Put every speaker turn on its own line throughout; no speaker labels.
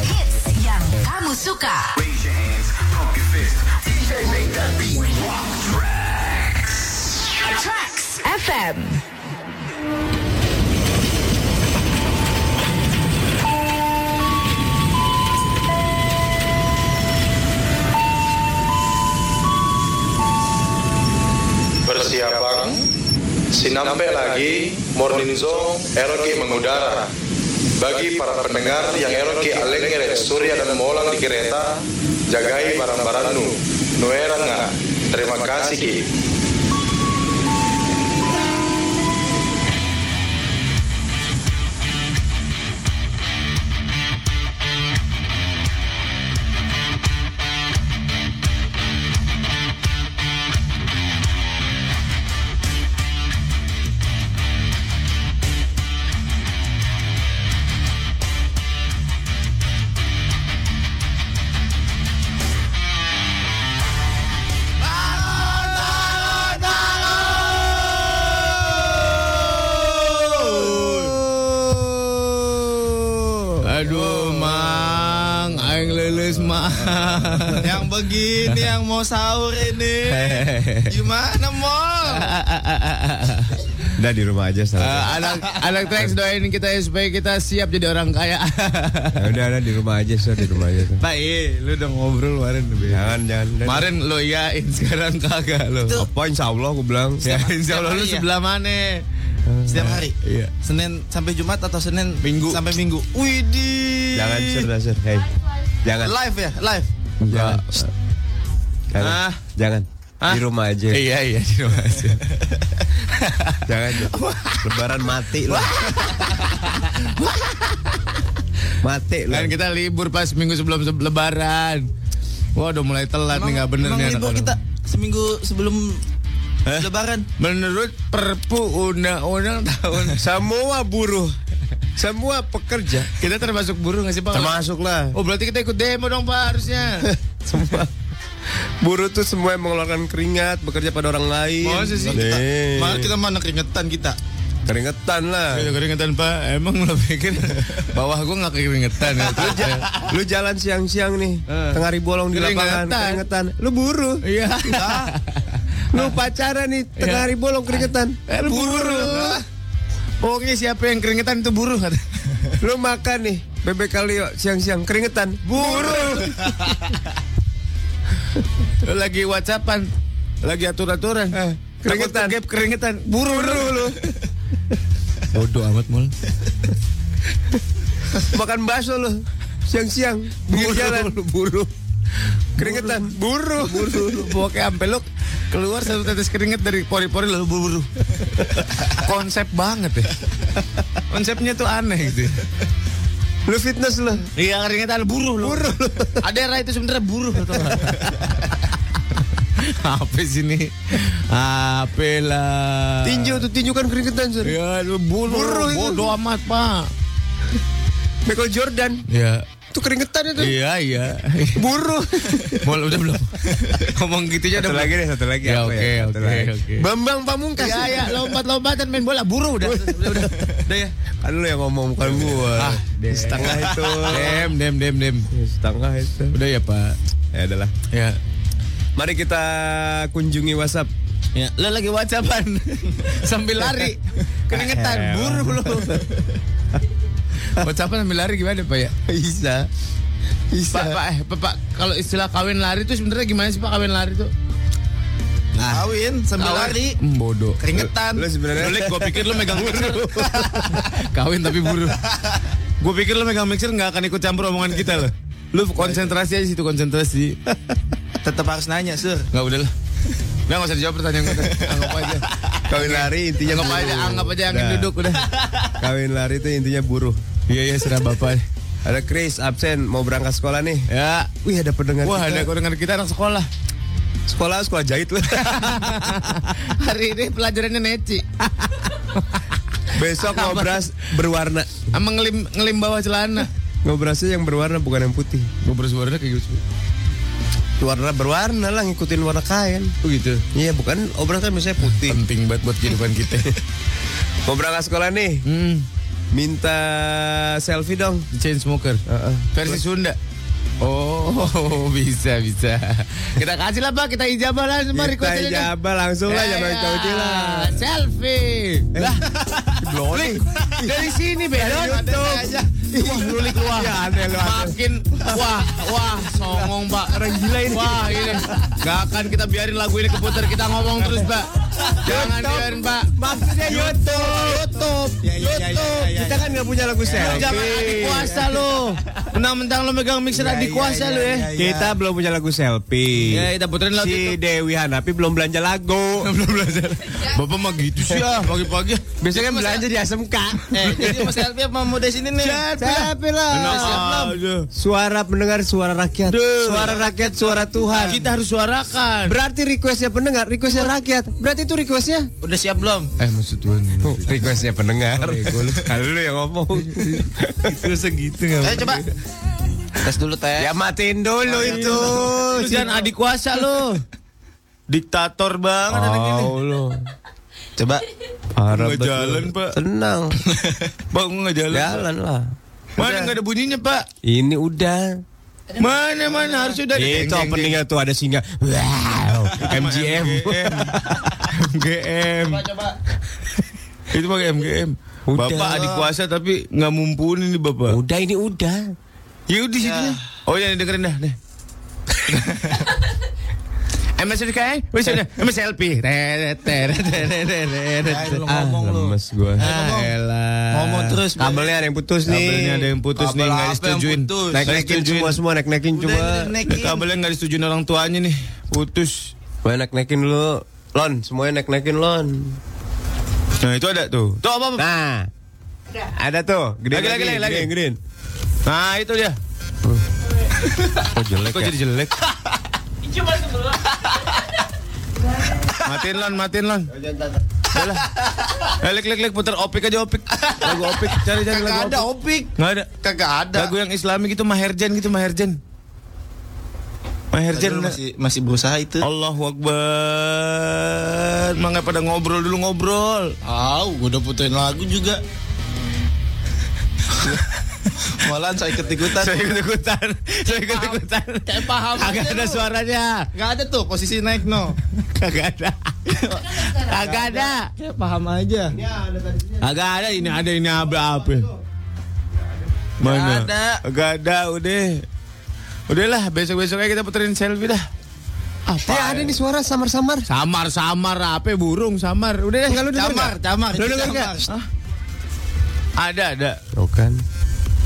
Hits yang kamu suka. Tracks FM.
Persiapan Sinampe lagi Morning Zone ROK mengudara Bagi para pendengar yang ROK aleng ngeret Surya dan Molang di kereta Jagai barang-barangmu Nueranga Terima kasih Ki
Aduh, Mang, aing lelis, Mang.
Yang begini yang mau sahur ini Gimana mall?
Udah di rumah
Eh,
aja salah.
anak anak Trax doain kita ya supaya kita siap jadi orang kaya.
Ya udah udah di rumah aja sih di rumah aja. Sir.
Pak, iya, lu udah ngobrol kemarin.
Jangan jangan. udah.
Kemarin lo yain, sekarang kagak lo.
Apa insya Allah aku bilang.
Ya, insya Allah lu
Iya.
sebelah mana?
Setiap hari?
Iya.
Senin sampai Jumat atau Senin
Minggu.
sampai Minggu? Widih
Jangan sir, dah, sir. Hey. Jangan.
Live ya, live
Jangan. Jangan.
Ah.
Jangan.
Ah.
Di rumah aja.
Iya, iya, di rumah aja.
Jangan. Sir. Lebaran mati lo. mati lo.
Kan kita libur pas minggu sebelum seb- lebaran. Wah, udah mulai telat nih nggak bener
emang
nih
libur
anak-anak.
kita seminggu sebelum
Hah?
Lebaran
Menurut Perpu Undang-Undang tahun
Semua buruh, semua pekerja
kita termasuk buruh nggak sih Pak?
termasuk lah.
Oh berarti kita ikut demo dong Pak harusnya.
semua buruh tuh semua yang mengeluarkan keringat bekerja pada orang lain.
Masa sih?
Nih.
Malah kita mana keringetan kita
keringetan lah.
Ayo keringetan Pak, emang lo pikir bawah gua nggak keringetan ya? Terus ya?
lu jalan siang-siang nih
Eh.
tengah ribolong di
Keringetan.
lapangan keringetan lu buruh
Iya.
lu pacaran nih tengah
Iya.
hari bolong keringetan
Eh, buruh. Pokoknya siapa yang keringetan itu buruh.
lu makan nih bebek kali siang-siang keringetan
buruh. Lagi whatsappan, lagi aturan-aturan.
Eh, keringetan.
Takut kegep, keringetan. Buruh lu. Bodoh amat mul.
makan bakso lu siang-siang pinggir jalan
buruh.
keringetan
Buruh. Buruh. Pokoknya sampai lu keluar satu tetes keringet dari pori-pori lalu buru-buru. Konsep banget ya. Konsepnya tuh aneh gitu.
lu fitness lu
Iya keringetan buruh lu. Buruh. Ada itu sebenarnya buruh atau Apa sih ini? Apa lah?
tinju tuh tinju kan keringetan sir
Ya, lu buruh.
Buruh itu.
Bodoh amat, Pak.
Michael Jordan
Ya.
tuh keringetan itu
Iya, iya.
buruh
Mau udah belum? Ngomong gitunya udah belum?
deh satu lagi
Ya,
apa
oke,
Satu
oke,
lagi.
oke.
Bambang Pamungkas
Ya, ya, lompat-lompatan main bola buruh udah. Udah, udah. Udah ya.
kan lu yang ngomong bukan gua
Ah,
Di setengah itu
Dem, dem, dem, dem.
Di setengah itu
Udah ya, Pak.
ya adalah
Ya.
Mari kita kunjungi WhatsApp.
Ya, lo lagi whatsappan sambil lari. Keringetan, buruh lo. Whatsappan sambil lari gimana, Pak ya?
Bisa. Bisa.
Pak, Pak, eh, Pak, Pak, kalau istilah kawin lari itu sebenarnya gimana sih Pak kawin lari itu?
Kawin sambil
Nah. Kawin-
lari
Hmm, bodoh.
Keringetan
Lu sebenarnya
gue pikir lo megang mixer. kawin tapi buruh. Gue pikir lo megang mixer nggak akan ikut campur omongan kita lo. Lu konsentrasi aja situ konsentrasi.
Tetap harus nanya sur
Nggak udah lah. Udah nggak usah dijawab pertanyaan gue. Anggap aja.
kawin lari intinya
Anggap aja,
buruh.
anggap aja angin
Nah,
duduk udah.
Kawin lari itu intinya buruh.
Iya iya serah bapak.
Ada Chris absen mau berangkat sekolah nih.
Ya.
Wih ada pendengar
Wah ada
kita.
dengan kita anak sekolah.
Sekolah sekolah jahit lu.
Hari ini pelajarannya neci.
Besok mau beras berwarna.
Sama ngelim ngelim bawah celana.
Mau berasnya yang berwarna bukan yang putih.
Gue bersuara kayak gitu.
Warna berwarna lah ngikutin warna kain.
Oh gitu.
Iya bukan obras kan biasanya putih.
Penting banget buat kehidupan kita.
Mau berangkat sekolah nih.
Hmm.
Minta selfie dong.
Chain smoker.
Heeh.
Versi Sunda. Oh, bisa bisa. Kita kasih lah Pak, kita ijabah lah semua
Kita
request ini.
jabal langsung lah, jangan
Ya,
tahu lah.
Selfie. Lah, Lik, Eh. dari sini bedon tuh. ya? Wah, lu lik wah.
Ya, aneh lu, aneh.
Makin wah, wah, songong, Pak. Orang gila ini. Wah, ini. Gak akan kita biarin lagu ini keputar, kita ngomong terus, Pak. Jangan biarin, Pak.
Maksudnya YouTube.
Tutup.
Ya, ya, ya, ya, ya,
Kita kan nggak punya lagu
Lu
selfie.
Jangan adik kuasa lu. Mentang-mentang lu megang mixer adik kuasa lu ya.
Kita belum punya lagu selfie.
Ya, kita puterin lagu itu.
si Dewi Hanapi belum belanja lagu.
Belum belajar. Bapak mah gitu sih ah, pagi-pagi.
Biasanya kan
Jadi
belanja di SMK.
Eh, jadi Mas Elvi apa mau dari sini nih?
Selfie lah. Suara pendengar, suara rakyat. Suara rakyat, suara Tuhan.
Kita harus suarakan.
Berarti requestnya pendengar, requestnya rakyat. Berarti itu requestnya?
Udah siap belum?
Eh maksud Tuhan.
requestnya pendengar. Kalau lu yang ngomong.
Itu segitu
Ayo coba. Tes dulu teh.
ya matiin dulu itu.
Lu jangan adik kuasa lu.
Diktator banget anak ini.
lu.
Coba.
Parah
Nggak
betul.
jalan, Pak.
Tenang.
Bang nggak jalan.
jalan lah.
Mana nggak ada bunyinya Pak?
Ini udah.
Mana mana harus sudah.
Itu openingnya tuh ada singa. Wow. MGM.
MGM. Itu pakai MGM.
Udah.
Bapak adik kuasa tapi nggak mumpuni nih bapak.
udah ini udah.
Ya udah sini. Oh ya dengerin dah deh. Emang sudah kayak, wes sudah, emang selfie. Teret, teret, teret, teret.
Ya,
Ayo lu ngomong lu.
Lemes gua.
Ah, elah.
Ngomong terus.
Kabelnya ada yang putus nih.
Kabelnya ada yang putus
Kabel
nih, nggak
apa yang
disetujuin.
putus?
Nggak
Naik-naikin
disetujuin.
semua semua naik-naikin
Udah
coba.
naikin.
Kabelnya nggak disetujuin orang tuanya nih, putus.
Gua naik-naikin dulu. Lon, semuanya naik-naikin lon.
Nah itu ada tuh. Tuh apa apa?
Nah. Ada tuh, gede
Lagi, lagi, lagi.
Gede, gede.
Nah itu dia.
Kok jelek
Kok
ya?
jadi jelek? matiin lon, matiin lon. Yalah. Eh, Lek, lek, lek, putar opik aja opik. Lagu opik, cari cari lagu
Kagak ada
opik.
opik.
Nggak ada.
Kagak ada.
Lagu yang islami gitu Maherjan gitu Maherjan. Maherjan.
Padahal masih masih berusaha itu.
Allahu Akbar. Mangga pada ngobrol dulu ngobrol.
Ah, gua udah putuin lagu juga. Malahan saya ikut-ikutan.
Saya ikut ikutan. Saya ikut ikutan.
Kayak paham
Agak
aja
ada
lu.
suaranya.
Gak ada tuh posisi naik no.
Kagak ada. Kagak ada.
Kayak paham aja.
Kagak ada ini ada ini apa apa. Mana?
Nggak ada.
Kagak ada udah. Udahlah besok-besok aja kita puterin selfie dah. Apa?
Eh, ada nih suara samar-samar.
Samar-samar apa burung samar. Udah deh kalau denger
Camar,
nggak?
camar.
Lu denger nggak? Hah? Ada ada.
Tuh kan.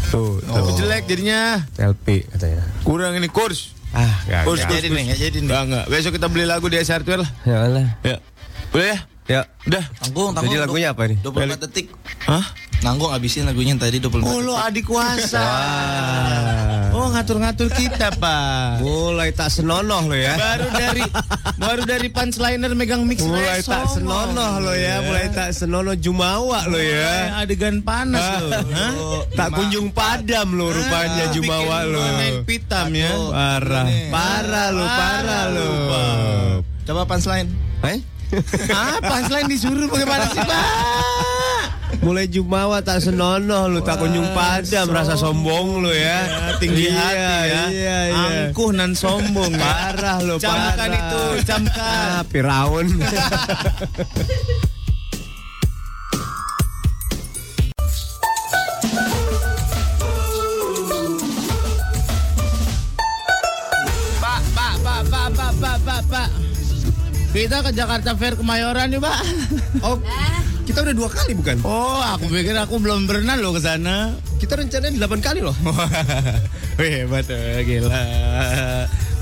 Oh.
Tuh,
Tapi jelek jadinya.
LP katanya.
Kurang ini kurs.
Ah, enggak.
Kurs,
Nggak
kurs,
jadi
kurs.
nih, nggak jadi nih.
Nggak, nggak. Besok kita beli lagu di SR12 lah.
Ya Allah.
Ya. Boleh ya?
Ya.
Udah.
Tanggung, tanggung.
Jadi lagunya apa nih?
24 detik.
Hah?
Nanggung abisin lagunya yang tadi 24
Oh, lo
detik.
adik kuasa. Oh, ngatur-ngatur kita, Pak.
Mulai tak senonoh lo ya.
Baru dari baru dari punchliner megang mix
Mulai
resong,
tak senonoh lo ya, mulai tak senonoh jumawa lo
Mulai
ya.
Adegan panas lo. Hah?
Tak kunjung padam lo rupanya jumawa
Ah, Bikin
lo.
gua Naik pitam ya.
Aduh.
Parah,
Nih.
parah lo, parah lo.
Coba punchline.
Eh?
Ah, punchline disuruh bagaimana sih, Pak?
Mulai jumawa tak senonoh lo, tak kunjung padam rasa sombong lo ya.
Tinggi
Iya,
hati ya.
Iya, iya.
Angkuh nan sombong. ya.
Parah lo, parah.
Camkan itu, camkan.
Ah, Firaun.
Pak, pak, pak, pak, pak, pak, pak, pak. Kita ke Jakarta Fair Kemayoran nih, Pak.
Oh, kita udah dua kali bukan?
Oh, aku pikir aku belum pernah loh ke sana.
Kita rencananya Kan delapan kali loh.
Wih, hebat, eh, gila.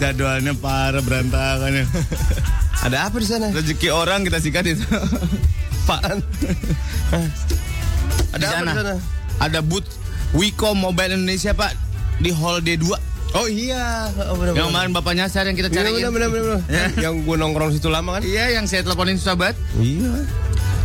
Jadwalnya parah berantakan ya.
Ada apa di sana?
Rezeki orang kita sikat itu.
Apaan?
Ada
apa di sana?
Ada booth Wiko Mobile Indonesia, Pak, di Hall D2.
Oh iya, oh,
Yang kemarin Bapak nyasar yang kita
Iya,
cariin.
benar, benar, benar, benar. Yang gue nongkrong situ lama kan?
Iya, yang saya teleponin susah banget.
Iya.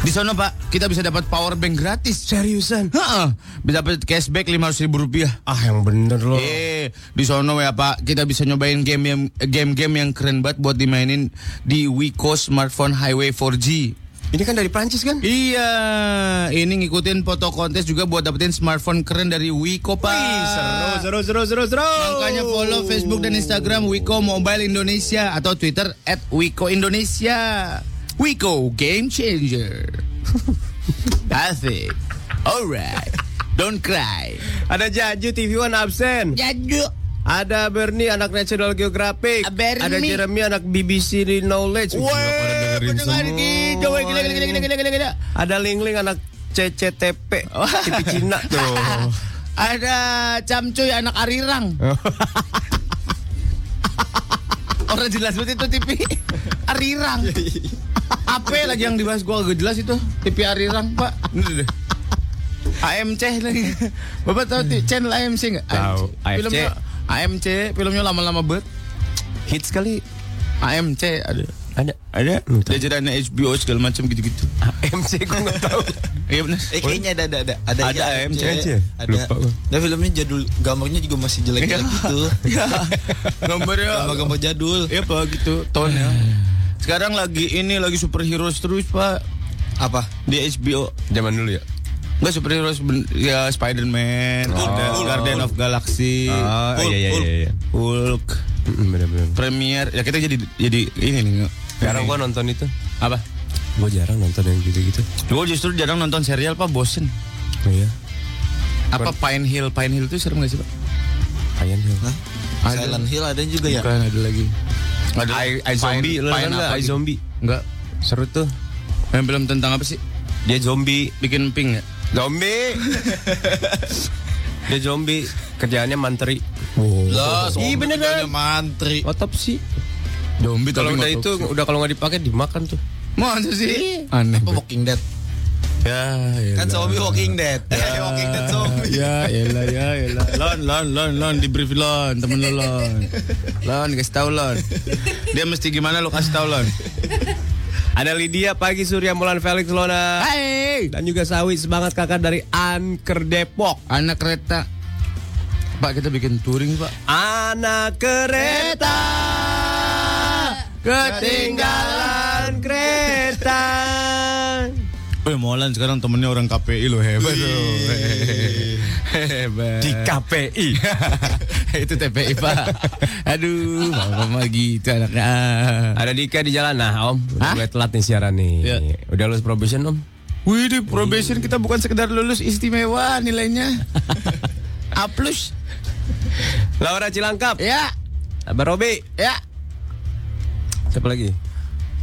Di sana Pak, kita bisa dapat power bank gratis. Seriusan? Heeh. Bisa dapat cashback 500 ribu rupiah.
Ah, yang bener loh.
Eh, di sono ya Pak, kita bisa nyobain game yang game-game yang keren banget buat dimainin di Wiko Smartphone Highway 4G.
Ini kan dari Prancis kan?
Iya, ini ngikutin foto kontes juga buat dapetin smartphone keren dari Wiko, Pak.
seru, seru, seru, seru.
Makanya follow Facebook dan Instagram Wiko Mobile Indonesia atau Twitter at Wiko Indonesia. Wiko Game Changer. Asik. Alright. Don't cry.
Ada Jaju TV One absen.
Jadu.
Ada Bernie anak National Geographic.
Ah, Bernie.
Ada Jeremy anak BBC Knowledge. Wih, pada dengerin semua. Ada Lingling anak CCTP. TV Cina tuh.
Ada Camcuy anak Arirang.
Oh.
Orang jelas banget itu TV Arirang.
Iya,
Apa lagi yang dibahas gua agak jelas itu TV Arirang, Pak. Ini deh. AMC lagi. Bapak tahu ti- channel AMC enggak?
Tahu, AFC.
Filmnya AMC, filmnya lama-lama banget.
Hits kali.
AMC ada.
Ada, Hmm, ada. Lu tahu.
Dia jadi anak HBO segala macam gitu-gitu.
MC gue nggak tahu.
Iya benar.
Eh kayaknya ada ada ada ada
Ada
ya,
AMC.
Ada.
Lupa gua.
Dan filmnya jadul gambarnya juga masih jelek-jelek gitu.
Iya. Gambarnya
Gambar-gambar jadul.
Iya pak gitu Tone ya Sekarang lagi ini Lagi superhero terus pak
Apa?
Di HBO
Zaman dulu ya.
Enggak superhero seben- Ya Spider-Man ada Guardian of Galaxy
Oh, iya, iya, iya, iya.
Hulk
Mm, Benar-benar.
Premier Ya kita jadi Jadi ini nih
Jarang
ini.
gua nonton itu.
Apa
Gua jarang nonton yang gitu-gitu.
Gue justru jarang nonton serial pak Bosen
Oh iya.
Apa Pine Hill Pine Hill itu serem gak sih pak
Ayan ya.
Hah?
Ada.
Silent Hill ada juga
Iya.
ya.
Bukan ada lagi Ada
I, I
Pine-
zombie lu
Pine
nonton nggak?
apa
I
gitu.
zombie.
Enggak
Seru tuh.
Yang film tentang apa sih
Dia zombie.
Bikin pink ya
Zombie. Dia zombie. Kerjaannya manteri.
Lah,
Loh,
Ih, beneran.
kan?
zombie Mantri.
Oh. Otopsi.
Zombie
Kalau
tapi
udah
nggak
itu udah kalau nggak dipakai dimakan tuh.
Masa sih? Aneh.
Apa Oh, Walking Dead?
Ya, ya.
Kan zombie Walking Dead. Eh, Walking Dead zombie.
Ya, elah, ya, elah. Lon, lon, lon, lon, di brief lon, temen lo lon. Lon, kasih tau lon. Dia mesti gimana lo kasih tau lon.
Ada Lydia pagi Surya Mulan Felix Lona.
Hai,
Dan juga Sawi semangat kakak dari Anker Depok.
anak kereta. Pak kita bikin touring pak.
Anak kereta ketinggalan kereta.
Eh, Molan sekarang temennya orang KPI lo hebat lo. Hebat.
KPI.
Itu TPI pak. Aduh, mama gitu anaknya.
Ada Dika di jalan nah Om.
Hah?
Udah mulai telat nih siaran nih.
Iya.
Udah lulus probation Om.
Wih, di probation kita bukan sekedar lulus istimewa nilainya. A plus.
Laura Cilangkap.
Ya,
Abang Robi.
ya.
Siapa lagi?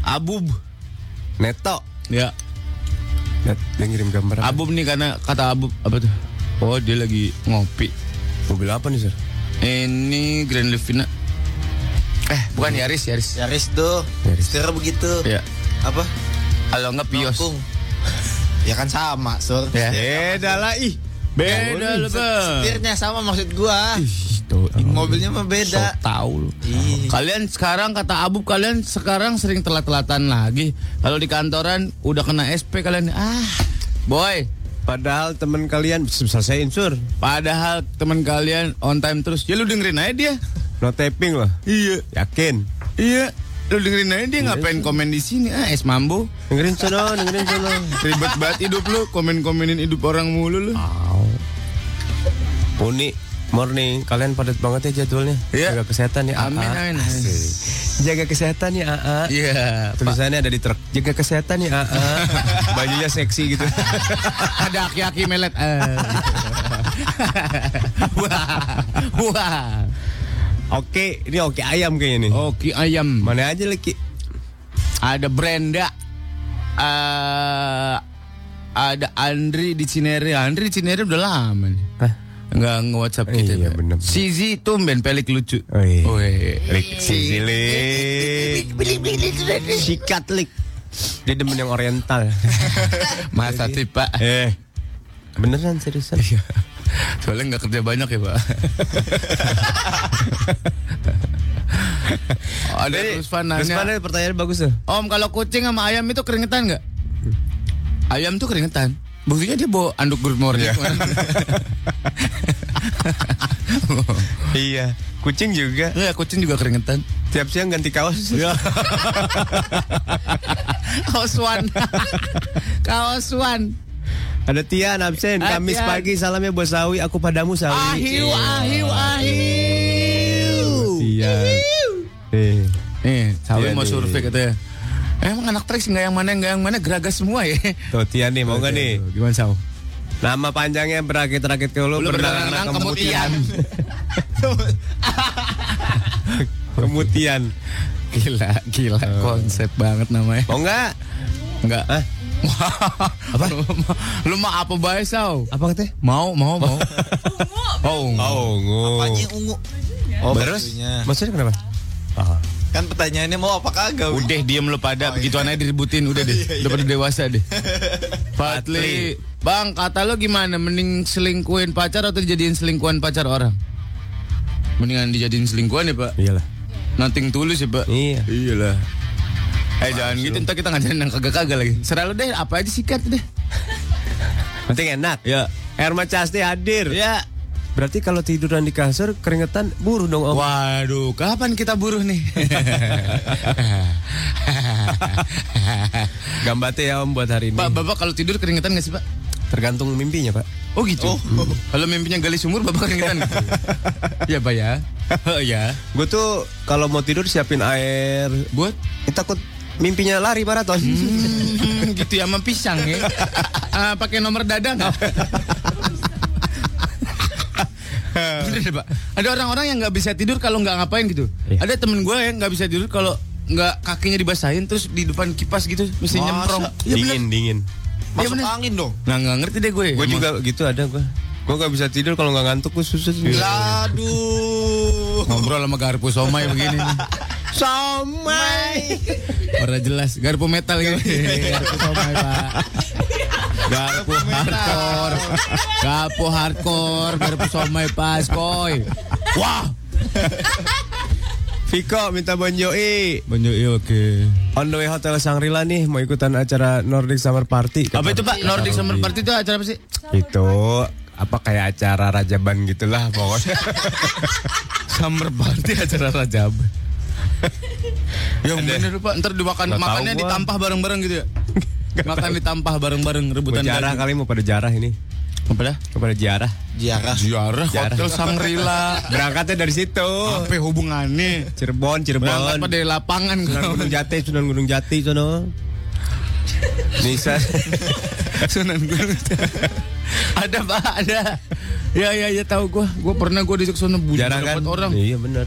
Abub.
Neto.
Ya,
Net, dia ngirim gambar. Apa?
Abub nih karena kata Abub apa tuh? Oh, dia lagi ngopi.
Mobil apa nih, Sir?
Ini Grand Livina. Eh, bukan Yaris, Yaris.
Yaris tuh.
Yaris.
Setirnya begitu.
Ya.
Apa?
Kalau enggak Pios.
Nokung. Ya kan sama, Sur.
Ya.
Beda lah ih.
Beda lu, Bang.
Setirnya sama maksud gua.
Tuh,
Mobilnya mah beda.
tahu lu.
Ih.
Kalian sekarang kata Abub kalian sekarang sering telat-telatan lagi. Kalau di kantoran udah kena SP kalian ah. Boy,
Padahal teman kalian selesai insur.
Padahal teman kalian on time terus. Ya lu dengerin aja dia.
No taping loh.
Iya.
Yakin?
Iya. Lu dengerin aja dia ngapain komen di sini. Ah, es mambo.
Dengerin sono, dengerin sono.
Ribet banget hidup lu, komen-komenin hidup orang mulu lu.
Uni morning, kalian padat banget ya jadwalnya.
Iya.
Jaga kesehatan ya. AA.
Amin, amin.
Asik. Jaga kesehatan ya, AA.
Iya.
Tulisannya ada di truk. Jaga kesehatan ya, AA. Bajunya seksi gitu.
Ada aki-aki melet. Eh. Wah. Wah.
Oke, ini oke ayam kayaknya nih.
Oke ayam.
Mana aja lagi?
Ada Brenda. Eh, ada Andri di Cinere. Andri di Cinere udah lama nih.
Hah?
Enggak nge-whatsapp kita.
Iya,
Pak.
bener.
Si Zi tumben pelik lucu.
Oh, iya.
Weh.
Lik, si Zilik. Sikat lik. Dia demen yang oriental.
Masa sih pak
eh. Beneran seriusan?
Soalnya nggak kerja banyak ya pak Ada Rusfan
Eh, Terus
nanya
mana pertanyaan bagus tuh?
Om kalau kucing sama ayam itu keringetan nggak? Ayam tuh keringetan Buktinya dia bawa anduk good morning
Iya, kucing juga.
Ya, kucing juga keringetan.
Tiap siang ganti kaos.
Kaos one. Kaos one.
Ada Tian absen.
Ah,
Kamis
Tian.
pagi salamnya buat Sawi. Aku padamu Sawi.
Ahiu, ahiu, ahiu.
Tian. Iya. Eh.
Nih, Sawi
Iya
mau
nih.
survei katanya. Emang anak tricks nggak yang mana nggak yang mana geragas semua ya.
Tuh Tian nih mau gak nih?
Gimana Saw?
Nama panjangnya berakit-rakit ke lu
Lu
berenang
berenang kemudian.
Kemudian.
Gila, gila
Eh.
konsep banget namanya.
Mau nggak?
Enggak.
Hah?
apa? Lu, ma- lu mah apa bae, Saw?
Apa katanya?
Mau, mau, mau. Oh,
Oh, ungu.
Apanya yang ungu?
Oh,
Terus?
terus? Maksudnya kenapa?
Kan pertanyaannya mau apa kagak? Wi?
Udah diem lu pada begituan aja diributin udah deh. Udah pada dewasa deh. Patli, Bang, kata lo gimana? Mending selingkuhin pacar atau dijadiin selingkuhan pacar orang? Mendingan dijadiin selingkuhan ya, Pak.
Iyalah.
Nothing tulus ya, Pak.
Iya.
Iyalah. Eh jangan gitu, ntar kita ngajarin yang kagak-kagak lagi. Serah lu deh, apa aja sikat deh.
Penting enak.
Ya.
Herma Chasti hadir.
Ya.
Berarti kalau tiduran di kasur keringetan buru dong om.
Waduh, kapan kita buruh nih?
Gambatnya ya om buat hari ini.
Pak, Bapak kalau tidur keringetan gak sih, Pak?
Tergantung mimpinya pak.
Oh gitu. Kalau mimpinya gali sumur bapak keringetan. ya pak ya. ya.
Gue tuh kalau mau tidur siapin air.
Buat
Ini takut mimpinya lari maraton.
Hmm, gitu ya sama pisang ya. Ah, pakai nomor dada nggak? Bener deh, Pak. Ada orang-orang yang nggak bisa tidur kalau nggak ngapain gitu.
Iya.
Ada temen gue yang nggak bisa tidur kalau nggak kakinya dibasahin terus di depan kipas gitu mesti
Masa?
nyemprong. Iya, bener.
dingin dingin.
Iya,
Masuk
bener.
angin dong.
Nah nggak ngerti deh gue.
Gue
Emang.
juga gitu ada gue. Gue gak bisa tidur kalau nggak ngantuk gue susah.
Aduh.
ngobrol sama garpu somai begini. nih.
Somai.
Orang jelas garpu metal gitu. garpu somai pak. Garpu hardcore. Garpu hardcore. Garpu somai pas koi. Wah.
Viko minta bonjoi.
Banyak iya oke.
On the way Hotel Shangri-La nih mau ikutan acara Nordic Summer Party.
Apa itu pak Nordic Summer Party itu acara apa sih?
Itu apa kayak acara rajaban gitulah pokoknya.
Summer Party acara rajab. Yang
Ada.
bener pak ntar dimakan
Nggak tahu
makannya
gua.
ditampah bareng-bareng gitu ya. Makan ditampah bareng-bareng
Mau
rebutan
jarah kali mau pada jarah ini.
Apa dah?
Mau pada jarah.
Jarak.
Ziarah
Ziarah.
hotel Sangrila.
Berangkatnya dari situ.
Apa hubungannya?
Cirebon,
Berangkat
Cirebon.
pada lapangan
Sunan
kau.
Gunung Jati, Sunan Gunung Jati sono. Nisa.
Sunan Gunung Ada pak ada Ya ya ya tahu gua Gua pernah gua diajak sana bujuk
jarah kan?
dapat orang
Iya benar.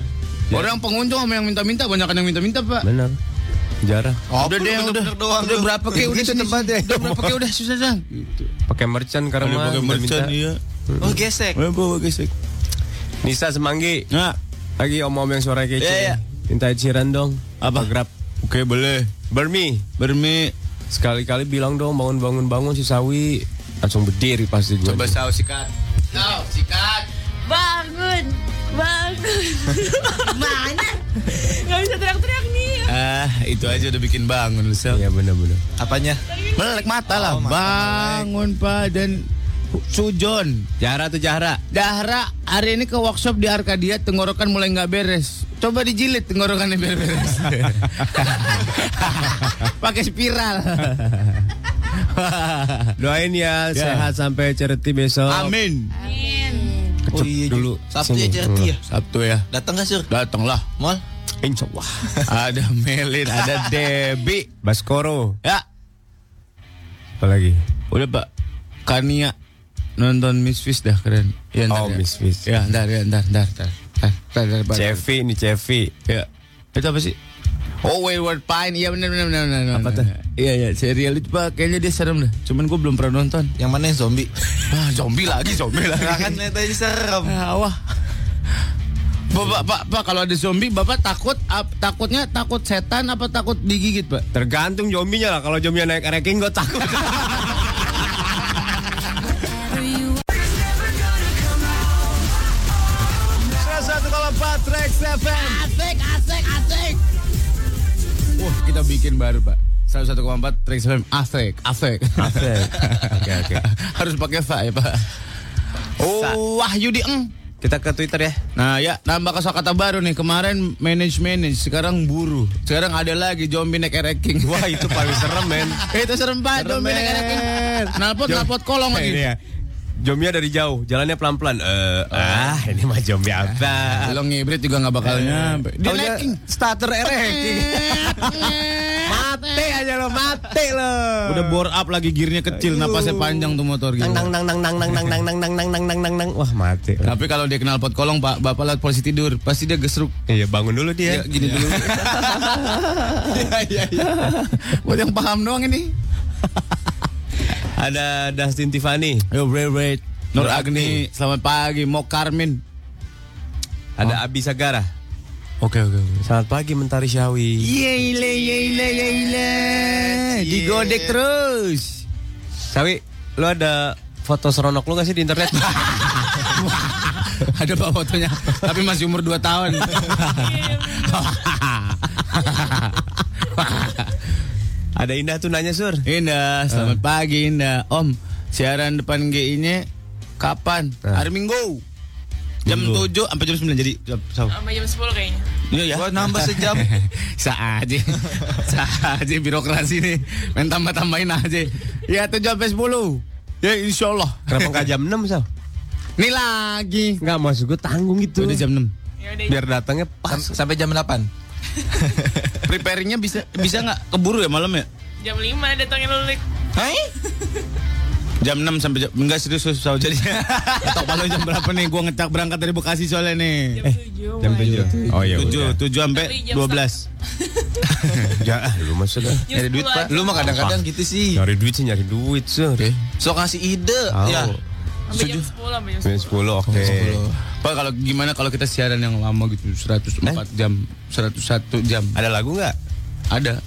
Orang pengunjung sama yang minta-minta Banyak yang minta-minta pak
Benar. Jarah.
Udah deh udah
bener-bener doang
Udah
lu.
berapa ke udah
Gitu
sini.
tempatnya.
Udah berapa ke udah susah San.
Pakai merchan karena mah, minta-minta.
iya
Oh gesek.
Bawa gesek
Nisa Semanggi.
Nah
Lagi om-om yang suara kece.
Iya, iya.
Minta Ed Sheeran dong.
Apa?
Grab.
Oke boleh
Bermi.
Bermi
Sekali-kali bilang dong bangun-bangun bangun si Sawi. Langsung berdiri pasti gue.
Coba saus sikat Saus sikat
Bangun, bangun. Mana? Gak bisa teriak-teriak nih.
Ah itu aja udah bikin bangun lu Sel
Iya benar-benar.
Apanya?
Melek Oh, mata lah Bangun pak dan Sujon
Jara tuh Jara.
Dahra hari ini ke workshop di Arkadia tenggorokan mulai nggak beres. Coba dijilid tenggorokannya biar beres. Pakai spiral.
Doain ya, sehat sampai cerita besok.
Amin.
Oh iya
dulu.
Sabtu ya
Sini.
cerita ya.
Sabtu ya.
Datang gak sur?
Datanglah.
Mall?
Insya Allah.
Ada Melin, ada Debi.
Baskoro.
Ya,
Apa lagi?
udah Pak. Kania nonton Miss Fish dah keren. Ya, ntar
Oh,
ya.
Miss Fish.
Ya, ntar ya, ntar, ntar, ntar. Ntar, ntar, ntar, ntar.
Cevi nih Cevi.
Ya. Itu apa sih? Oh, Wayward Pine. Iya benar benar benar benar. Apa tuh? Iya iya, serial itu Pak, kayaknya dia serem dah. Cuman gue belum pernah nonton.
Yang mana yang zombie?
Ah, zombie lagi, zombie lagi.
Lah kan tadi serem.
Ah, Wah. Bapak, Pak, Pak, kalau ada zombie, Bapak takut ap- takutnya takut setan apa takut digigit, Pak?
Tergantung zombinya lah. Kalau zombinya naik ranking gue takut. Satu kalau Patrick Seven.
Asik, asik, asik. Wah, kita bikin baru, Pak. 101,4 Trax FM asik, asik.
Asik. Oke, oke.
Harus pakai fa ya, Pak. Oh, Wahyu di eng.
Kita ke Twitter ya.
Nah ya nambah kosakata baru nih kemarin manage manage sekarang buruh sekarang ada lagi zombie naik ereking
Wah itu paling serem men.
itu serem banget zombie naik ereking
men.
nalpot
Jom-
nalpot kolong
Eh,
lagi
Ini ya. Jomnya dari jauh, jalannya pelan-pelan. Eh,
Oh.
ah, ini mah zombie apa?
lo ngibrit juga nggak bakal nyampe Iya. dia
Taunya
naiking
starter ereking. mati aja lo, mati lo.
udah bore up lagi gearnya kecil napasnya panjang tuh motor gitu
nang nang nang nang nang nang nang nang nang nang nang nang nang nang nang wah mati.
tapi kalau dia kenal pot kolong pak bapak lihat polisi tidur pasti dia gesruk
Iya bangun dulu dia.
Ya, gini dulu. Iya, iya, iya. Buat yang paham doang ini.
Ada Dustin Tiffany,
Yo, Ray Ray. Nur Agni, selamat pagi. Mo Karmin.
ada Abi Sagara. Iya,
Oke, oke, oke.
Selamat pagi Mentari Syawi.
Yeile, yeile, yeile. Digodek terus.
iya. Syawi, lu ada foto seronok lu gak sih di internet?
Ada pak fotonya, tapi masih umur 2 tahun.
ada Indah tuh nanya sur.
Indah, selamat pagi Indah. Om, siaran depan GI-nya kapan? Hari Minggu. Jam 7 sampai jam 9 jadi
Sampai jam 10 kayaknya.
Iya ya.
Gua nambah sejam.
Saja. Saja birokrasi nih. Main tambah-tambahin aja. Ya 7 sampai 10. Ya insya Allah.
Kenapa nggak jam 6 Sal?
Nih lagi.
Nggak maksud gue tanggung gitu.
Udah jam 6.
Ya udah.
Biar datangnya pas.
Sam- sampai jam 8.
Preparingnya bisa bisa nggak keburu ya malam ya?
Jam 5 datangin lu Lik.
Jam 6 sampai jam enggak serius serius Sal. jadi. Atau kalau jam berapa nih gua ngecak berangkat dari Bekasi soalnya nih. Eh,
Jam 7.
Jam 7. Oh iya.
7 7 sampai
Tapi jam
12.
Ya, ah, lu maksud ah.
Jam 10 aja.
Lu mah kadang-kadang gitu sih.
Nyari duit sih nyari duit sur.
Sok ngasih ide
Tahu.
ya.
Sampai jam 10 sampai jam
Jam
10.
10 oke.
Pak kalau gimana kalau kita siaran yang lama gitu 104 jam, 101 jam.
Ada lagu nggak?
Ada.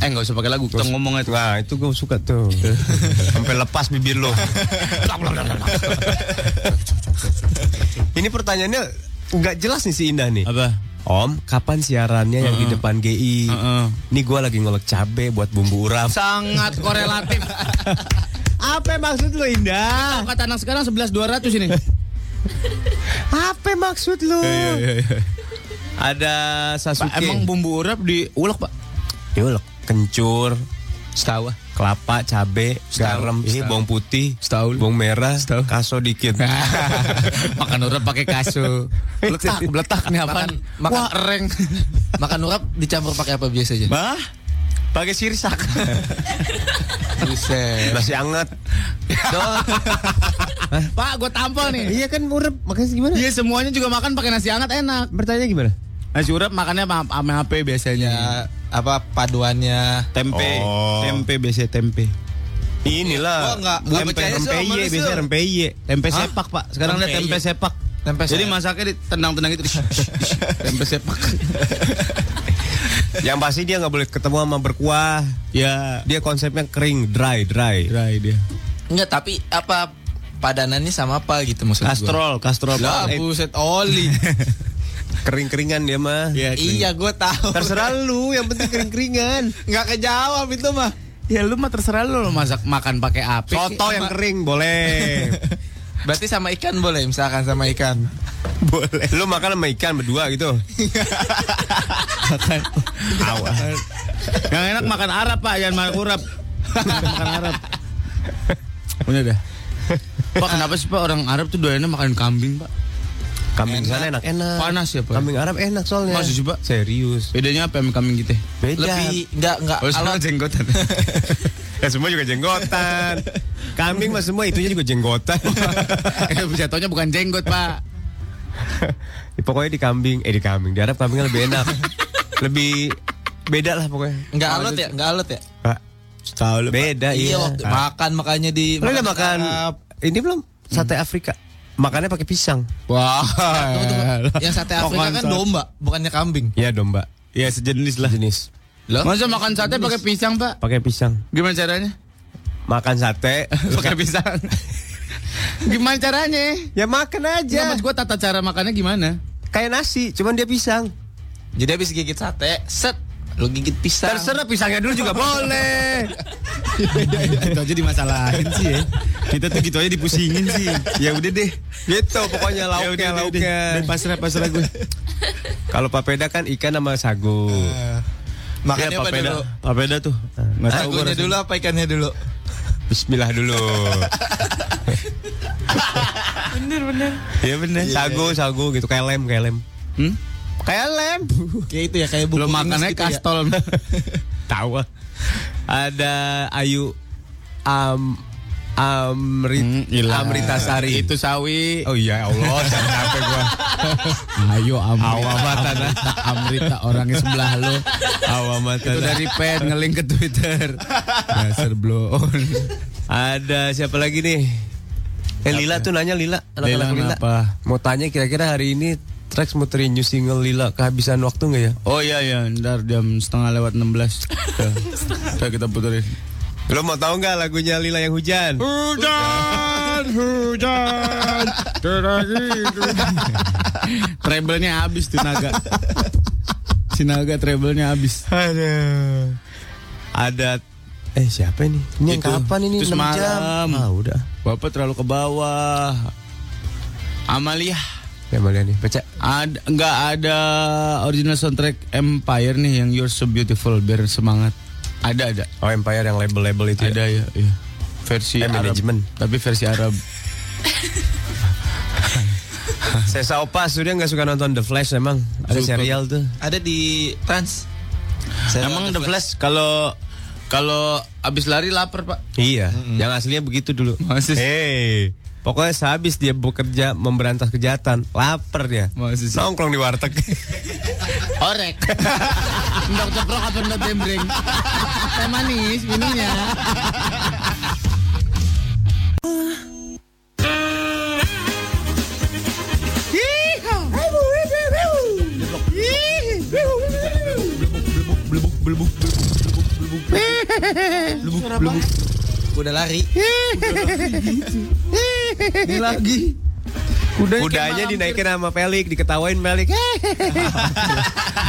Eh nggak usah pakai lagu, kita ngomong aja.
Nah itu gue suka tuh. Sampai lepas bibir lo. Ini pertanyaannya nggak jelas nih si Indah nih.
Apa?
Om, kapan siarannya yang di depan GI?
Heeh.
Ini gue lagi ngolek cabe buat bumbu urap.
Sangat korelatif.
Apa maksud lo Indah?
Kata anak sekarang 11 200 ini. Iya,
Apa maksud lo? Ada Sasuke.
Pak, emang bumbu urap diulek, Pak?
Yolok, kencur,
Setahu. ah.
kelapa, cabe, garam, iya, bawang putih, bawang merah, kaso dikit.
makan urap pakai kasu. Letak, beletak nih apaan?
Makan- makan-
Wah, ereng.
Makan urap dicampur pakai apa biasanya?
Bah? Pakai sirsak.
Buset.
Masih anget.
Pak, gue tampol nih.
Iya kan urep, makanya gimana?
Iya, semuanya juga makan pakai nasi hangat enak.
Bertanya gimana?
Nasi urap makannya sama sama HP biasanya.
Ya, apa paduannya?
Tempe,
Oh.
tempe biasanya tempe.
Inilah.
Gua nggak- nggak
Tempe
percaya sama
rempeye,
lu, Sur.
biasanya rempeye.
Tempe sepak, Pak. Sekarang ada tempe
Tempe, iya.
sepak.
Tempe
Jadi
sepak.
masaknya ditendang-tendang gitu. tempe sepak.
Yang pasti dia nggak boleh ketemu sama berkuah.
ya,
Dia konsepnya kering, dry, dry.
dry dia.
Enggak, tapi apa padanannya sama apa gitu maksud gua.
Kastrol, kastrol.
Lah,
Eh,
buset oli.
Kering-keringan dia mah.
iya, gue tahu.
Terserah lu, yang penting kering-keringan.
Enggak kejawab itu mah.
Ya lu mah terserah lu, lu masak makan pakai api.
Soto yang kering boleh.
Berarti sama ikan boleh misalkan sama ikan.
Boleh. Lu makan sama ikan berdua gitu. Awal.
Yang enak makan Arab, Pak, jangan makan urap. makan Arab. Udah dah. Pak, kenapa sih Pak orang Arab tuh doyannya makan kambing, Pak?
Kambing sana enak. Enak.
Panas ya, Pak?
Kambing Arab enak soalnya.
Masih sih, Pak?
Serius.
Bedanya apa sama kambing gitu ya? kita?
Beda.
Lebih enggak enggak
Oh, sama jenggotan.
Ya semua juga jenggotan. Kambing mah semua itunya juga jenggotan.
eh, jatuhnya bukan jenggot, Pak.
Ya, pokoknya di kambing, eh di kambing, di Arab kambingnya lebih enak. lebih beda lah pokoknya.
enggak alot ya, enggak alot ya.
Pak, tahu lu. Beda iya.
Iya, waktu
Nah.
Ah.
makan makanya di
Lu udah makan ini belum? Sate
Hmm.
Afrika. Makannya pakai pisang.
Wah.
Eh, yang sate Afrika kan domba, domba, bukannya kambing.
Iya domba.
Ya sejenis lah.
Jenis.
Loh?
Masa makan sate pakai pisang, Pak?
Pakai pisang.
Gimana caranya?
Makan sate.
pakai pisang. gimana caranya?
ya makan aja.
Iya,
Nggak, maksud gua tata cara makannya gimana?
Kayak nasi, cuman dia pisang.
Jadi habis gigit sate, set Lo gigit pisang.
Terserah pisangnya dulu juga boleh.
itu aja
Nah,
dimasalahin sih ya. Kita tuh gitu aja dipusingin sih. Ya udah deh.
Gitu
Ya
pokoknya
udah,
lauknya
udah,
lauknya.
udah. Udah, pasrah pasrah gue.
Kalau papeda kan ikan sama sagu.
Eh, Makannya
Iya,
apa
papeda.
dulu?
Papeda tuh.
Nggak tahu gue
Sagunya
rasanya.
dulu apa ikannya dulu?
Bismillah dulu.
Bener bener.
Iya bener.
sagu, sagu gitu kayak lem, kayak lem.
Hmm?
Kayak lem.
Kayak itu ya kayak buku Inggris
Belum Eh, makannya
gitu ya.
kastol.
Tawa. Ada Ayu Am Amrit Amrita Sari.
Hmm, Itu sawi.
Oh iya Allah, jangan capek gua.
Ayo Amrita.
Awamatan,
Amrita, Amrita orangnya sebelah lo.
Awamatan.
Itu dari pen ngeling ke Twitter. Dasar blow on.
Ada siapa lagi nih? Eh Lila tuh nanya Lila, anak-anak
Lila
Lila.
kenapa?
Mau tanya kira-kira hari ini Trax muterin new single Lila kehabisan waktu nggak ya?
Oh iya ya, ntar jam setengah lewat 16. Tuh. Tuh kita puterin.
Lo mau tahu nggak lagunya Lila yang hujan?
Hujan, hujan, gitu. Treble-nya habis tuh naga. Si naga treble-nya habis.
Aduh. Ada eh siapa ini? Ini yang
Itu.
kapan ini?
Itu
6 jam.
semalam.
Ah, udah.
Bapak terlalu ke bawah. Amalia.
Ya malah nih, pecah.
Ada nggak ada original soundtrack Empire nih yang You're So Beautiful biar semangat. Ada ada.
Oh Empire yang label-label itu.
Ada ya,
Ya?
iya. Versi
Eh,
Arab.
manajemen.
Tapi versi Arab.
Sesa Opas sudah nggak suka nonton The Flash emang. Ada
Suka.
serial tuh.
Ada di Trans. Saya
Emang The
tahu
Flash kalau kalau abis lari lapar, Pak.
Iya, yang aslinya begitu dulu.
Masih-
Hey, pokoknya sehabis dia bekerja memberantas kejahatan, lapar dia.
Masih sih.
Nongkrong di warteg.
Orek. Ndok ceprok apa ndok dembreng? Teh manis minumnya.
Udah lari.
lagi. Kuda
Kudanya dinaikin
gitu.
sama Pelik, diketawain Pelik.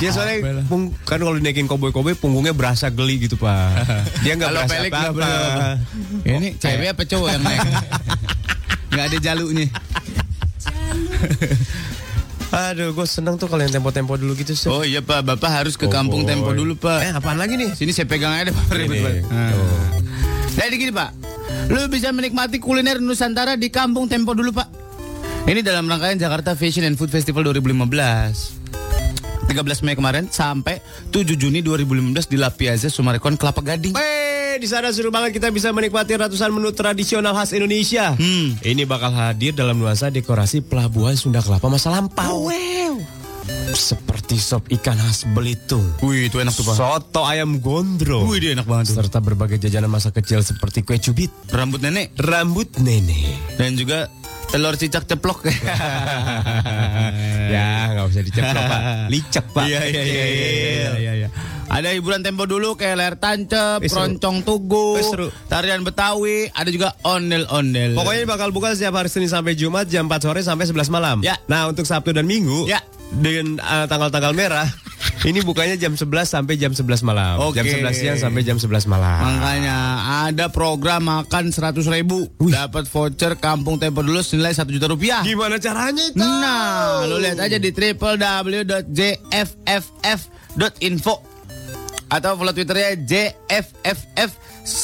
dia soalnya pung- kan kalau dinaikin koboi-koboi punggungnya berasa geli gitu, Pak. Dia nggak
Kalau
berasa
Pelik nggak
apa-apa.
berasa apa-apa. Ini cewek apa cowok yang naik? Gak ada jaluknya.
Aduh, gue seneng tuh kalau yang tempo-tempo dulu gitu sih.
Oh iya Pak, Bapak harus ke kampung
boy.
Tempo dulu Pak.
Eh, apaan lagi nih?
Sini saya pegang aja deh, Pak. Ribet
Ini,
banget. Nah. Jadi gini Pak, lu bisa menikmati kuliner Nusantara di kampung Tempo dulu Pak. Ini dalam rangkaian Jakarta Fashion and Food Festival 2015. 13 Mei kemarin sampai 7 Juni 2015 di La Piazza Summarecon Kelapa Gading.
Wey, di sana seru banget kita bisa menikmati ratusan menu tradisional khas Indonesia.
Hmm.
Ini bakal hadir dalam nuansa dekorasi pelabuhan Sunda Kelapa masa
Oh,
lampau. Seperti sop ikan khas Belitung.
Wih, itu enak tuh Pak.
Soto ayam gondrong.
Wih, dia enak banget tuh.
Serta berbagai jajanan masa kecil seperti kue cubit,
Rambut nenek
rambut nenek.
dan juga telur cicak ceplok.
ya, nggak usah diceplok, Pak. Licek, Pak.
Iya iya iya iya, iya iya iya. Ada hiburan tempo dulu kayak layar tancep,
Eh, seru.
keroncong tugu,
Eh, seru.
tarian Betawi, ada juga ondel-ondel.
Pokoknya bakal buka setiap hari Senin sampai Jumat jam 4 sore sampai 11 malam.
Ya.
Nah, untuk Sabtu dan Minggu
Ya.
dengan eh, tanggal-tanggal merah ini bukanya jam 11 sampai jam 11 malam.
Oke.
Jam 11 siang sampai jam 11 malam.
Makanya ada program makan 100 ribu Dapat voucher kampung tempo dulu senilai 1 juta rupiah
Gimana caranya itu?
Nah, lu lihat aja di www.jfff.info Atau follow twitternya jfff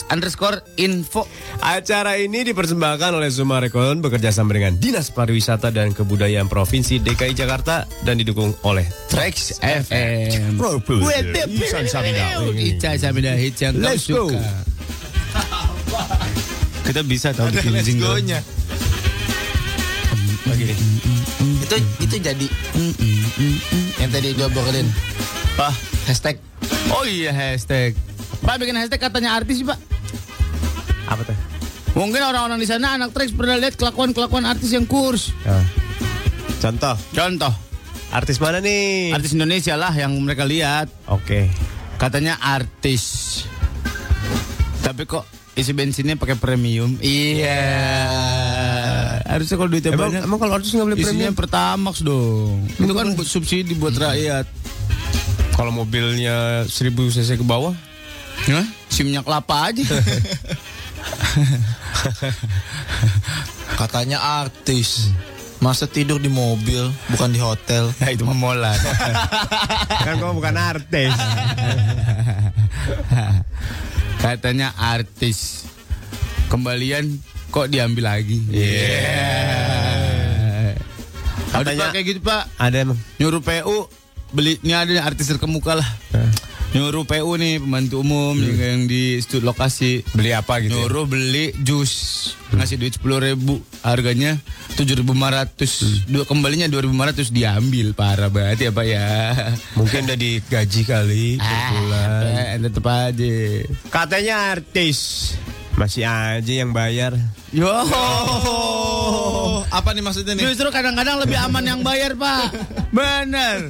underscore info
Acara ini dipersembahkan oleh Sumarekon bekerja sama dengan Dinas Pariwisata dan Kebudayaan Provinsi DKI Jakarta dan didukung oleh Trax
FM.
Isan Samida.
Ica Samida Hits yang kamu
Let's go.
suka.
Kita bisa tahu bikin jingle.
Itu itu jadi yang tadi gue bokelin.
Pak,
Hashtag
oh iya hashtag. Pak bikin hashtag katanya artis sih, Pak.
Apa tuh?
Mungkin orang-orang di sana anak Trax pernah lihat kelakuan-kelakuan artis yang kurs.
Ah. Contoh,
Contoh,
artis mana nih?
artis Indonesia lah yang mereka lihat.
Oke.
Katanya artis. Tapi kok isi bensinnya pakai premium? Iya. Harusnya kalau duitnya
Emang,
banyak.
emang kalau artis nggak boleh
Isinya
premium?
Hmm. Pertamax dong. Itu kan buat subsidi buat rakyat.
Kalau mobilnya 1000 cc ke bawah,
Hah? Si minyak kelapa aja.
Katanya artis. Masa tidur di mobil, bukan di hotel.
ya itu memola.
kan kamu bukan artis.
Katanya artis. Kembalian kok diambil lagi. Iya. Yeah. Ada
Katanya-
Pak, kayak gitu pak.
Ada emang.
Nyuruh PU beli ini ada nih artis terkemuka lah.
Eh.
Nyuruh PU nih pembantu umum yang di stud lokasi
Hmm. Beli apa gitu? ya?
Nyuruh beli jus Ngasih duit 10 ribu Harganya 7.500
Hmm.
Dua Kembalinya 2.500 diambil Parah banget ya Pak ya
Mungkin udah digaji kali per bulan.
Ah, Pak, tetep aja
Katanya artis. Masih aja yang bayar.
Yo,
Apa nih maksudnya nih?
justru kadang-kadang lebih aman yang bayar pak, bener.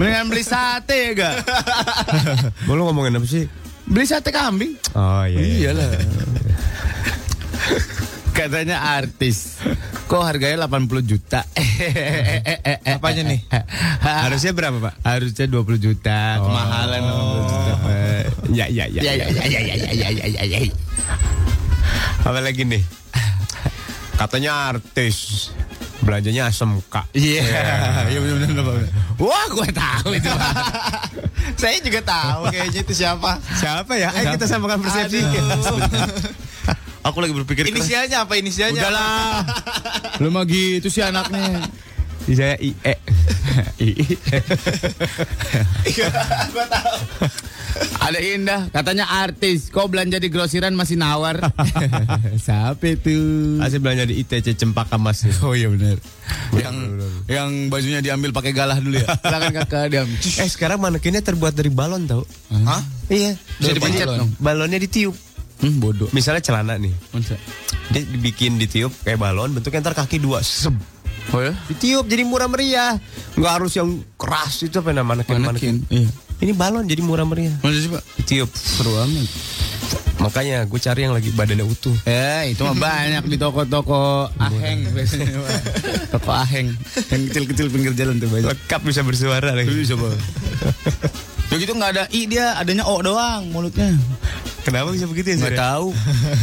Mendingan beli sate ya gak?
Mau lu ngomongin apa sih?
Beli sate kambing.
Oh iya.
Iyalah. Katanya artis. Kok harganya 80 juta?
Apanya nih?
Harusnya berapa, Pak? Harusnya 20 juta. Kemahalan 80 juta, Pak.
Ya ya ya.
Ya, ya, ya, ya, ya, ya, ya, ya, ya.
Iya.
Apa lagi nih? Katanya artis. Belanjanya asem kak.
Iya, iya benar benar Pak. Wah, gue tahu itu. Pak. Saya juga tahu kayaknya itu siapa.
Siapa ya? Ayo kita samakan persepsi.
Aku lagi berpikir keras.
Inisialnya apa inisialnya?
Udahlah. Lu mah gitu sih anaknya.
Saya E. IE. IE.
Ada Indah, katanya artis. Kok belanja di grosiran masih nawar? Siapa itu?
Asli belanja di ITC Cempaka Mas. nih.
Oh iya benar. Yang yang bajunya diambil pakai galah dulu ya. Silakan kakak diambil.
Eh sekarang manekinnya terbuat dari balon tau?
Hah?
Iya.
Bisa dipencet dong.
Balonnya ditiup.
Hmm, bodoh.
Misalnya celana nih.
Masa?
Dia dibikin ditiup kayak balon bentuknya ntar kaki dua. Seb.
Oh ya?
Ditiup jadi murah meriah. Nggak harus yang keras itu apa namanya manekin, manekin.
Manekin. Iya.
Ini balon jadi murah meriah.
Masa sih pak?
Ditiup.
Seru amat.
Makanya gue cari yang lagi badannya utuh.
Eh, itu mah banyak di toko-toko aheng biasanya. Pak. Toko aheng yang kecil-kecil pinggir jalan tuh banyak.
Lengkap bisa bersuara lagi. Bisa
Ya gitu nggak ada i dia, adanya o doang mulutnya.
Kenapa bisa begitu ya?
Nggak
Saudara?
tahu.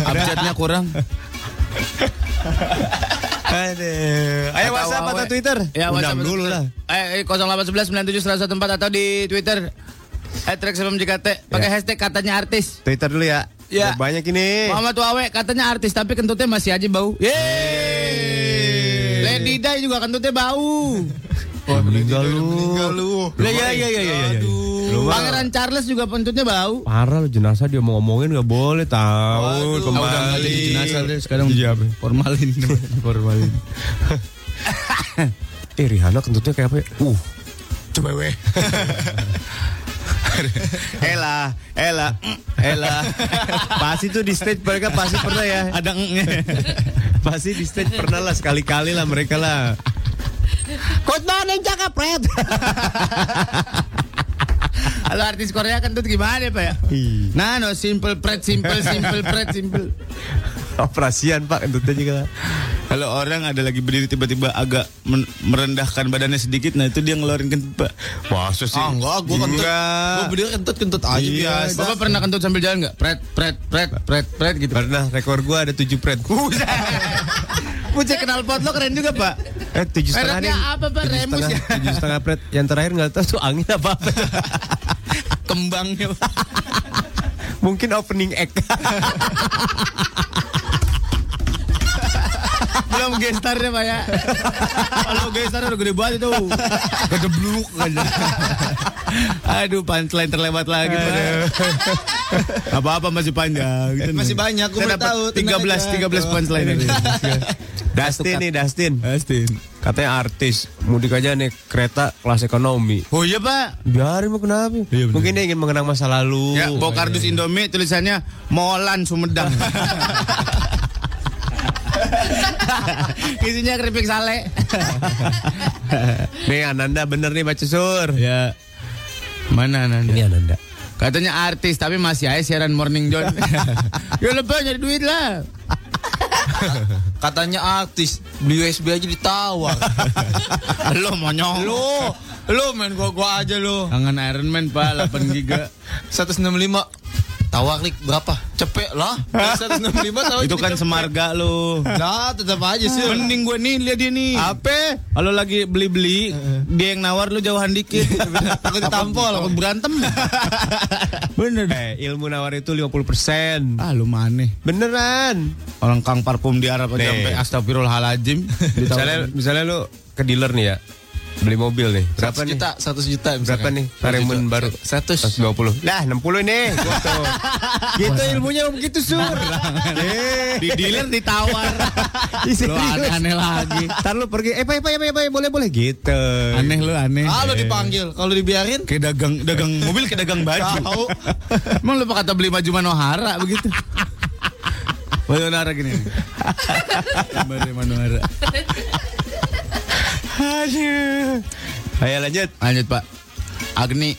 Abjadnya kurang.
Aduh. Ayo WhatsApp atau
Awe.
Twitter?
Ya,
Undang
WhatsApp
dulu lah.
Eh, eh, 0811 97 104 atau di Twitter. @rexfmjkt pakai
Ya.
hashtag katanya artis.
Twitter dulu ya.
Ya.
Udah Banyak ini.
Muhammad Wawe katanya artis tapi kentutnya masih aja bau.
Eh.
Yeay. Lady Day juga kentutnya bau.
Wah, meninggal lu. Oh,
Lah, ya ya ya ya ya. ya. Pangeran Charles juga kentutnya bau.
Parah lu jenazah dia mau ngomongin gak boleh
Ah,
tahu
udah nggak
kembali.
jadi jenazah deh, sekarang
Iya, Be.
formalin.
Formalin. eh Rihanna kentutnya kayak apa ya? Uh.
Coba weh.
Ella, Ella, mm, Ella. pasti tuh di stage mereka pasti pernah ya.
Ada engnya.
Pasti di stage pernah lah sekali-kali lah mereka lah.
Khotbah yang cakep, Fred. Kalau artis Korea kentut gimana ya, Pak ya?
Ih.
Nah, no simple pret simple simple pret simple.
Operasian Pak kentutnya juga.
Kalau orang ada lagi berdiri tiba-tiba agak men- merendahkan badannya sedikit, nah itu dia ngeluarin kentut, Pak.
Masa sih?
Ah, enggak, gue kentut.
Enggak.
Gue berdiri kentut-kentut aja
Iya,
biasa.
Bapak pernah kentut sambil jalan nggak? Pret pret pret pret pret gitu.
Pernah rekor gua ada 7 pret.
Pucet kenal pot lo keren juga, Pak.
Eh, tujuh setengah
Mereknya
nih.
apa, Pak?
Tujuh
Remus
setengah-
ya.
Tujuh setengah pret. Yang terakhir nggak tahu tuh angin apa apa.
Kembangnya. Pak.
Mungkin opening act.
Belum gestarnya, Pak ya. Kalau gestar udah gede banget itu. Gede bluk aja. Aduh, punchline terlewat lagi, Pak. Apa-apa masih panjang.
Eh, Masih banyak, gua
Saya
baru tahu,
dapat 13
tenang
13 punchline lagi.
Dustin nih Dustin.
Astin.
Katanya artis mudik aja naik kereta kelas ekonomi. Iya,
Oh iya, Pak.
Biarin mau kenapa?
bener.
Mungkin dia ingin mengenang masa lalu.
Ya, bawa kardus Indomie tulisannya Molan Sumedang. Isinya keripik sale.
Nih Ananda bener nih Pak Sur.
ya. Mana Nanda?
Ananda.
Katanya artis tapi masih aja siaran Morning John. ya lebih nyari duit lah.
Katanya artis beli USB aja ditawar.
Lo monyong.
lu, lu main gua gua aja lu.
Kangen Iron Man pak 8 giga.
165 tawar klik berapa? Cepet lah. 165
Oh,
tawar.
Itu kan
ya?
jadi cepet.
semarga lu.
Nah, tetap aja sih.
Mending gue nih lihat dia nih.
Apa?
Kalau lagi beli-beli, dia yang nawar lu jauhan dikit.
Takut ditampol.
Takut berantem. Bener.
Eh, ilmu nawar itu 50%.
Ah lu maneh.
Beneran.
Orang Kang Parfum di Arab aja
Nih.
sampai astagfirullahaladzim.
Misalnya misalnya lu ke dealer nih ya, beli mobil nih. Berapa
100
nih?
juta, 100 juta
Berapa nih? Paremun baru
100.
120. Nah, 60 nih. Gitu. gitu ilmunya begitu, Sur. Eh.
di dealer ditawar. lu aneh-aneh lagi.
Ntar lu pergi, eh, pak, pak, pak, pak, boleh, boleh gitu.
Aneh lu aneh. Iya.
Ah, lu dipanggil. Kalau dibiarin
Kayak dagang dagang mobil kayak dagang baju. Emang lu kata beli baju Manohara begitu? Baju Manohara gini. nih. Baju Manohara.
Aduh. Ayo lanjut.
Lanjut Pak. Agni.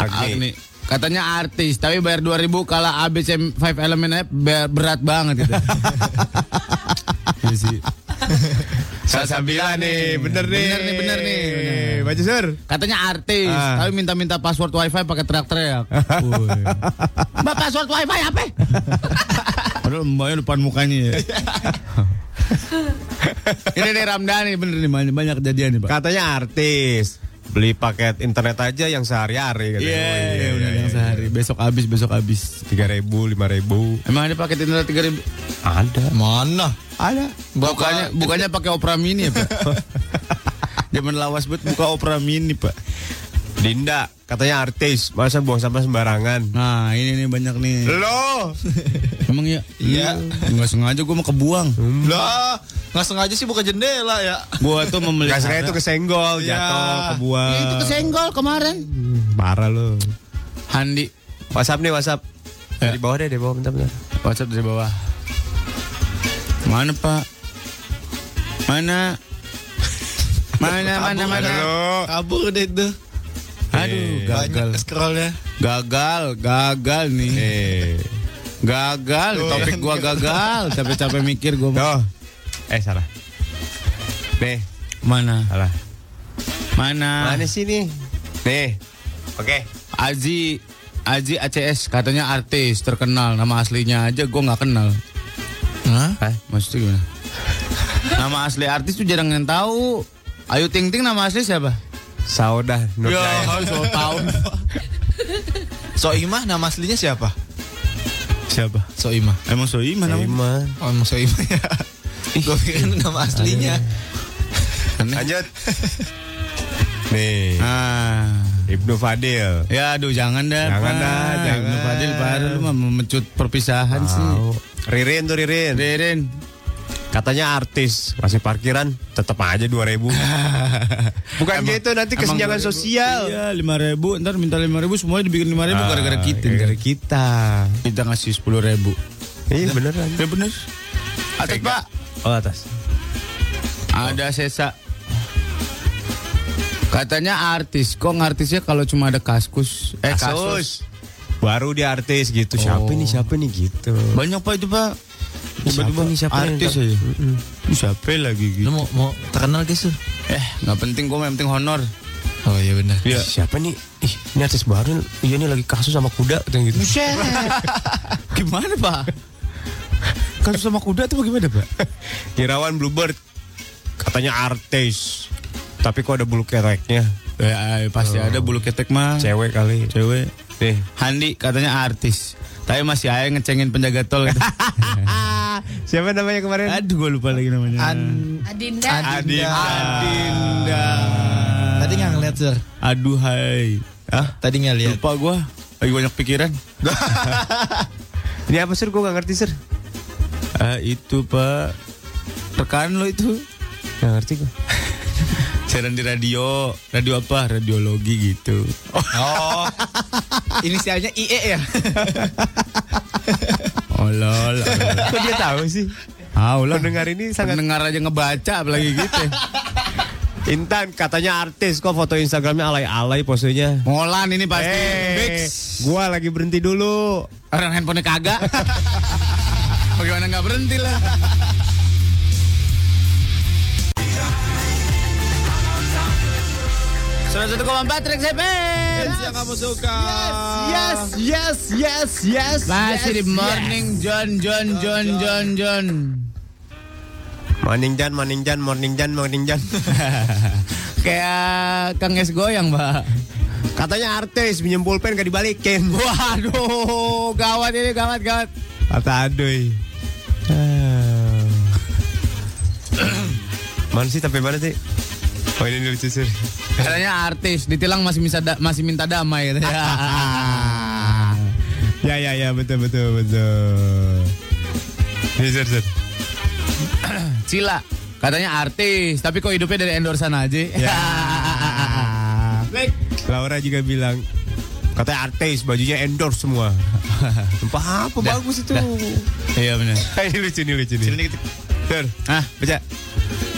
Agni.
Agni. Katanya artis, tapi bayar 2000 kalah ABC 5 Element aja bayar- berat banget gitu. itu. Iya sih.
Sasambilan nih, bener nih.
Bener nih, bener nih, bener.
Baju Sur.
Katanya artis,
Ah.
tapi minta-minta password wifi pakai teriak-teriak. Woi. Mbak password wifi apa? Padahal mbaknya depan mukanya ya. Ini nih Ramdhani bener nih banyak, banyak kejadian nih pak.
Katanya artis. Beli paket internet aja yang sehari-hari. katanya.
Iya,
Oh,
iya, bener, yang sehari. Besok habis, besok habis.
tiga ribu lima ribu
Emang ada paket internet tiga ribu?
ada
mana?
ada
Bukannya, bukannya pakai Opera Mini ya pak? Zaman lawas buat buka Opera Mini pak.
Dinda katanya artis masa buang sampah sembarangan
Nah ini nih banyak nih.
lo
Emang ya? Iya. Nggak sengaja gue mau kebuang.
Hmm. Lah, nggak sengaja sih buka jendela ya.
Gue tuh
nggak
memelihara.
sengaja itu kesenggol
Iya.
jatuh kebuang
Ya, itu kesenggol kemarin.
parah lo
Handi
WhatsApp nih WhatsApp
Ya.
di bawah deh di bawah bentar bentar
WhatsApp dari bawah. Mana Pak? Mana? Mana mana mana?
Kabur deh itu.
Aduh, gagal.
Eh, Banyak scrollnya.
Gagal, gagal nih.
eh
Gagal, topik gua gagal. Capek-capek mikir gua.
Tuh. eh salah nih
Mana?
salah
Mana?
mana sih nih nih oke
Aji Aji ACS katanya artis terkenal nama aslinya aja gua nggak kenal. Eh,
Hah?
Hah?
Maksudnya gimana? nama asli artis tuh jarang yang tahu. Ayu Ting Ting nama asli siapa?
Saudah Nur
Ya,
Dayat.
harus so tahu.
Soimah nama aslinya siapa?
Siapa?
Soimah.
Emang Soimah namanya?
Ima.
Oh, emang Soimah ya. Gue pikir nama aslinya.
lanjut nih
Ah.
Ibnu Fadil
Ya aduh jangan dah.
Jangan
Pak.
dah, jangan.
Ibnu Fadil baru lu mah memecut perpisahan sih.
Ririn tuh Ririn.
Ririn.
Katanya artis masih parkiran tetap aja 2000. Bukan gitu nanti
Emang
kesenjangan
2000?
sosial.
Iya, 5000, ntar minta 5000 semuanya dibikin 5000
Ah,
gara-gara kita.
Gara-gara kita.
Kita ngasih 10000.
Iya beneran.
Ya bener. Atas, Pak.
Oh atas.
Ada sesa. Katanya artis, kok artisnya kalau cuma ada kaskus, eh kasus. Oh.
Kasus. Baru dia artis gitu. Siapa nih siapa nih gitu.
Banyak Pak itu, Pak. Tiba-tiba
nih, siapa nih?
artis aja. Ini Siapa lagi gitu?
Lu mau, mau terkenal guys lu?
Eh, nggak penting kok, yang penting honor. Ya.
Oh iya benar.
Siapa nih? Ih, ini artis baru. Iya nih lagi kasus sama kuda katanya gitu.
Buset. gimana pak? Kasus sama kuda tuh gimana pak?
Irawan Bluebird katanya artis. Tapi kok ada bulu keteknya?
Ya, pasti ada bulu ketek mah.
Cewek kali.
Cewek. Eh,
Nih,
Handi katanya artis. Tapi masih aja ngecengin penjaga tol. gitu.
siapa namanya kemarin?
Aduh gue lupa lagi namanya.
Adinda.
Adinda.
Adinda.
Tadi nggak ngeliat sir.
Aduh hai. Hah?
Tadi nggak lihat.
Lupa gue. Lagi banyak pikiran.
Ini apa sir? Gue gak ngerti sir.
Ah, itu pak. Rekan lo itu.
Gak ngerti gue.
Siaran di radio. Radio apa? Radiologi gitu.
Oh. Inisialnya IE ya.
Oh lol.
Kok dia tahu sih?
Ah, ulah.
Pendengar ini sangat
Pendengar aja ngebaca apalagi gitu.
Intan katanya artis kok foto Instagramnya alay-alay posenya.
Molan ini pasti. Bix.
Eh, gua lagi berhenti dulu.
Orang handphonenya kagak. Bagaimana nggak berhenti lah. Salah satu koma empat Rex FM.
Yang kamu suka.
Yes, yes, yes, yes.
Masih di morning John John John John John.
Morning Jan, morning Jan, morning Jan, morning Jan.
Kayak Kang Es goyang, Pak.
Katanya artis pinjem pulpen gak dibalikin.
Waduh, gawat ini gawat gawat.
Kata aduy. Ah.
Eh.
mana sih tapi mana sih? Oh ini lucu sih.
Katanya artis ditilang masih bisa da- masih minta damai gitu ya.
Ya ya ya betul betul betul. Iya, Ini sir sir.
Cila katanya artis tapi kok hidupnya dari endorsan aja.
Ya. Laura juga bilang katanya artis bajunya endorse semua. Apa apa bagus itu.
Iya benar.
ini lucu ini lucu nih. Sir,
Ah,
baca.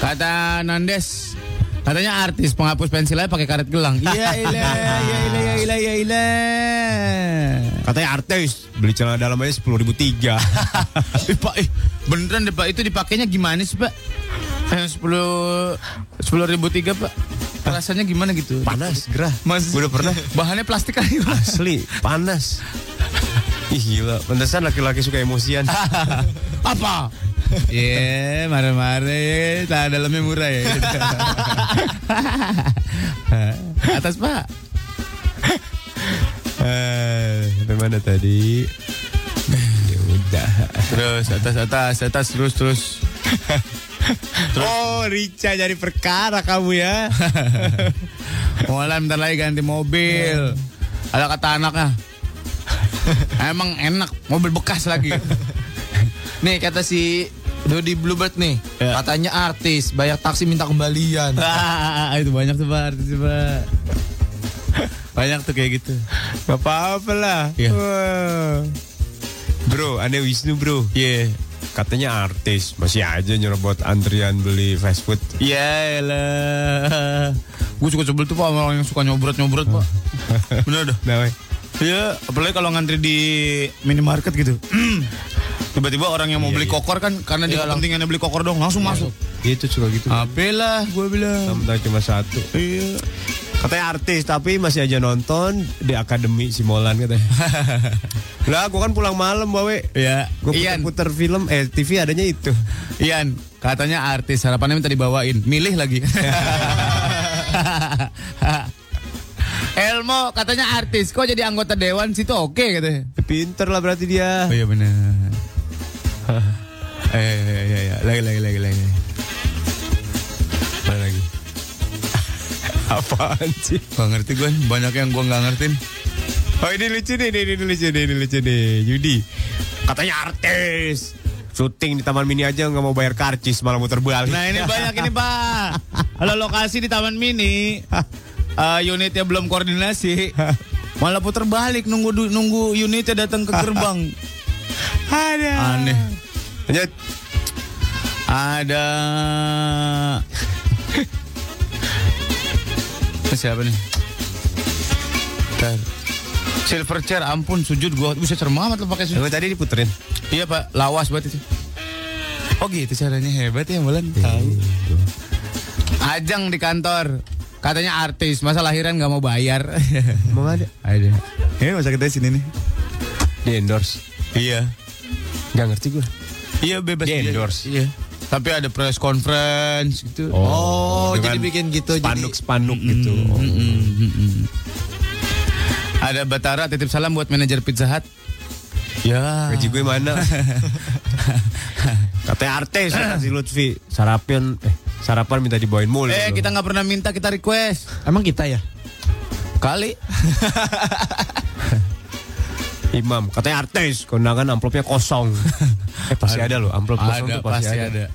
kata Nandes katanya artis penghapus pensilnya pakai karet gelang. Iya ilah, iya ilah, iya ilah, iya ilah.
Katanya artis beli celana dalam aja sepuluh ribu tiga.
Ih, Pak, eh, beneran deh Pak, itu dipakainya gimana sih Pak? Yang sepuluh sepuluh ribu tiga Pak, rasanya gimana gitu?
Panas, gerah.
Mas,
Udah pernah?
Bahannya plastik kan itu.
Asli, panas. Ih gila, pantesan laki-laki suka emosian.
Apa? Iya, marah-marah, tak dalamnya murah ya. Atas Pak.
Eh, sampai mana tadi? Ya udah.
Terus atas atas atas terus terus.
Oh, Rica jadi perkara kamu ya.
Mulai bentar lagi ganti mobil. Ada kata anaknya. Nah, Emang enak mobil bekas lagi. nih kata si Dodi Bluebird nih,
Ya.
katanya artis bayar taksi minta kembalian. Ah, itu banyak tuh Pak artis Pak. Banyak tuh kayak gitu.
Gak apa-apa lah.
Iya.
Wah. Bro, Anda Wisnu bro.
Iya.
Katanya artis, masih aja nyerobot antrian beli fast food.
Ya lah. Gue suka sebel tuh Pak sama orang yang suka nyobrot-nyobrot Pak. Bener dah.
Nah, weh.
Iya, apalagi kalau ngantri di minimarket gitu. Tiba-tiba orang yang mau beli kokor kan karena dia kepentingannya beli kokor dong, langsung masuk.
Dia tuh suka gitu.
Ah. Apalah gue bilang.
Tentang cuma satu.
Iya.
Katanya artis tapi masih aja nonton di akademi si Molan katanya. lah, gua kan pulang malam, bawe.
Iya.
Gue
Ian,
puter-puter film, eh TV adanya itu.
Ian, katanya artis harapannya minta dibawain, milih lagi. Elmo katanya artis, kok jadi anggota dewan situ oke katanya.
Pinter lah berarti dia.
Oh iya benar. eh, iya, iya, iya. lagi lagi lagi lagi.
Apa lagi? Apaan sih?
Gak ngerti gue, banyak yang gue nggak ngertiin.
Oh ini lucu nih, ini, ini lucu nih, ini lucu nih. Yudi, katanya artis. Syuting di Taman Mini aja nggak mau bayar karcis malah muter balik.
Nah ini banyak ini pak. Kalau lokasi di Taman Mini, eh, unitnya belum koordinasi, malah puter balik nunggu du- nunggu unitnya datang ke gerbang.
Ada.
Aneh.
Lanjut.
Ada siapa nih? Bentar. Silver chair, ampun sujud gua bisa serem amat lo pakai sujud.
Yang tadi diputerin.
Iya pak, lawas banget itu. Oh gitu caranya hebat ya Bulan.
Iya,
Tahu.
gitu.
Ajang di kantor, katanya artis, masa lahiran nggak mau bayar.
Emang ada?
Ada.
Ini Eh, masa kita sini nih.
Di endorse.
Iya.
Gak ngerti gue.
Iya bebas.
Di
dia.
endorse.
Iya. Tapi ada press conference gitu.
Oh,
jadi bikin gitu, jadi-
Spanduk-spanduk gitu.
Ada Batara titip salam buat manajer Pizza Hut. Ya.
Gaji gue mana? Katanya artis kata si Lutfi. Sarapan eh sarapan minta dibawain mulu.
Eh kita nggak pernah minta kita request.
Emang kita ya?
Kali.
Imam, katanya artis, kondangan amplopnya kosong. eh pasti ada, loh, amplop kosong tuh pasti, ada.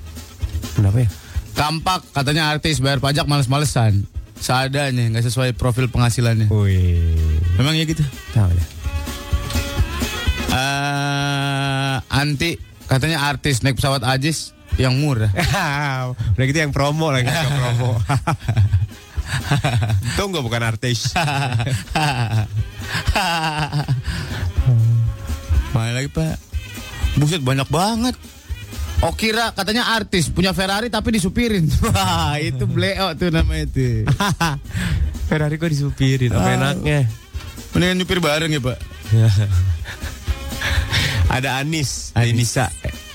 Kenapa ya?
Kampak katanya artis bayar pajak males-malesan. Seadanya nggak sesuai profil penghasilannya.
Wih,
Memang ya gitu.
tahu ya.
Eh, anti katanya artis naik pesawat Ajis yang murah.
Udah gitu yang promo lagi, yang promo. Tunggu bukan artis.
Mana lagi Pak? Buset banyak banget. Okira katanya artis punya Ferrari tapi disupirin. Wah, itu bleo tuh namanya itu.
Ferrari kok disupirin, apa enaknya?
Mendingan nyupir bareng ya, Pak.
Ada Anis, Anissa.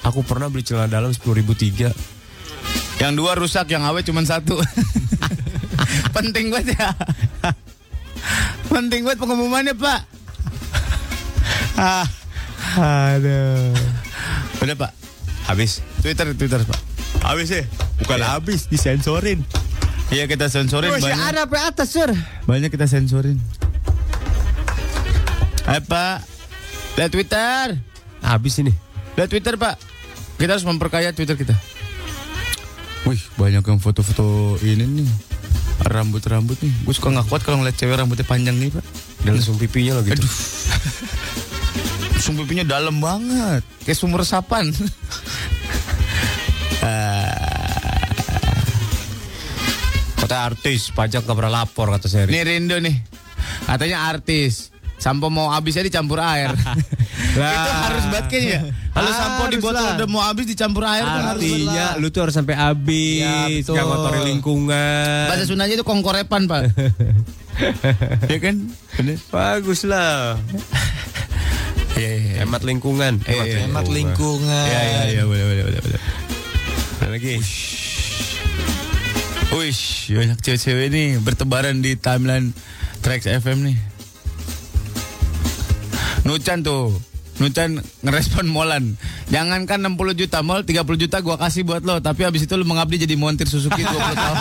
Aku pernah beli celana dalam 10.003.
Yang dua rusak, yang awet cuma satu. Penting banget ya. Penting banget pengumumannya, Pak. ah,
Aduh.
udah, Pak.
Habis.
Twitter, Twitter, Pak.
Habis ya? Bukan habis, disensorin.
Iya, kita sensorin banyak.
ada sampai atas, Sur.
Banyak kita sensorin. Ayo, Pak. Lihat Twitter.
Habis ini.
Lihat Twitter, Pak. Kita harus memperkaya Twitter kita. Wih, banyak yang foto-foto ini nih. Rambut-rambut nih. Gue suka nggak kuat kalau ngeliat cewek rambutnya panjang nih, Pak.
Dan langsung pipinya lo gitu.
Sum pipinya dalam banget, kayak sumur resapan. Eh,
Kata artis, pajak gak pernah lapor kata Seri.
nih Rindo nih, katanya artis. Sampo mau habisnya dicampur air. Itu harus banget kayaknya. Kalau sampo di
Harus lah.
botol udah mau habis dicampur air tuh harus banget.
Artinya lu tuh harus sampai habis,
Ya, betul.
gak ngotori lingkungan.
Bahasa Sundanya itu kongkorepan, Pak. Iya kan? Bener.
Bagus lah.
Iya, iya. iya.
Eh, Hemat lingkungan.
Iya, iya.
Hemat lingkungan.
Iya, iya, iya, boleh, boleh, boleh, boleh.
Ada Lagi.
Wish, banyak cewek-cewek nih bertebaran di timeline Trax FM nih. Nucan tuh, Nucan ngerespon Molan. Jangankan 60 juta, Mol 30 juta gua kasih buat lo, tapi habis itu lo mengabdi jadi montir Suzuki 20 tahun.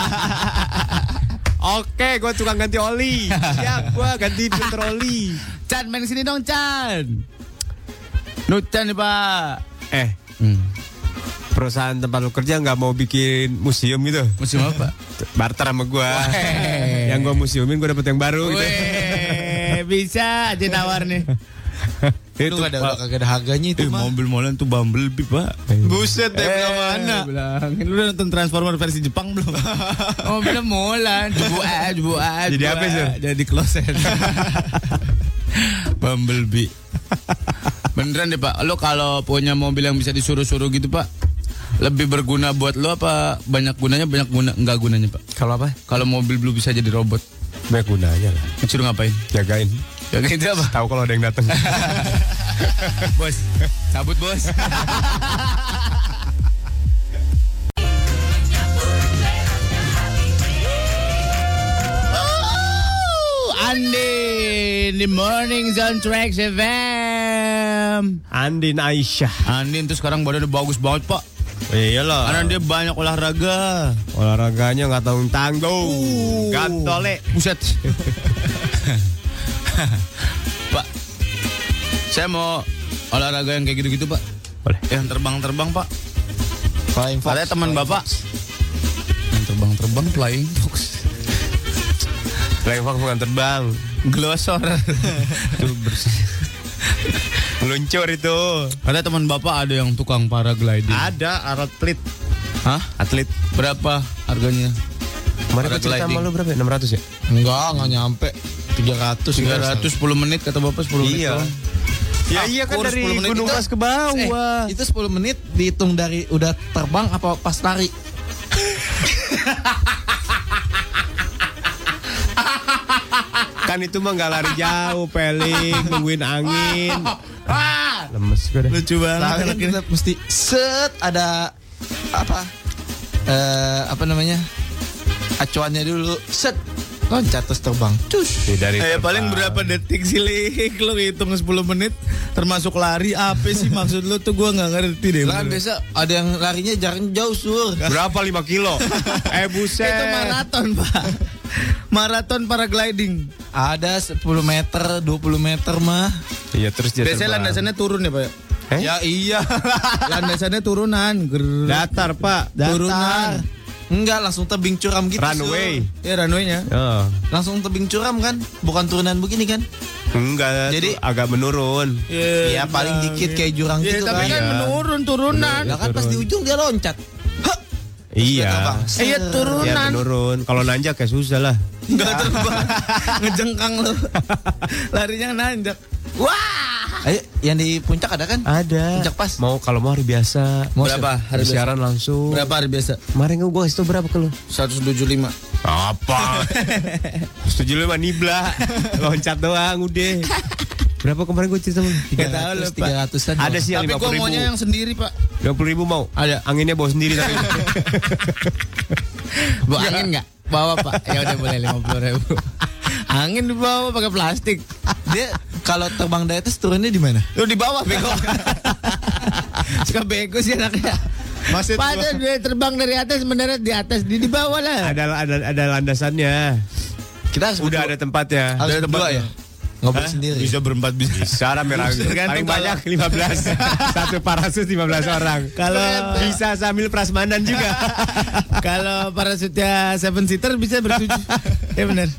Oke, gue tukang ganti oli. Siap, gue ganti filter oli.
Chan, main sini dong, Chan. Nucan nih, Pak.
Eh, perusahaan tempat lu kerja nggak mau bikin museum gitu?
Musim apa?
Barter sama gue.
Weh.
yang gue museumin gue dapet yang baru. Gitu.
Weh, bisa aja nawar nih.
Itu
Itu ada udah kagak ada harganya itu mah.
mobil Molan tuh Bumblebee, Pak. Buset, deh, eh, mana?
Bilangin lu udah nonton Transformer versi Jepang belum?
Mobilnya Molan, jebu aja, jebu aja.
Jadi
jebu
apa,
aja.
Sur?
Jadi kloset. Bumblebee. Beneran deh Pak, lo kalau punya mobil yang bisa disuruh-suruh gitu Pak, lebih berguna buat lo apa banyak gunanya banyak guna nggak gunanya Pak?
Kalau apa?
Kalau mobil belum bisa jadi robot,
Banyak gunanya lah.
disuruh ngapain?
Jagain.
Ya kayak itu apa?
Tahu kalau ada yang datang.
bos, cabut bos. Oh, Andin di Morning Zone Tracks FM.
Andin Aisyah.
Andin tuh sekarang badannya bagus banget pak,
Oh, Iyalah.
karena dia banyak olahraga.
iya Olahraganya nggak tanggung tanggung.
Uh.
Gantole.
Buset. Pak, saya mau olahraga yang kayak gitu-gitu, Pak. Eh,
Boleh.
Yang terbang-terbang, Pak.
Flying Fox.
Katanya teman Bapak. Yang terbang-terbang flying fox.
Lengkok bukan terbang.
Glosor.
Meluncur itu.
Ada teman Bapak ada yang tukang paragliding.
Ada atlet.
Hah?
Atlet.
Berapa harganya?
Kemarin aku cerita
Paragliding.
sama lu berapa? ya? 600 ya?
Enggak, enggak nyampe.
310
300
menit kata Bapak 10 menit.
Iya.
doang. Ah,
Ya iya kan
kurus
dari
10 menit
Gunung
kita-
Mas ke bawah.
Eh, itu 10 menit dihitung dari udah terbang apa pas lari?
Kan itu mah nggak lari jauh, peling, nungguin angin.
Ah,
Lemes gue deh.
lucu banget.
Lari kan kita mesti set ada apa? Eh, apa namanya? Acuannya dulu. Set. Loncat terus terbang.
Nih, dari
Eh,
terbang.
paling berapa detik sih Lik? Lo hitung 10 menit termasuk lari apa sih maksud lo tuh gua nggak ngerti deh.
Lah kan biasa ada yang larinya jaraknya jauh sur.
Berapa 5 kilo? eh buset.
Itu maraton, Pak. Maraton paragliding.
Ada 10 meter, 20 meter mah.
Iya terus dia
Biasanya
terbang.
landasannya turun ya, Pak.
Eh?
Ya iya. landasannya turunan. Ger-
Datar pak.
Turunan.
Datar. Kan? Enggak, langsung tebing curam gitu. Sur.
Runway.
Ya runway-nya.
Oh.
Langsung tebing curam kan? Bukan turunan begini kan?
Enggak.
Jadi-
Jadi agak menurun.
Iya, paling dikit kayak jurang
Ya,
gitu
tapi
Iya.
kan.
kan menurun turunan.
Lah kan pas di ujung dia loncat. Hah, terbang.
Iya.
Iya,
Set.
turun.
Iya menurun. Kalau nanjak ya susah lah.
Nah,
Enggak terbang. Ngejengkang lo. Larinya nanjak. Wah.
Ayo, yang di puncak ada kan?
Ada.
Puncak pas.
Mau kalau mau hari biasa.
Mau
Berapa
siapa?
hari biasa?
siaran langsung.
Berapa hari biasa?
Kemarin gue gua kasih tau berapa ke lu?
175.
Apa? Setuju lu mah nibla. Loncat doang udah. Berapa kemarin gue cerita lu?
Tiga ratus, tiga ratusan.
Ada sih yang
Tapi
lima
gua
ribu.
maunya yang sendiri, Pak.
Lima ribu mau? Ada. Anginnya bawa sendiri tapi.
Bawa
Iya.
angin nggak? Bawa pak. Ya udah boleh lima puluh ribu. Angin dibawa pakai plastik.
Dia kalau terbang dari atas turunnya di mana?
Lu di bawah bego. Suka bego sih anaknya.
Maksud gua-
Padahal dia terbang dari atas mendarat di atas di di bawah lah.
ada, ada ada landasannya.
Kita harus
Udah ada tempatnya.
harus berdua ya. Ngobrol sendiri.
Bisa berempat bisa.
Secara merah
Tergantung
paling banyak 15 satu parasut 15 orang. Kalau bisa sambil prasmanan juga.
Kalau parasutnya seven seater bisa bertujuh. ya benar. Eh,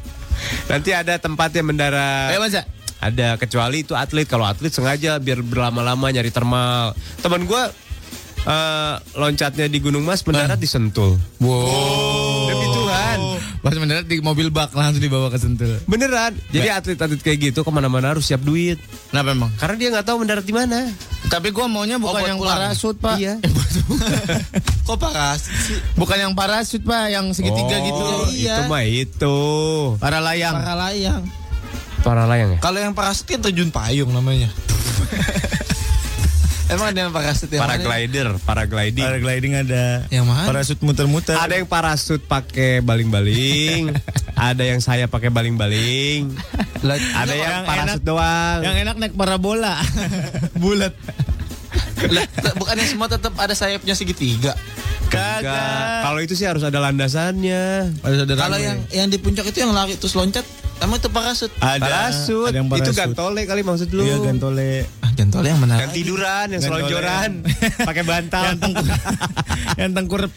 Nanti ada tempat yang mendarat.
Ayo masa.
ya.
Ada kecuali itu atlet. Kalau atlet sengaja biar berlama-lama nyari termal. Teman gua eh, loncatnya di Gunung Mas mendarat di Sentul.
Wow.
Demi Tuhan.
Pas mendarat di mobil bak langsung dibawa ke sentul.
Beneran. Jadi atlet-atlet kayak gitu kemana-mana harus siap duit.
Kenapa emang? Oh,
Karena dia nggak tahu mendarat di mana.
Tapi gua maunya bukan
Oh, buat
yang
pulang.
parasut pak. Eh,
Iya.
Kok paras?
Bukan yang parasut pak, yang segitiga gitu.
Oh,
Iya.
Itu mah itu.
Para layang.
Para layang.
Para layang ya.
Kalau yang parasut kan terjun payung namanya. Emang ada yang parasut yang mana?
Paraglider, paragliding.
Paragliding ada.
Ya,
Yang mana?
kan?
Parasut muter-muter.
Ada yang parasut pakai baling-baling, ada yang saya pakai baling-baling,
Lah,
ada
yang
yang, parasut doang.
Yang enak naik parabola. Bulat.
lah, lah, bukannya semua tetap ada sayapnya segitiga.
Enggak. Kalau itu sih harus ada landasannya.
Kalau yang yang di puncak itu yang lari terus loncat, emang itu parasut.
Ada.
parasut.
Ada yang parasut.
Itu gantole kali maksud lu.
Iya gantole.
Ah, jantol
Yang
yang menarik.
tiduran, yang
Gantole.
selonjoran, pakai bantal.
yang tengkurep.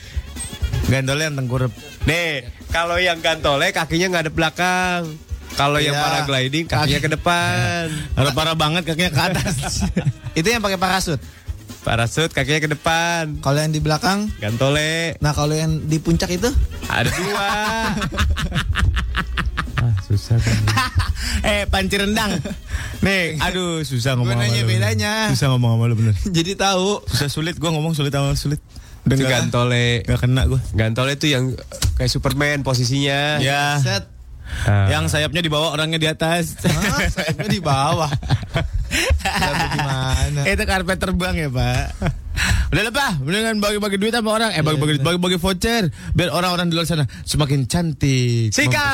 Gantole yang tengkurep.
Nih, kalau yang gantole kakinya nggak ada belakang. Kalau yang
Iya.
paragliding kakinya ke depan.
Parah, parah banget kakinya ke atas.
Itu yang pakai parasut.
Parasut kakinya ke depan.
Kalau yang di belakang,
Gantole
nah kalau yang di puncak itu
ada dua. Ah, kan.
Eh, panci rendang.
Nih, aduh susah ngomong. sama
nanya
lu, bener.
bedanya.
Susah ngomong sama lu bener.
jadi tahu.
Susah sulit gua ngomong sulit sama sulit.
Itu
nggak-
gantole.
nggak kena gua.
Gantole itu yang kayak Superman posisinya.
Ya.
Set.
Iya. Ah.
Yang sayapnya di bawah orangnya di atas.
Ah, sayapnya di bawah. Sayapnya di mana?
Itu karpet terbang ya, Pak. Udah lah, Pak. Mendingan bagi-bagi duit sama orang. Eh, bagi-bagi bagi-bagi voucher biar orang-orang di luar sana semakin cantik.
Sika.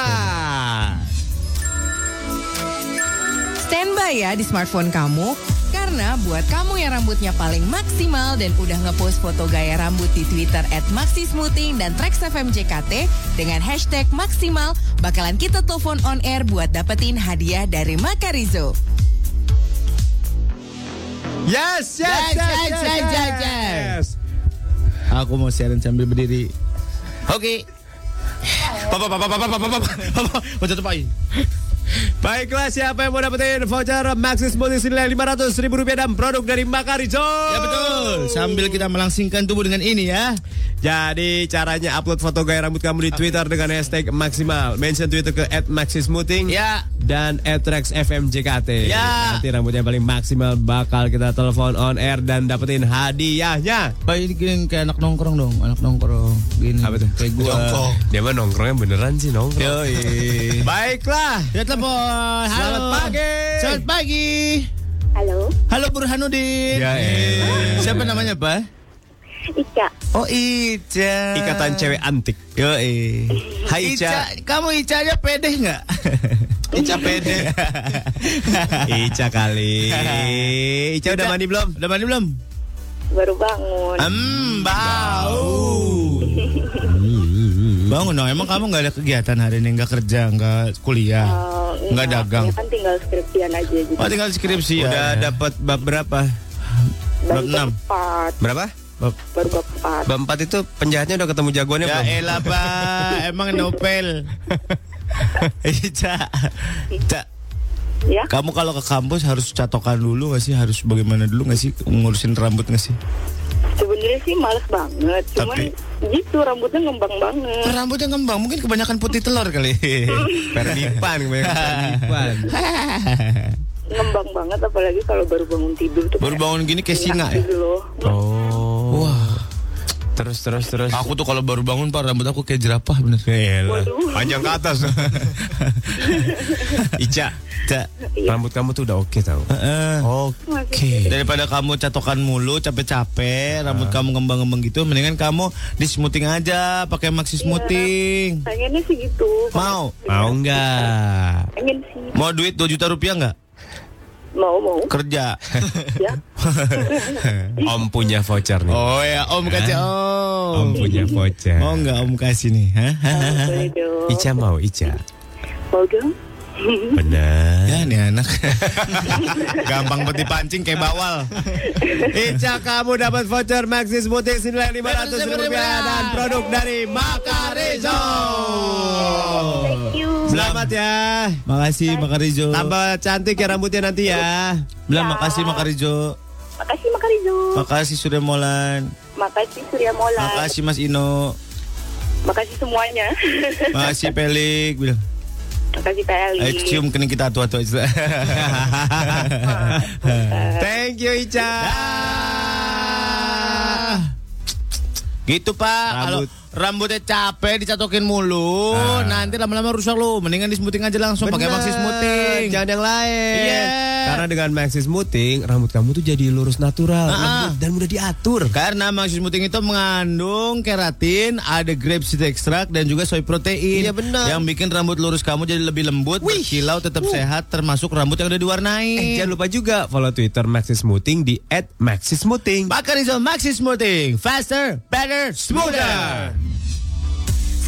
Standby ya di smartphone kamu. Karena buat kamu yang rambutnya paling maksimal dan udah ngepost foto gaya rambut di Twitter at Maxi Smoothing dan Trax FM JKT dengan hashtag maksimal, bakalan kita telepon on air buat dapetin hadiah dari Makarizo.
Yes, yes, yes, yes, yes, yes, yes.
Aku mau siaran sambil berdiri.
Oke.
Papa, papa, papa, papa, papa, papa. Baca tuh, Pak.
Baiklah, siapa yang mau dapetin voucher Maxis Multi senilai 500 ribu rupiah dan produk dari Makarizo?
Ya betul. Sambil kita melangsingkan tubuh dengan ini ya.
Jadi caranya upload foto gaya rambut kamu di Twitter dengan hashtag maksimal. Mention Twitter ke @maxismuting
Ya.
dan @rexfmjkt.
Ya.
Nanti rambutnya paling maksimal bakal kita telepon on air dan dapetin hadiahnya.
Pak ini gini kayak anak nongkrong dong, anak nongkrong gini.
Apa tuh?
Kayak gua.
Jongkok.
Dia mah nongkrongnya beneran sih nongkrong. Baiklah.
Ya telepon. Halo.
Selamat pagi.
Selamat pagi.
Halo,
Halo Burhanuddin.
Ya, elah.
Siapa namanya, Pak?
Ika.
Oh, Ica.
Ikatan cewek antik.
Yo,
Hai
Ica.
Ica.
Kamu Ica aja pede nggak?
Ica pede.
Ica kali. Ica udah mandi belum?
Udah mandi belum?
Baru bangun.
Hmm, bau. Bangun dong. Emang kamu nggak ada kegiatan hari ini? Nggak kerja, nggak kuliah,
Eh,
nggak dagang.
Kan tinggal skripsian aja gitu. jadi
Oh, tinggal skripsi
Udah
ya.
dapat bab berapa?
baru
bab enam.
keempat,
Berapa? Bab,
baru keempat.
bab 4 itu penjahatnya udah ketemu jagoannya
Ya
belum?
elah pak, emang novel. Iya.
Ica. Ica.
Ya,
Kamu kalau ke kampus harus catokan dulu gak sih? Harus bagaimana dulu gak sih? Ngurusin rambut gak sih?
sebenarnya sih males banget. Cuman
Tapi-
gitu rambutnya ngembang banget.
Rambutnya ngembang, mungkin kebanyakan putih telur kali.
Perdipan kebanyakan perdipan.
ngembang banget apalagi kalau baru bangun tidur tuh
Baru
kayak
bangun gini kayak singa
enak
ya?
gitu loh.
Oh. Wah. Terus terus terus.
Aku tuh kalau baru bangun pak rambut aku kayak jerapah bener.
Yaelah.
Waduh.
Panjang ke atas. Ica, Ica, rambut kamu tuh udah oke tau.
Heeh. Oh.
Oke.
Daripada kamu catokan mulu capek-capek,
Ah.
rambut kamu ngembang-ngembang gitu, mendingan kamu di smoothing aja, pakai maxi smoothing.
pengennya sih gitu
Mau?
Mau nggak?
pengen sih
Mau duit 2 juta rupiah nggak?
mau mau
Kerja.
ya
Om punya voucher nih.
oh ya, Om kasih Om.
Om punya voucher.
Mau nggak Om kasih nih? Hah? Hah?
boleh dong
Ica mau Ica.
mau dong
Bener.
Ya nih anak. Gampang peti pancing kayak bawal.
Ica kamu dapat voucher Maxi Smoothie senilai 500 rupiah dan produk dari Makarizo.
Oh.
thank you
Selamat ya.
Makasih Makarijo.
Tambah cantik ya rambutnya nanti ya.
Bilang makasih Makarijo.
makasih Makarizo
Makasih Surya Molan.
makasih Surya Mola
Makasih Mas Ino.
makasih semuanya
Makasih Pelik. Bilang.
makasih
Ayo
Tali
cium kening kita tua tua.
Thank you Ica.
Ah. gitu Pak. Kalau
Rambut. Ah.
rambutnya capek dicatokin mulu, nanti lama-lama rusak lu. Mendingan di smoothing aja langsung pakai
Bener,
maxi smoothing.
Jangan yang lain.
Iya.
Karena dengan maxi smoothing rambut kamu tuh jadi lurus natural
Ah, Kan- ah.
lembut dan mudah diatur.
Karena maxi smoothing itu mengandung keratin, ada grape seed extract dan juga soy protein.
Iya, benar.
Yang bikin rambut lurus kamu jadi lebih lembut, berkilau, tetap sehat, termasuk rambut yang udah diwarnai.
Eh, jangan lupa juga follow Twitter Maxi Smoothing di @maxismoothing.
Makarizo Maxi Smoothing, faster, better, smoother.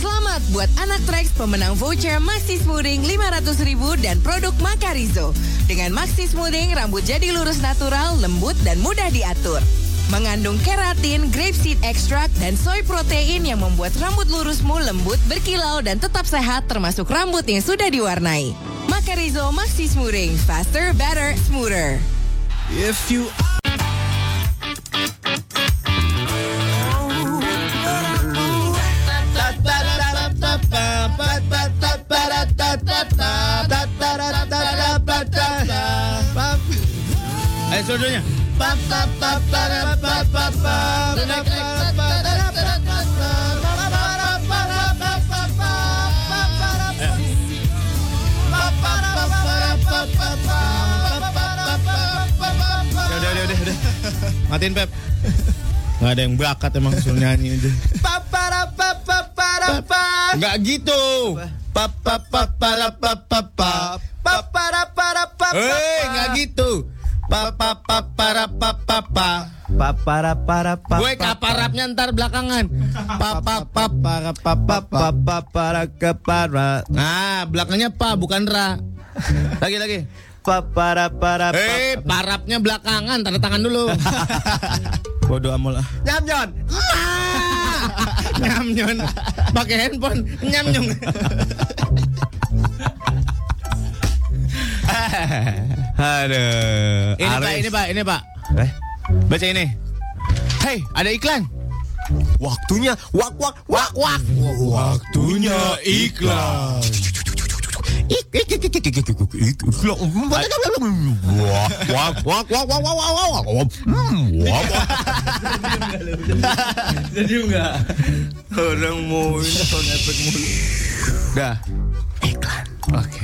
Selamat buat anak Trax pemenang voucher Maxi Smoothing 500 ribu dan produk Makarizo. Dengan Maxi Smoothing, rambut jadi lurus natural, lembut, dan mudah diatur. Mengandung keratin, grapeseed extract, dan soy protein yang membuat rambut lurusmu lembut, berkilau, dan tetap sehat termasuk rambut yang sudah diwarnai. Makarizo Maxi Smoothing, faster, better, smoother.
Ayo seluruhnya. Ya udah, udah, udah, udah. Matiin Pep. Gak ada yang bakat emang suruh nyanyi aja. Enggak gitu. Pa pa pa para pa pa pa. Pa para para pa. Eh, enggak gitu. Pa pa pa para pa pa pa.
Papara para pa.
Gue kaparapnya ntar belakangan. Pa pa pa para pa pa pa.
Papa para kepara.
Nah, belakangnya pa bukan ra. Lagi lagi.
Papara para
Eh, parapnya belakangan, tanda tangan dulu. Bodoh amol ah.
Nyamjon.
Nyamnyon. Pakai handphone, nyamnyon.
Aduh.
Ini Pak,
Aris.
ini Pak, ini Pak.
Eh,
Baca ini. Hei, ada iklan.
Waktunya wak wak wak wak.
Waktunya iklan.
Ik, ik, ik, ik, ik, ik, ik, ik, ik, ik. Wak wak wak wak wak wak wak wak wak. Hmm, wak, wak.
Orang mau ini sound effect mulu. Dah. Iklan. Oke.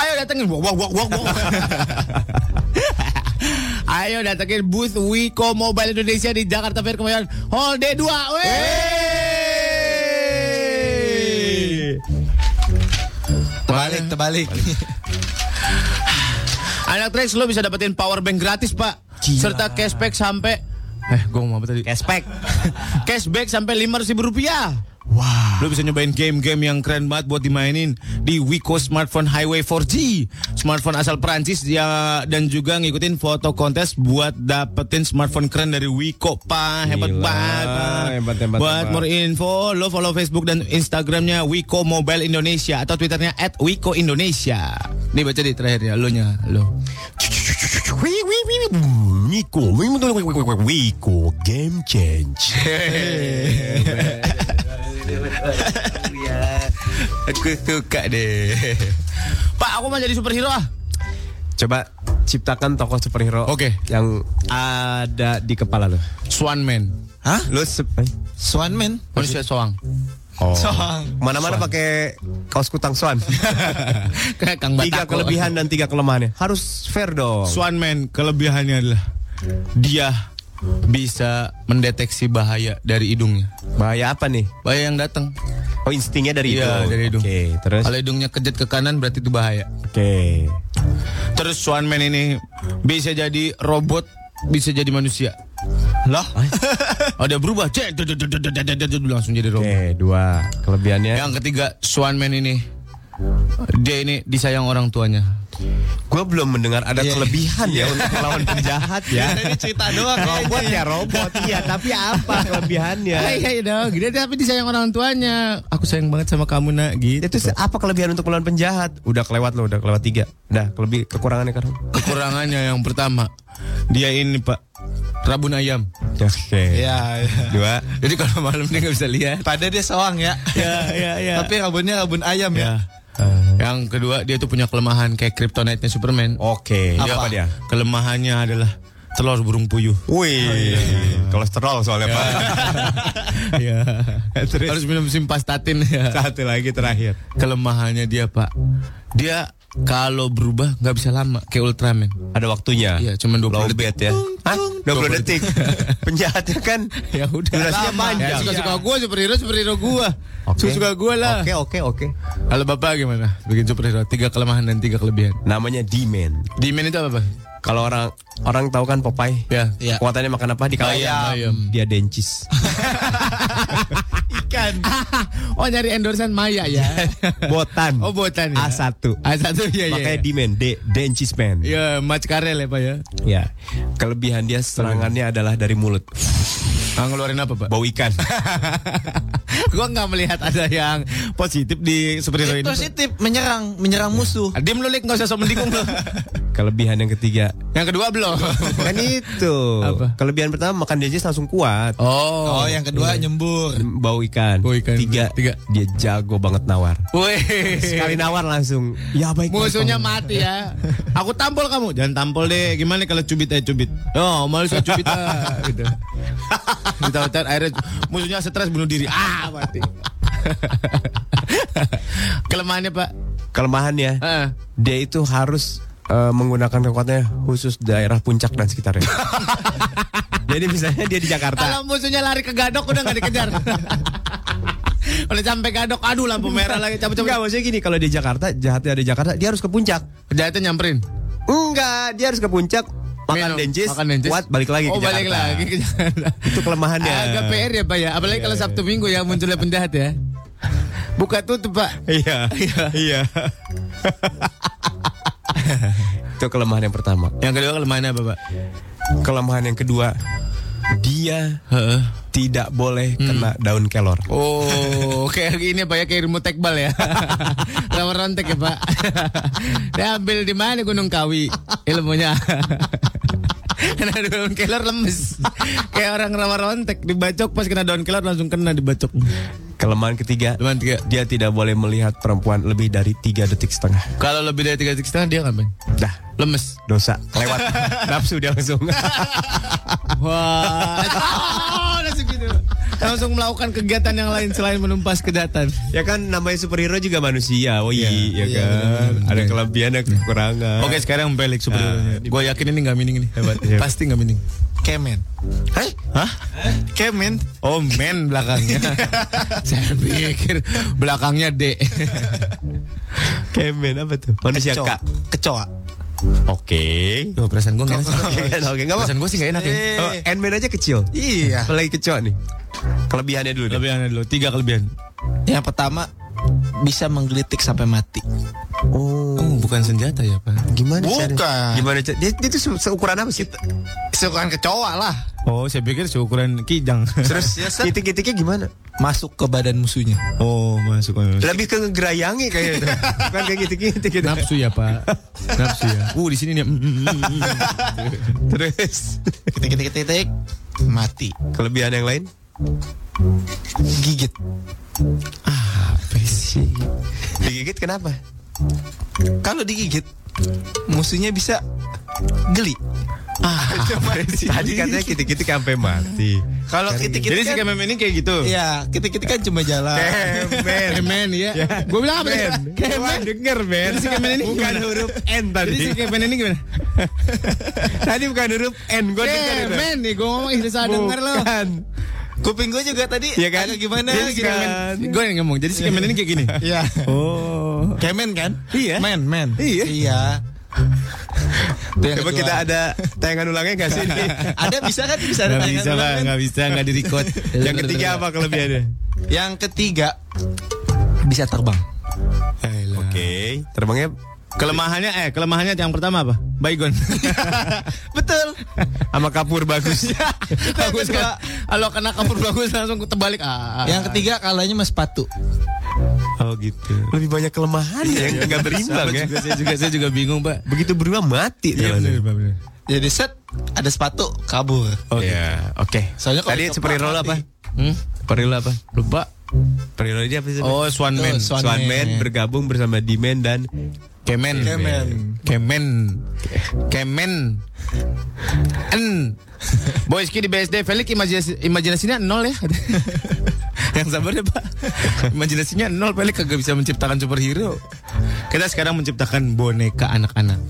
Ayo datengin. Wah, wah, wah, wah, wah. Ayo datengin booth Wiko Mobile Indonesia di Jakarta Fair Kemayoran Hall D2. Wey.
Terbalik, terbalik.
Anak Trax lo bisa dapetin power bank gratis, Pak. Serta cashback sampai Eh, gue mau apa tadi? Cashback. cashback sampai 500 ribu rupiah. Wah. Lo bisa nyobain game-game yang keren banget buat dimainin di Wiko Smartphone Highway 4G. Smartphone asal Perancis dia dan juga ngikutin foto kontes buat dapetin smartphone keren dari Wiko, Pak. Hebat
Gila,
banget. Pak.
hebat, hebat,
Buat
hebat.
more info, lo follow Facebook dan Instagramnya Wiko Mobile Indonesia atau Twitternya at Wiko Indonesia. Nih baca di terakhirnya, lo nya, lo.
Wih, wih, wih, wih. Hmm, Wiko, wih, wih, wih, wih, wih, Wiko, game change.
Aku suka deh. Pak, aku mau jadi superhero ah.
Coba ciptakan tokoh superhero
Oke.
yang ada di kepala lo.
Swanman.
Hah?
Lo se-
Swanman?
Manusia soang. Oh.
Soang.
mana-mana pakai kaos kutang swan.
Kayak Kang Batako.
tiga kelebihan dan tiga kelemahannya. Harus fair dong.
Swanman kelebihannya adalah dia bisa mendeteksi bahaya dari hidungnya.
Bahaya apa nih?
Bahaya yang datang.
Oh instingnya dari hidung.
Iya, dari hidung.
Oke, terus.
Kalau hidungnya kejet ke kanan berarti itu bahaya.
Oke.
Terus Swanman ini bisa jadi robot, bisa jadi manusia. Lah? Oh, dia berubah. Cek, dud, dud, dud, dud, dud, dud, langsung jadi
Oke,
robot.
dua kelebihannya.
Yang ketiga, Swanman ini dia ini disayang orang tuanya.
Gue belum mendengar ada
Iya.
kelebihan ya untuk melawan penjahat ya.
Ini cerita doang
robot ya robot iya, tapi apa kelebihannya?
Iya, iya dong. Dia tapi disayang orang tuanya. Aku sayang banget sama kamu, Nak, gitu.
Itu se- apa kelebihan untuk melawan penjahat? Udah kelewat lo, udah kelewat tiga. Dah, kelebih kekurangannya kan?
Kekurangannya yang pertama, dia ini, Pak, rabun ayam.
Oke.
Iya.
Ya, ya.
Dua.
Jadi kalau malam dia nggak bisa lihat.
Padahal dia soang ya.
Iya, iya, iya. eh.
Tapi rabunnya rabun ayam ya.
Yang kedua, dia tuh punya kelemahan kayak kryptonite-nya Superman.
Oke.
Dia Oh, apa dia? Kelemahannya adalah telur burung puyuh.
Wih, kolesterol soalnya pak.
Iya. Harus minum simvastatin ya.
Eh, Satu lagi terakhir.
Kelemahannya dia, Pak. Dia kalau berubah nggak bisa lama kayak Ultraman.
Ada waktunya.
Iya, cuma 20 detik.
Lowbat ya. Hah? 20 detik. Penjahatnya kan
Ya udah.
durasinya
Lama.
panjang.
Ya, suka-suka gua superhero superhero gua.
Oke.
Suka-suka gua lah.
Oke, oke, oke.
Kalau Bapak gimana? Bikin superhero tiga kelemahan dan tiga kelebihan.
Namanya D-Man.
Demand itu apa, Pak?
Kalau orang orang tahu kan Popeye.
Ya.
Iya.
Kekuatannya makan apa di kala
Ayam.
Dia dencis.
Oh, nyari endorsean Maya ya.
Botan.
oh, botan ya.
A1.
A1 ya ya.
Makanya D-Man, D dencis man.
Ya, match karel ya, Pak ya.
Ya. Kelebihan dia serangannya adalah dari mulut.
Ah, ngeluarin apa, Pak?
Bau ikan.
gua nggak melihat ada yang positif di
Ya.
superhero ini. Pak.
Eh, Positif menyerang, menyerang musuh.
Ah, Diam lu, Lik, nggak usah sok mendikung lu.
Kelebihan yang ketiga
yang kedua belum.
Kan itu.
Apa?
Kelebihan pertama makan dencis langsung kuat.
Oh.
Oh, yang kedua nyembur.
Bau ikan.
Bau ikan.
Tiga,
Tiga.
Dia jago banget nawar.
Wih.
Sekali nawar langsung. Ya baik.
Musuhnya mati ya. Aku tampol kamu. Jangan tampol deh. Gimana kalau cubit aja cubit? Oh, malu saya cubit ah, gitu. Ditawarin akhirnya musuhnya stres bunuh diri. Ah, mati. Kelemahannya, Pak.
Kelemahannya
Heeh.
dia itu harus eh, menggunakan kekuatannya khusus daerah puncak dan sekitarnya. Jadi misalnya dia di Jakarta.
Kalau musuhnya lari ke gadok udah nggak dikejar. Kalau sampai gadok, aduh lampu merah lagi
Enggak,
cabut-cabut.
maksudnya gini, kalau dia Jakarta, jahatnya ada di Jakarta, dia harus ke puncak.
Jahatnya nyamperin.
Enggak, dia harus ke puncak, makan
Minum,
dencis,
makan dencis.
kuat, balik lagi
oh,
ke Jakarta.
balik lagi ke Jakarta.
Itu Iya, kelemahannya.
Agak PR ya Pak ya. Apalagi kalau Sabtu Minggu ya munculnya penjahat ya. Buka tutup Pak.
Iya, iya. Itu kelemahan yang pertama.
Yang kedua kelemahannya apa Pak?
Kelemahan yang kedua, dia
Heeh.
tidak boleh kena daun kelor.
Oh, kayak ini Pak ya kayak remote tekbal ya. Lawan rontek ya Pak. Dia ambil di mana Gunung Kawi ilmunya. kena daun kelor lemes. kayak orang rawa rontek dibacok pas kena daun kelor langsung kena dibacok.
Kelemahan ketiga,
Kelemahan ketiga.
dia tidak boleh melihat perempuan lebih dari tiga detik setengah.
Kalau lebih dari tiga detik setengah dia ngapain?
Dah,
Lemes.
dosa, lewat. Nafsu dia langsung.
Wah. Oh, langsung gitu. Langsung melakukan kegiatan yang lain selain menumpas kedatan.
ya kan namanya superhero juga manusia, woi,
Iya,
ya, kan. Ada kelebihan, ada kekurangan.
Oke, sekarang balik superhero. Gue Ah, yakin ini nggak mining ini. Hebat.
hebat.
Pasti nggak mining.
Kemen.
Hah? Kemen? Oh, men belakangnya. Saya pikir belakangnya D.
Kemen apa tuh? Manusia
Kecoa.
kak.
Kecoa.
Oke.
Duh, perasaan gue nggak enak.
Oke, kan, oke, nggak apa.
Perasaan gue sih nggak enak ya.
Eh, oh, Ant-Man aja kecil.
Iya.
Apalagi kecoa nih. Kelebihannya dulu deh.
Kelebihannya dulu. Tiga kelebihan.
Yang pertama bisa menggelitik sampai mati.
Oh, bukan senjata ya, Pak?
Gimana
Bukan.
caranya? Gimana caranya? Dia, dia itu se- seukuran apa sih?
Sukaan kecoa lah.
Oh, saya pikir seukuran kijang.
Terus
Iya,
Ya, Seth.
titik-titiknya gimana?
Masuk ke badan musuhnya.
Oh, masuk. masuk.
Lebih ke ngegerayangi kayaknya itu. Bukan kayak gitu-gitu gitu.
Nafsu ya, Pak. Nafsu ya. Uh, di sini nih. mm, mm, mm, mm.
Terus
Ketik ketik ketik, ketik mati.
kelebihan yang lain?
Gigit.
Apa sih? Digigit kenapa?
Kalau digigit musuhnya bisa geli.
Tadi katanya kitik-kitik sampai mati.
Kalau titik
Jadi
titik
si
kan,
kemen ini kayak gitu.
ya titik titik kan cuma jalan.
Eh,
Kemen
iya.
ya. Gue bilang apa tadi?
Kemen denger Ben.
Jadi si Kemen ini
bukan
gimana?
huruf N tadi.
Jadi si kemen ini gimana?
tadi bukan huruf N gue denger itu.
Kemen nih gue ngomong Ihsan denger lo.
Bukan.
Kuping gue juga tadi
Iya kan?
agak gimana
Jadi si
gitu.
Kemen-
Gue yang ngomong. Jadi si kemen ini kayak gini.
Iya.
Ya. Oh.
Kemen kan?
Iya.
Men, men.
Iya.
Iya. Itu yang
Coba
kedua.
kita ada tayangan ulangnya gak sih? ini?
ada bisa kan bisa
Gak
ada tayangan
bisa
ulang
lah,
kan?
gak bisa, gak direcord.
Yang ketiga apa kelebihannya?
Yang ketiga bisa terbang.
Oke, terbangnya
Kelemahannya eh kelemahannya yang pertama apa? Baygon.
Betul.
sama kapur bagus.
bagus kan. Kalau kena kapur bagus langsung terbalik. Ah.
Yang ketiga kalahnya mas sepatu.
oh gitu. Lebih banyak kelemahan yang nggak berimbang
Iya.
ya.
juga, saya juga saya juga bingung, Pak.
Begitu berdua
Iya,
mati. jalannya.
Jadi set ada sepatu kabur.
Oke.
Iya,
Oke.
Soalnya kalau
Tadi
ditebak
superhero lo
mati.
apa?
Hmm?
Superhero apa?
Lupa.
Superhero dia apa sih?
Oh, Swan Man.
Swan
Swan
Man.
Man bergabung bersama D-Man dan
Kemen.
Kemen.
Kemen. Kemen. En. Boys Ki di BSD Felix imajinasi, imajinasinya nol ya. Yang sabar ya Pak. Imajinasinya nol Felix kagak bisa menciptakan superhero. Kita sekarang menciptakan boneka anak-anak.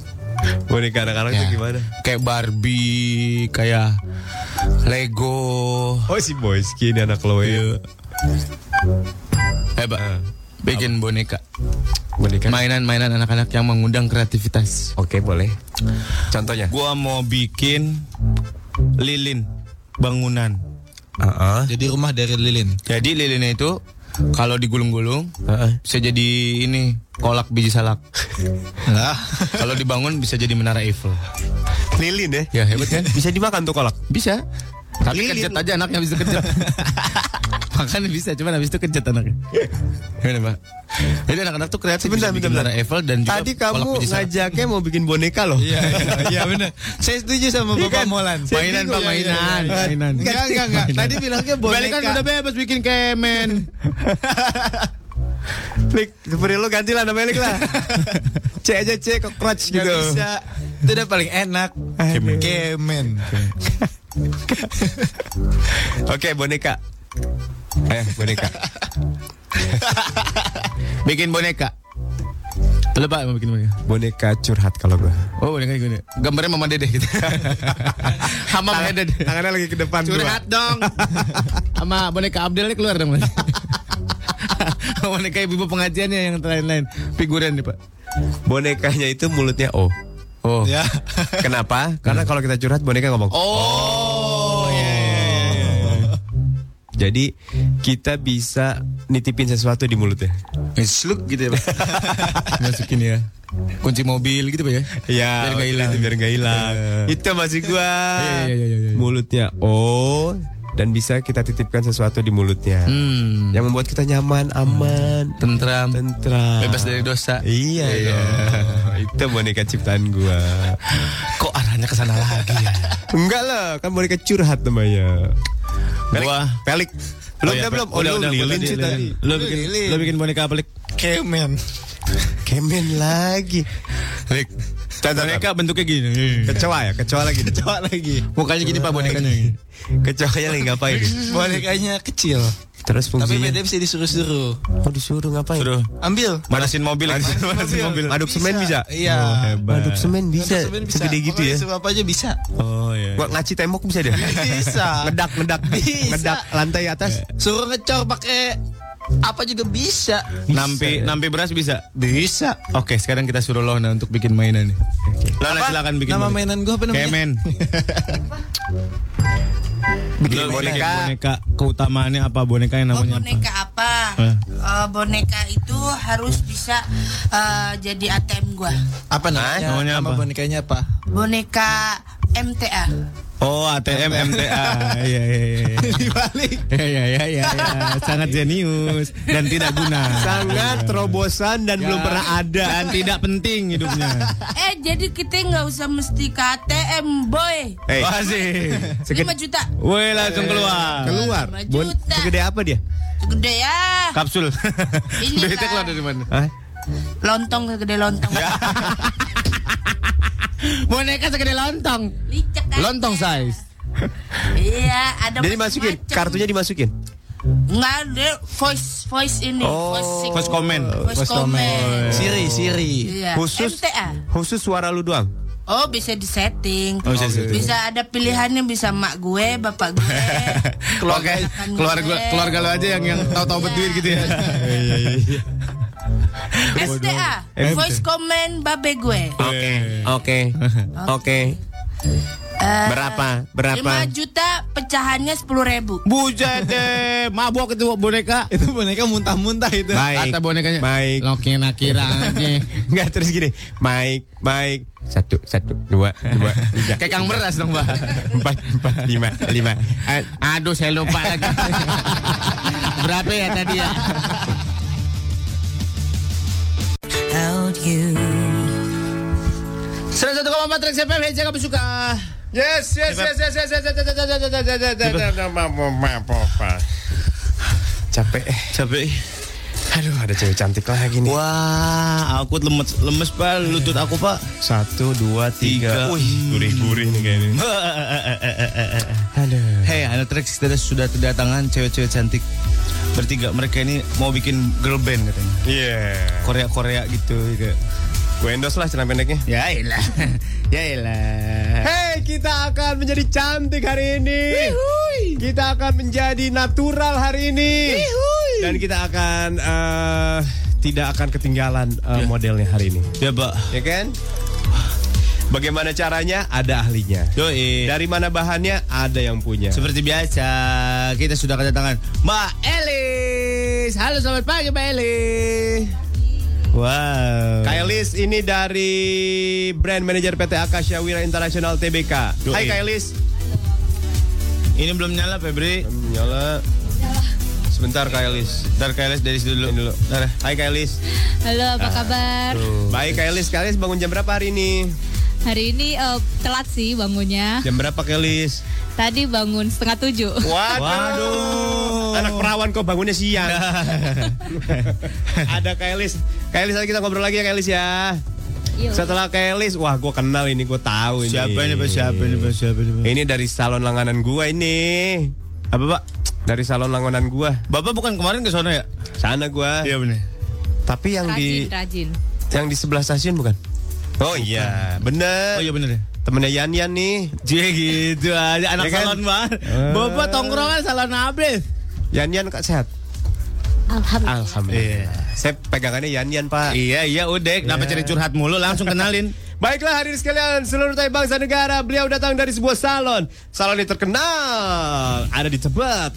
boneka anak-anak
Ya.
Oh, itu gimana?
Kayak Barbie, kayak Lego. Iya.
Oh si Boyski ini anak lo ya.
Eh, Pak. Bikin boneka.
Boneka.
Mainan-mainan anak-anak yang mengundang kreativitas.
Oke boleh. Contohnya?
Gua mau bikin lilin bangunan.
Heeh.
Jadi rumah dari lilin.
Jadi lilinnya itu kalau digulung-gulung bisa jadi ini kolak biji salak.
Lah.
kalau dibangun bisa jadi menara Eiffel.
Lilin ya?
Ya hebat kan?
Bisa dimakan tuh kolak.
Bisa. Tapi
Lilin.
kencet aja anaknya bisa kencet. Makan bisa, cuman habis itu kencet anaknya. Gimana, Pak? Jadi anak-anak tuh kreatif
Sebentar,
bisa bikin menara
bentar, bentar.
Eiffel dan juga
Tadi
kolak
kamu
biji salak.
ngajaknya mau bikin boneka loh.
Iya, iya, iya benar. Saya setuju sama
Iya
Bapak
kan?
Molan.
Saya
Mainan,
bingung.
Pak, mainan,
Iya, iya, iya.
mainan.
Enggak, enggak, enggak. Tadi bilangnya
Balik kan udah bebas bikin kemen.
Lik, seperti lo ganti lah namanya Lik lah. C aja C ke crotch
Gak
gitu.
bisa. Itu udah paling enak.
Kemen.
Kemen.
Oke, boneka. Eh, boneka.
bikin boneka. Lu Pak mau bikin boneka?
boneka curhat kalau gua.
Oh, boneka gini. Gambarnya Mama Dede gitu. Sama Mama Dede.
Tangannya lagi ke depan
Curhat dong. Sama boneka Abdel nih keluar dong. boneka ibu pengajiannya yang lain-lain. Figuran nih, Pak.
dua. Bonekanya itu mulutnya O.
Oh.
Ya.
Kenapa? Karena kalau kita curhat boneka ngomong.
Oh, iya, iya, iya.
Oh. Jadi kita bisa nitipin sesuatu di mulutnya.
Sluk gitu ya, Pak. Masukin ya. Kunci mobil gitu, Pak ya.
Ya,
Biar nggak hilang.
biar nggak hilang. Itu masih gua.
Iya, iya, iya, iya, iya.
Mulutnya O dan bisa kita titipkan sesuatu di mulutnya.
Hmm.
Yang membuat kita nyaman, aman,
Tentram.
tentram.
Bebas dari dosa.
Iya, dong. Itu boneka ciptaan gua.
Kok arahnya ke sana lagi ya?
Enggak lah, kan boneka curhat namanya. Pelik,
Gua-
pelik. Belum
Oh, iya,
udah belum.
udah,
lu
udah,
lilin
udah,
sih
lilin.
tadi.
Lu bikin, lu bikin boneka apa, Lik?
Kemen.
Kemen lagi.
Lik. Boneka bentuknya gini.
Kecoa ya, kecoa lagi.
Coba lagi.
Mukanya gini Pak bonekanya.
Kecoanya lagi ngapain?
Bonekanya kecil.
Terus
Tapi
fungsinya.
beda bisa disuruh-suruh.
Oh disuruh ngapain?
Suruh
Ambil.
manasin mobil. Manasin mobil.
Aduk semen bisa?
Iya.
Oh, hebat. Aduk semen bisa.
Semen bisa.
Segede gitu
Pokoknya
ya.
disuruh apa aja bisa.
Oh iya. Buat ngaci tembok bisa deh.
Bisa.
ngedak ngedak
Bisa.
ngedak lantai atas.
Suruh ngecor pakai apa juga bisa.
Nampi nampi beras bisa? Bisa. Oke, sekarang kita suruh Lona untuk bikin mainan nih. Lona
Apa?
silakan bikin.
Nama
boneka.
mainan gue apa namanya?
Kemen.
Bikin
Lu
boneka.
boneka keutamaannya apa boneka yang
Oh,
namanya apa?
boneka apa?
Eh.
Eh, boneka itu harus bisa eh, jadi ATM gua.
Apa namanya?
Namanya
Nama
apa?
bonekanya apa?
Boneka MTA.
Oh, ATM MTA. Iya iya iya.
Dibalik.
Iya iya iya iya. Sangat jenius dan tidak guna. Iya. Ya.
Sangat terobosan dan belum pernah ada.
Dan tidak penting hidupnya.
Eh jadi kita nggak usah mesti ke ATM boy.
Eh,
Wah sih.
5 juta.
Woi langsung Eh, keluar.
keluar.
Lima
Bon,
juta.
segede apa dia?
Segede ya.
Kapsul.
Ini
Duitnya
lah.
keluar dari mana?
Hah?
Lontong segede lontong.
Boneka segede lontong.
Licek aja.
Lontong size.
Iya, ada
Jadi masukin,
macam-macam.
kartunya dimasukin.
Enggak, dia voice voice ini, voice sig-
Oh, Voice comment.
Voice, comment.
Siri, Siri.
Iya.
Khusus
MTA.
khusus suara lu doang.
Oh, bisa disetting.
Oh, bisa disetting.
Bisa ada pilihannya bisa mak gue, bapak gue.
Eh, Keluarga
ponakan
keluarga
gue.
keluarga lu aja yang yang tahu-tahu betuin gitu ya.
SDA, voice comment babe gue.
Oke. Oke. Oke.
Eh,
Berapa?
5
Berapa?
juta pecahannya 10 ribu.
Bujat deh, mabok itu boneka.
Itu boneka muntah-muntah itu.
Baik.
Kata bonekanya.
Baik.
Lokin akira aja.
Enggak terus gini. Baik, baik. Satu, satu, dua, dua, tiga,
Kayak kang beras dong, Mbak.
empat, empat, lima, lima. Eh,
Aduh, saya lupa lagi. Berapa ya tadi ya?
Out you.
101,4 Trax FM, Heja kamu suka.
Yes, yes, yes, yes, yes, yes, yes, yes, yes, yes, yes, yes, yes, yes.
Capek. Capek. Aduh, ada cewek cantik lagi nih.
Wah, aku lemes lemes pak, lutut aku pak.
Satu, dua, tiga.
Tiga. Hmm.
Wih, gurih-gurih nih kayaknya. Aduh.
Hei, anak Trax kita sudah kedatangan cewek-cewek cantik bertiga. Mereka ini mau bikin girl band katanya.
Iya.
Korea Korea gitu. gitu.
Gue endorse lah celana pendeknya.
Ya ilah, ya ilah.
Hey, kita akan menjadi cantik hari ini. Kita akan menjadi natural hari ini. Dan kita akan eh, tidak akan ketinggalan eh, modelnya hari ini.
Ya pak.
Ya kan? Bagaimana caranya? Ada ahlinya.
Yoi.
Dari mana bahannya? Ada yang punya.
Seperti biasa, kita sudah kedatangan Mbak Elis. Halo, selamat pagi Mbak Elis. Wow.
Kailis ini dari brand manager PT Akasya Wira Internasional TBK.
Yoi.
Hai Kailis.
Ini belum nyala Febri.
Nyala. Sebentar Kailis.
Ntar Hmm, Kailis dari situ dulu.
Ini dulu. Bentar. Hai Kailis.
Halo, apa kabar?
Baik Kailis, Kailis bangun jam berapa hari ini?
Hari ini eh, telat sih bangunnya.
Jam berapa Kailis?
Tadi bangun setengah tujuh.
Waduh. Anak perawan kok bangunnya siang. Ada Kailis. Kailis nanti kita ngobrol lagi ya Kailis ya.
Yuk.
Setelah Kailis, wah gue kenal ini, gue tahu ini.
Siapa ini pak? Siapa ini pak? Siapa ini pak?
Hmm. Ini dari salon langganan gua ini.
Apa pak?
Dari salon langganan gua.
Bapak bukan kemarin ke sana ya?
Sana gua.
benar.
Tapi yang
Rajin,
di
rajin.
yang di sebelah stasiun bukan? Oh iya, bener.
Oh iya benar ya.
Temennya Yan Yan nih.
Cie gitu aja anak
Ya kan?
salon banget.
Eh.
Bapak tongkrongan salon habis.
Yan Yan kak sehat.
Alhamdulillah.
Alhamdulillah. Saya pegangannya Yan Yan pak.
Iya iya udah, kenapa cari curhat mulu langsung kenalin.
Baiklah hadirin sekalian seluruh tanah bangsa negara Beliau datang dari sebuah salon Salon yang terkenal Ada di Tebet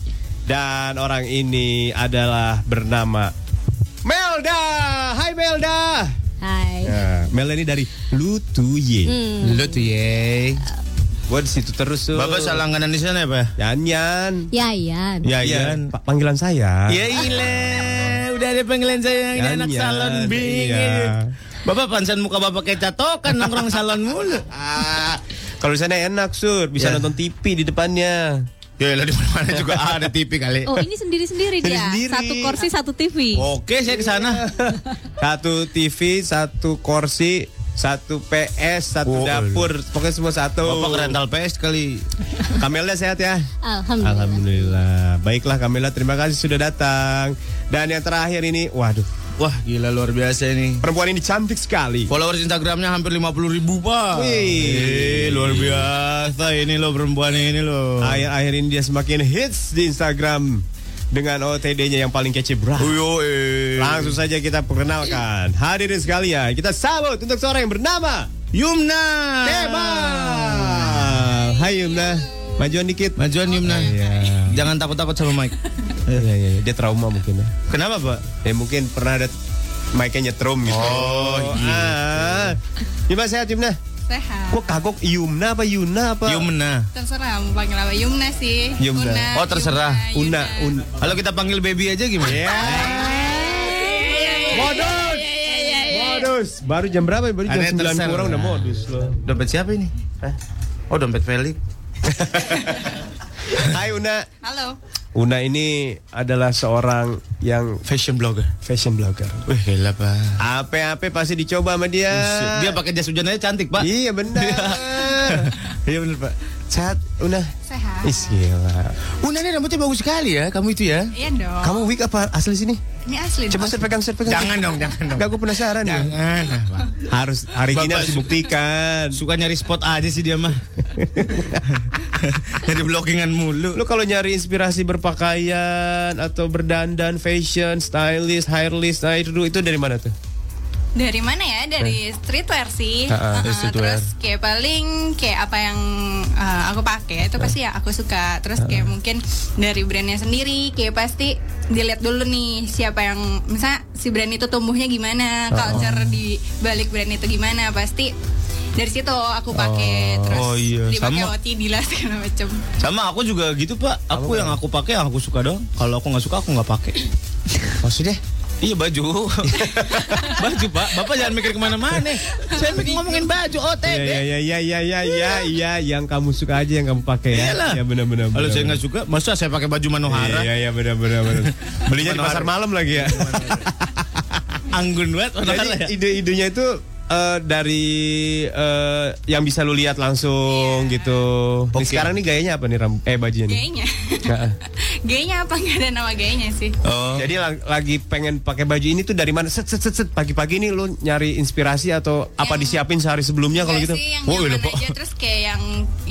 Dan orang ini adalah bernama Melda Hai Melda
Hai.
Ya, Melda ini dari Lutuye
Lu tuh ye.
Gue di situ terus tuh
Bapak salah langganan di sana ya, Pak?
Yan Yan
Yayan.
Ya
Yan Pak panggilan saya
Ya ile, udah ada panggilan saya ini
Yan,
anak
Yan.
salon bingit.
Iya.
Bapak pansan muka bapak kayak catokan nongkrong salon mulu.
Ah, Kalau di sana enak sur Bisa
Ya.
nonton TV di depannya
Ya lah di mana juga ada TV kali.
Oh, ini sendiri-sendiri dia.
Sendiri-sendiri. Oh.
Satu kursi, satu TV.
Oke, saya ke sana.
satu TV, satu kursi, satu PS,
Oh,
satu dapur, pokoknya semua satu.
Bapak ke rental PS kali.
Kamela sehat ya?
Alhamdulillah.
Alhamdulillah. Baiklah Kamela, terima kasih sudah datang. Dan yang terakhir ini, waduh,
Wah, gila luar biasa ini.
perempuan ini cantik sekali.
Followers Instagramnya hampir 50 ribu pak. Wih,
Wih.
luar biasa ya. ini loh perempuan ini loh.
Akhir-akhir ini dia semakin hits di Instagram dengan OTD-nya yang paling kece berat.
Uyo, eh.
Langsung saja kita perkenalkan hadirin sekalian. Kita sambut untuk seorang yang bernama
Yumna.
Tema. Hai Yumna, majuan dikit.
Majuan Yumna. Jangan takut-takut sama Mike.
Iya, iya, iya. Dia trauma mungkin ya.
Kenapa pak?
Ya mungkin pernah ada mic-nya nyetrum gitu. Oh, iya. Yumna sehat Yumna?
Sehat.
Gua kagok Yumna apa Yuna apa?
Yumna.
Terserah mau panggil apa. Yumna sih.
Yumna. Una,
Oh terserah.
Una, Una.
Kalau kita panggil baby aja gimana?
Ya. Modus. Modus. Baru jam berapa? ya? Baru jam
Ada
9
terserah.
kurang udah modus loh.
Dompet siapa ini? Eh, Oh dompet Felix.
Hai Una.
Halo.
Una ini adalah seorang yang
Fashion blogger.
fashion blogger.
Wih, gila, Pak. Eh.
Apa-apa pasti dicoba sama dia.
Dia pakai jas hujan aja cantik, Pak.
Iya benar.
Iya bener, Pak.
Sehat, Una.
Sehat.
Is gila.
Una ini Ah. rambutnya bagus sekali ya, kamu itu ya.
Iya dong.
Kamu wig apa asli sini?
Ini asli.
Coba
dong.
set pegang, set pegang.
Jangan dong, jangan dong.
Gak, gue penasaran ya.
Jangan, ah, Pak.
Harus hari ini
Bapak
harus
su-
dibuktikan.
Suka nyari spot aja sih dia mah. Jadi blockingan mulu.
Lu kalau nyari inspirasi berpakaian atau berdandan, fashion, stylist, hairlist, nah itu itu dari mana tuh?
Dari mana ya? Dari streetwear sih.
Eh. Ah, ah,
Heeh,
dari streetwear.
Terus kayak paling kayak apa yang eh, aku pakai itu pasti ya aku suka.
Ah,
Terus kayak mungkin dari brandnya sendiri kayak pasti dilihat dulu nih siapa yang misalnya si brand itu
Ah,
tumbuhnya gimana, culture di balik brand itu gimana pasti dari situ aku pakai terus
oh iya,
dipakai
sama.
wati dilas segala macem.
Sama aku juga gitu, Pak. Aku yang aku pakai yang aku suka dong. Kalau aku nggak suka aku nggak pakai.
Maksudnya?
Iya baju. baju, Pak. Bapak jangan mikir kemana mana Saya mikir ngomongin baju
oh,
Ya ya
OTD.
ya ya ya ya ya ya yang kamu suka aja yang kamu pakai ya.
Iyalah.
Ya benar-benar.
Kalau
benar,
saya
benar.
nggak suka, masa saya pakai baju
Iya
Manohara?
iya iya benar-benar. benar. Belinya di
Manohara.
pasar malam lagi ya.
Anggun banget Manohara ya.
Jadi ide-idenya itu eh, dari eh, yang bisa lu lihat langsung gitu.
Oke.
Nih, sekarang nih gayanya apa nih ram eh bajunya nih?
Iya. Gayanya.
Heeh.
gayanya apa nggak ada nama gayanya sih?
Oh.
Jadi la- lagi pengen pakai baju ini tuh dari mana? Set set set set pagi-pagi nih lu nyari inspirasi atau apa
Yang-
disiapin sehari sebelumnya kalau
Nggak
gitu?
sih, yang
Wow,
nyaman
udah, Oh, iya, Pak.
aja terus kayak yang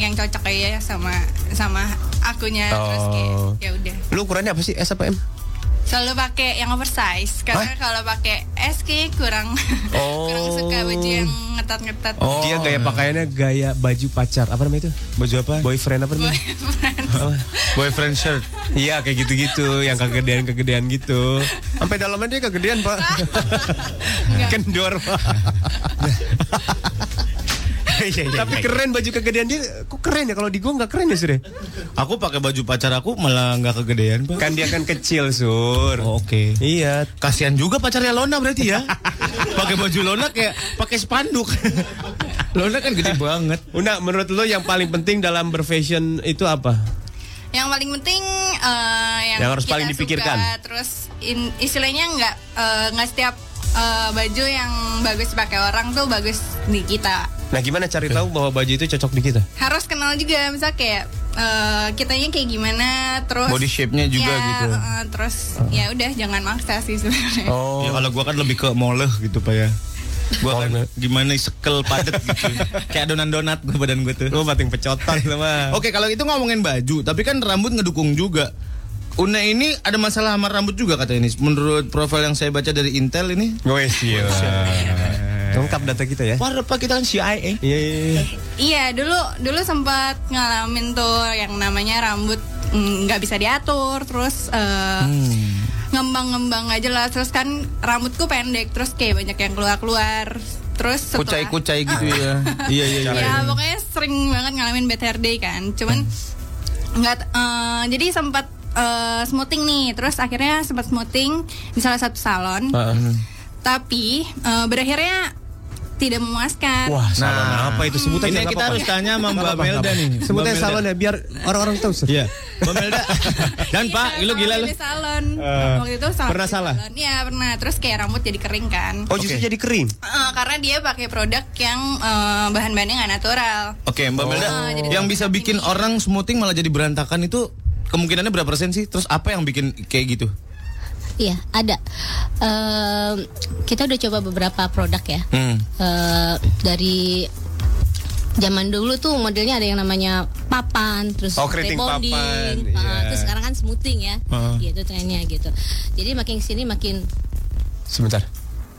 yang cocok aja ya sama sama akunya terus kayak
Oh.
ya udah
Lu ukurannya apa sih? S apa M?
selalu pakai yang oversize karena kalau pakai S kayak kurang kurang suka baju yang ngetat-ngetat
Oh. Dia gaya pakaiannya gaya baju pacar. Apa namanya itu?
Baju apa?
Boyfriend apa namanya?
Boyfriend shirt.
Iya kayak gitu-gitu, yang kegedean-kegedean gitu. Sampai dalamnya dia kegedean, Pak. Kendor, Pak. Iya,
iya,
Tapi keren baju kegedean dia. Kok keren ya kalau di gua nggak keren ya, Sur? ya?
Aku pakai baju pacar aku malah nggak kegedean, Pak.
Kan dia kan kecil, Sur.
Oh, Oke.
Iya,
Kasihan juga pacarnya Lona berarti ya. pakai baju Lona kayak pakai spanduk. Lona kan gede banget.
Una, menurut lo yang paling penting dalam berfashion itu apa?
yang paling penting eh, yang,
Yang harus
kita
paling dipikirkan.
suka. terus in- istilahnya nggak eh, nggak setiap eh, baju yang bagus pakai orang tuh bagus di kita
Nah, gimana cari tahu bahwa baju itu cocok di kita?
harus kenal juga misal kayak eh, kitanya kayak gimana terus
Body shape-nya juga
Ya,
gitu.
eh, terus ya udah jangan maksa sih sebenarnya
Oh.
Ya, kalau gua kan lebih ke moleh gitu pak ya. Gua kan gimana sekel padet gitu. Kayak adonan donat gua badan gua Ah. tuh.
Lo bating pecotan sama.
Oke kalau itu ngomongin baju, tapi kan rambut ngedukung juga. Una ini ada masalah sama rambut juga kata ini. Menurut profil yang saya baca dari Intel ini.
Gue sih.
Iya.
Lengkap data kita ya.
Wah pak kita kan CIA.
Iya, iya, iya.
iya dulu dulu sempat ngalamin tuh yang namanya rambut mm, nggak bisa diatur terus eh,
Hmm.
ngembang-ngembang aja lah terus kan rambutku pendek terus kayak banyak yang keluar-keluar terus setelah Ah.
Kucai-kucai gitu ya. iya iya iya.
ya pokoknya sering banget ngalamin bad hair day kan cuman
Hmm.
nggak eh, jadi sempat eh, smoothing nih terus akhirnya sempat smoothing di salah satu salon
Ah. Hmm.
tapi eh, berakhirnya tidak
Nah,
memuaskan
Wah, salon apa itu sebutan?
Ini
nggak
kita
apa-apa.
harus tanya sama Mbak
Apa-apa,
Melda
apa-apa.
nih.
Sebutannya
Mbak Melda.
salon ya biar orang-orang tahu. Sur.
Iya. Mbak Melda. Dan
Iya,
Pak, lu
salon
gila lu.
di salon
Eh,
waktu itu salon
pernah
di
salah?
salon. Iya pernah terus kayak rambut jadi kering kan
Oh, justru jadi kering.
Eh, karena dia pakai produk yang eh, bahan-bahannya nggak natural
Oke, Mbak Melda.
Oh, jadi
yang bisa bikin orang smoothing malah jadi berantakan itu kemungkinannya berapa persen sih? Terus apa yang bikin kayak gitu?
Iya, ada. Ehm, kita udah coba beberapa produk ya.
Hmm.
Ehm, dari zaman dulu tuh modelnya ada yang namanya papan, terus
Oh, keriting
rebonding,
papan,
ah,
iya.
terus sekarang kan smoothing ya,
Oh. Ah.
gitu trennya gitu. Jadi makin sini makin
Sebentar.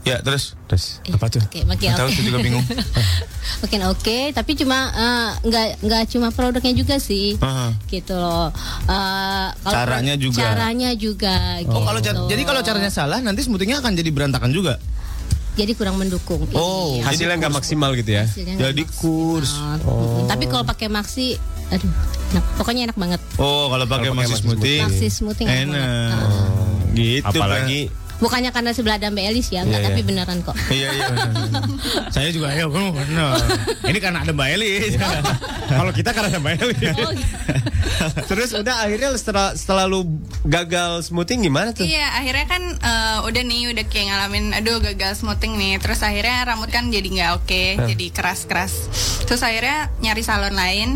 Ya, terus
Terus
eh,
apa tuh?
Oke, makin
Nggak tahu,
oke.
saya juga bingung.
makin oke, tapi cuma eh, nggak nggak cuma produknya juga sih,
Aha.
gitu loh. Eh, kalau
Caranya juga.
Caranya juga.
Oh, kalau car-
gitu.
jadi kalau caranya salah nanti smoothingnya akan jadi berantakan juga.
jadi kurang mendukung.
Oh,
Iya.
Hasilnya nggak maksimal gitu ya.
Hasilnya
Jadi
nggak
kurs.
maksimal. Mm-mm. Tapi kalau pakai maxi, aduh, enak. pokoknya enak banget.
Oh, kalau pakai
Kalau pakai
masih
maxi
smoothing.
Maxi smoothing enak
Enak.
banget.
Gitu.
Apalagi
Pak.
bukannya karena sebelah dan Mbak Elis ya, enggak,
Iya,
tapi
iya.
beneran kok.
Iya, iya, benar, benar. Saya juga ya, benar, benar. Ini karena ada Mbak Elis.
Iya.
Kalau kita karena ada Mbak Elis.
Oh,
Terus udah akhirnya setelah setelah lu gagal smoothing gimana tuh?
Iya, akhirnya kan eh, udah nih udah kayak ngalamin aduh gagal smoothing nih. Terus akhirnya rambut kan jadi nggak oke,
Eh.
Hah.
jadi keras-keras. Terus akhirnya nyari salon lain.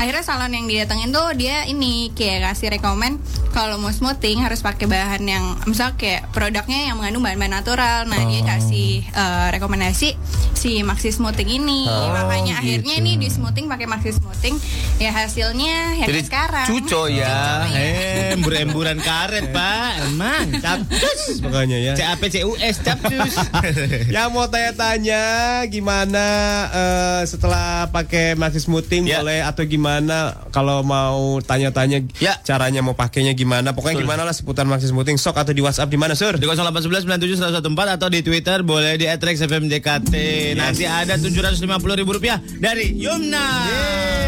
Akhirnya salon yang didatengin tuh dia ini kayak kasih rekomen kalau mau smoothing harus pakai bahan yang misal kayak produknya yang mengandung bahan-bahan natural. Nah,
Oh.
dia kasih eh, rekomendasi si Maxi Smoothing ini.
Oh,
Makanya akhirnya
gitu.
ini di smoothing pakai Maxi Smoothing ya hasilnya ya kayak
Jadi
sekarang.
cuco ya,
iya.
eh, embur-emburan karet pak, emang capcus
makanya ya.
CAP CUS capcus.
Yang mau tanya-tanya gimana eh, setelah pakai maxi smoothing
Ya.
boleh atau gimana kalau mau tanya-tanya
Ya.
caranya mau pakainya gimana pokoknya
Betul.
gimana lah seputar maxi smoothing sok atau di WhatsApp di mana sur?
Di 0811-97-114 atau di Twitter boleh di @rexfmdkt. Nanti ada 750 ribu rupiah dari Yumna.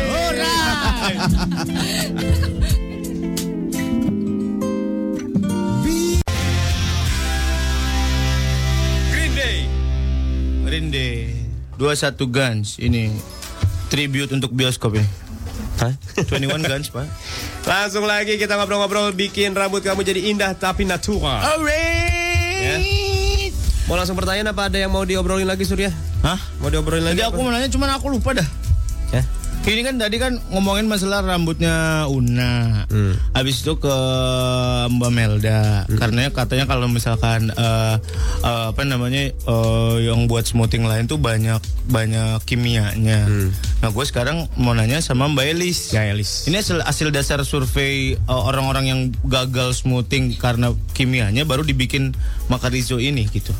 Hurra! Green Day. Green Day. 21 Guns ini tribute untuk bioskop ini. Hah? 21 Guns, Pak.
Langsung lagi kita ngobrol-ngobrol bikin rambut kamu jadi indah tapi natural. Ya. Mau langsung pertanyaan apa ada yang mau diobrolin lagi Surya?
Hah?
Mau diobrolin lagi?
Jadi aku
apa?
mau nanya cuman aku lupa dah.
Ya.
Ini kan tadi kan ngomongin masalah rambutnya Una. Habis itu ke Mbak Melda karena katanya kalau misalkan eh, eh, apa namanya eh, yang buat smoothing lain tuh banyak banyak kimianya. Nah, gue sekarang mau nanya sama Mbak Elis. Ini hasil hasil dasar survei eh, orang-orang yang gagal smoothing karena kimianya baru dibikin Makarizo ini gitu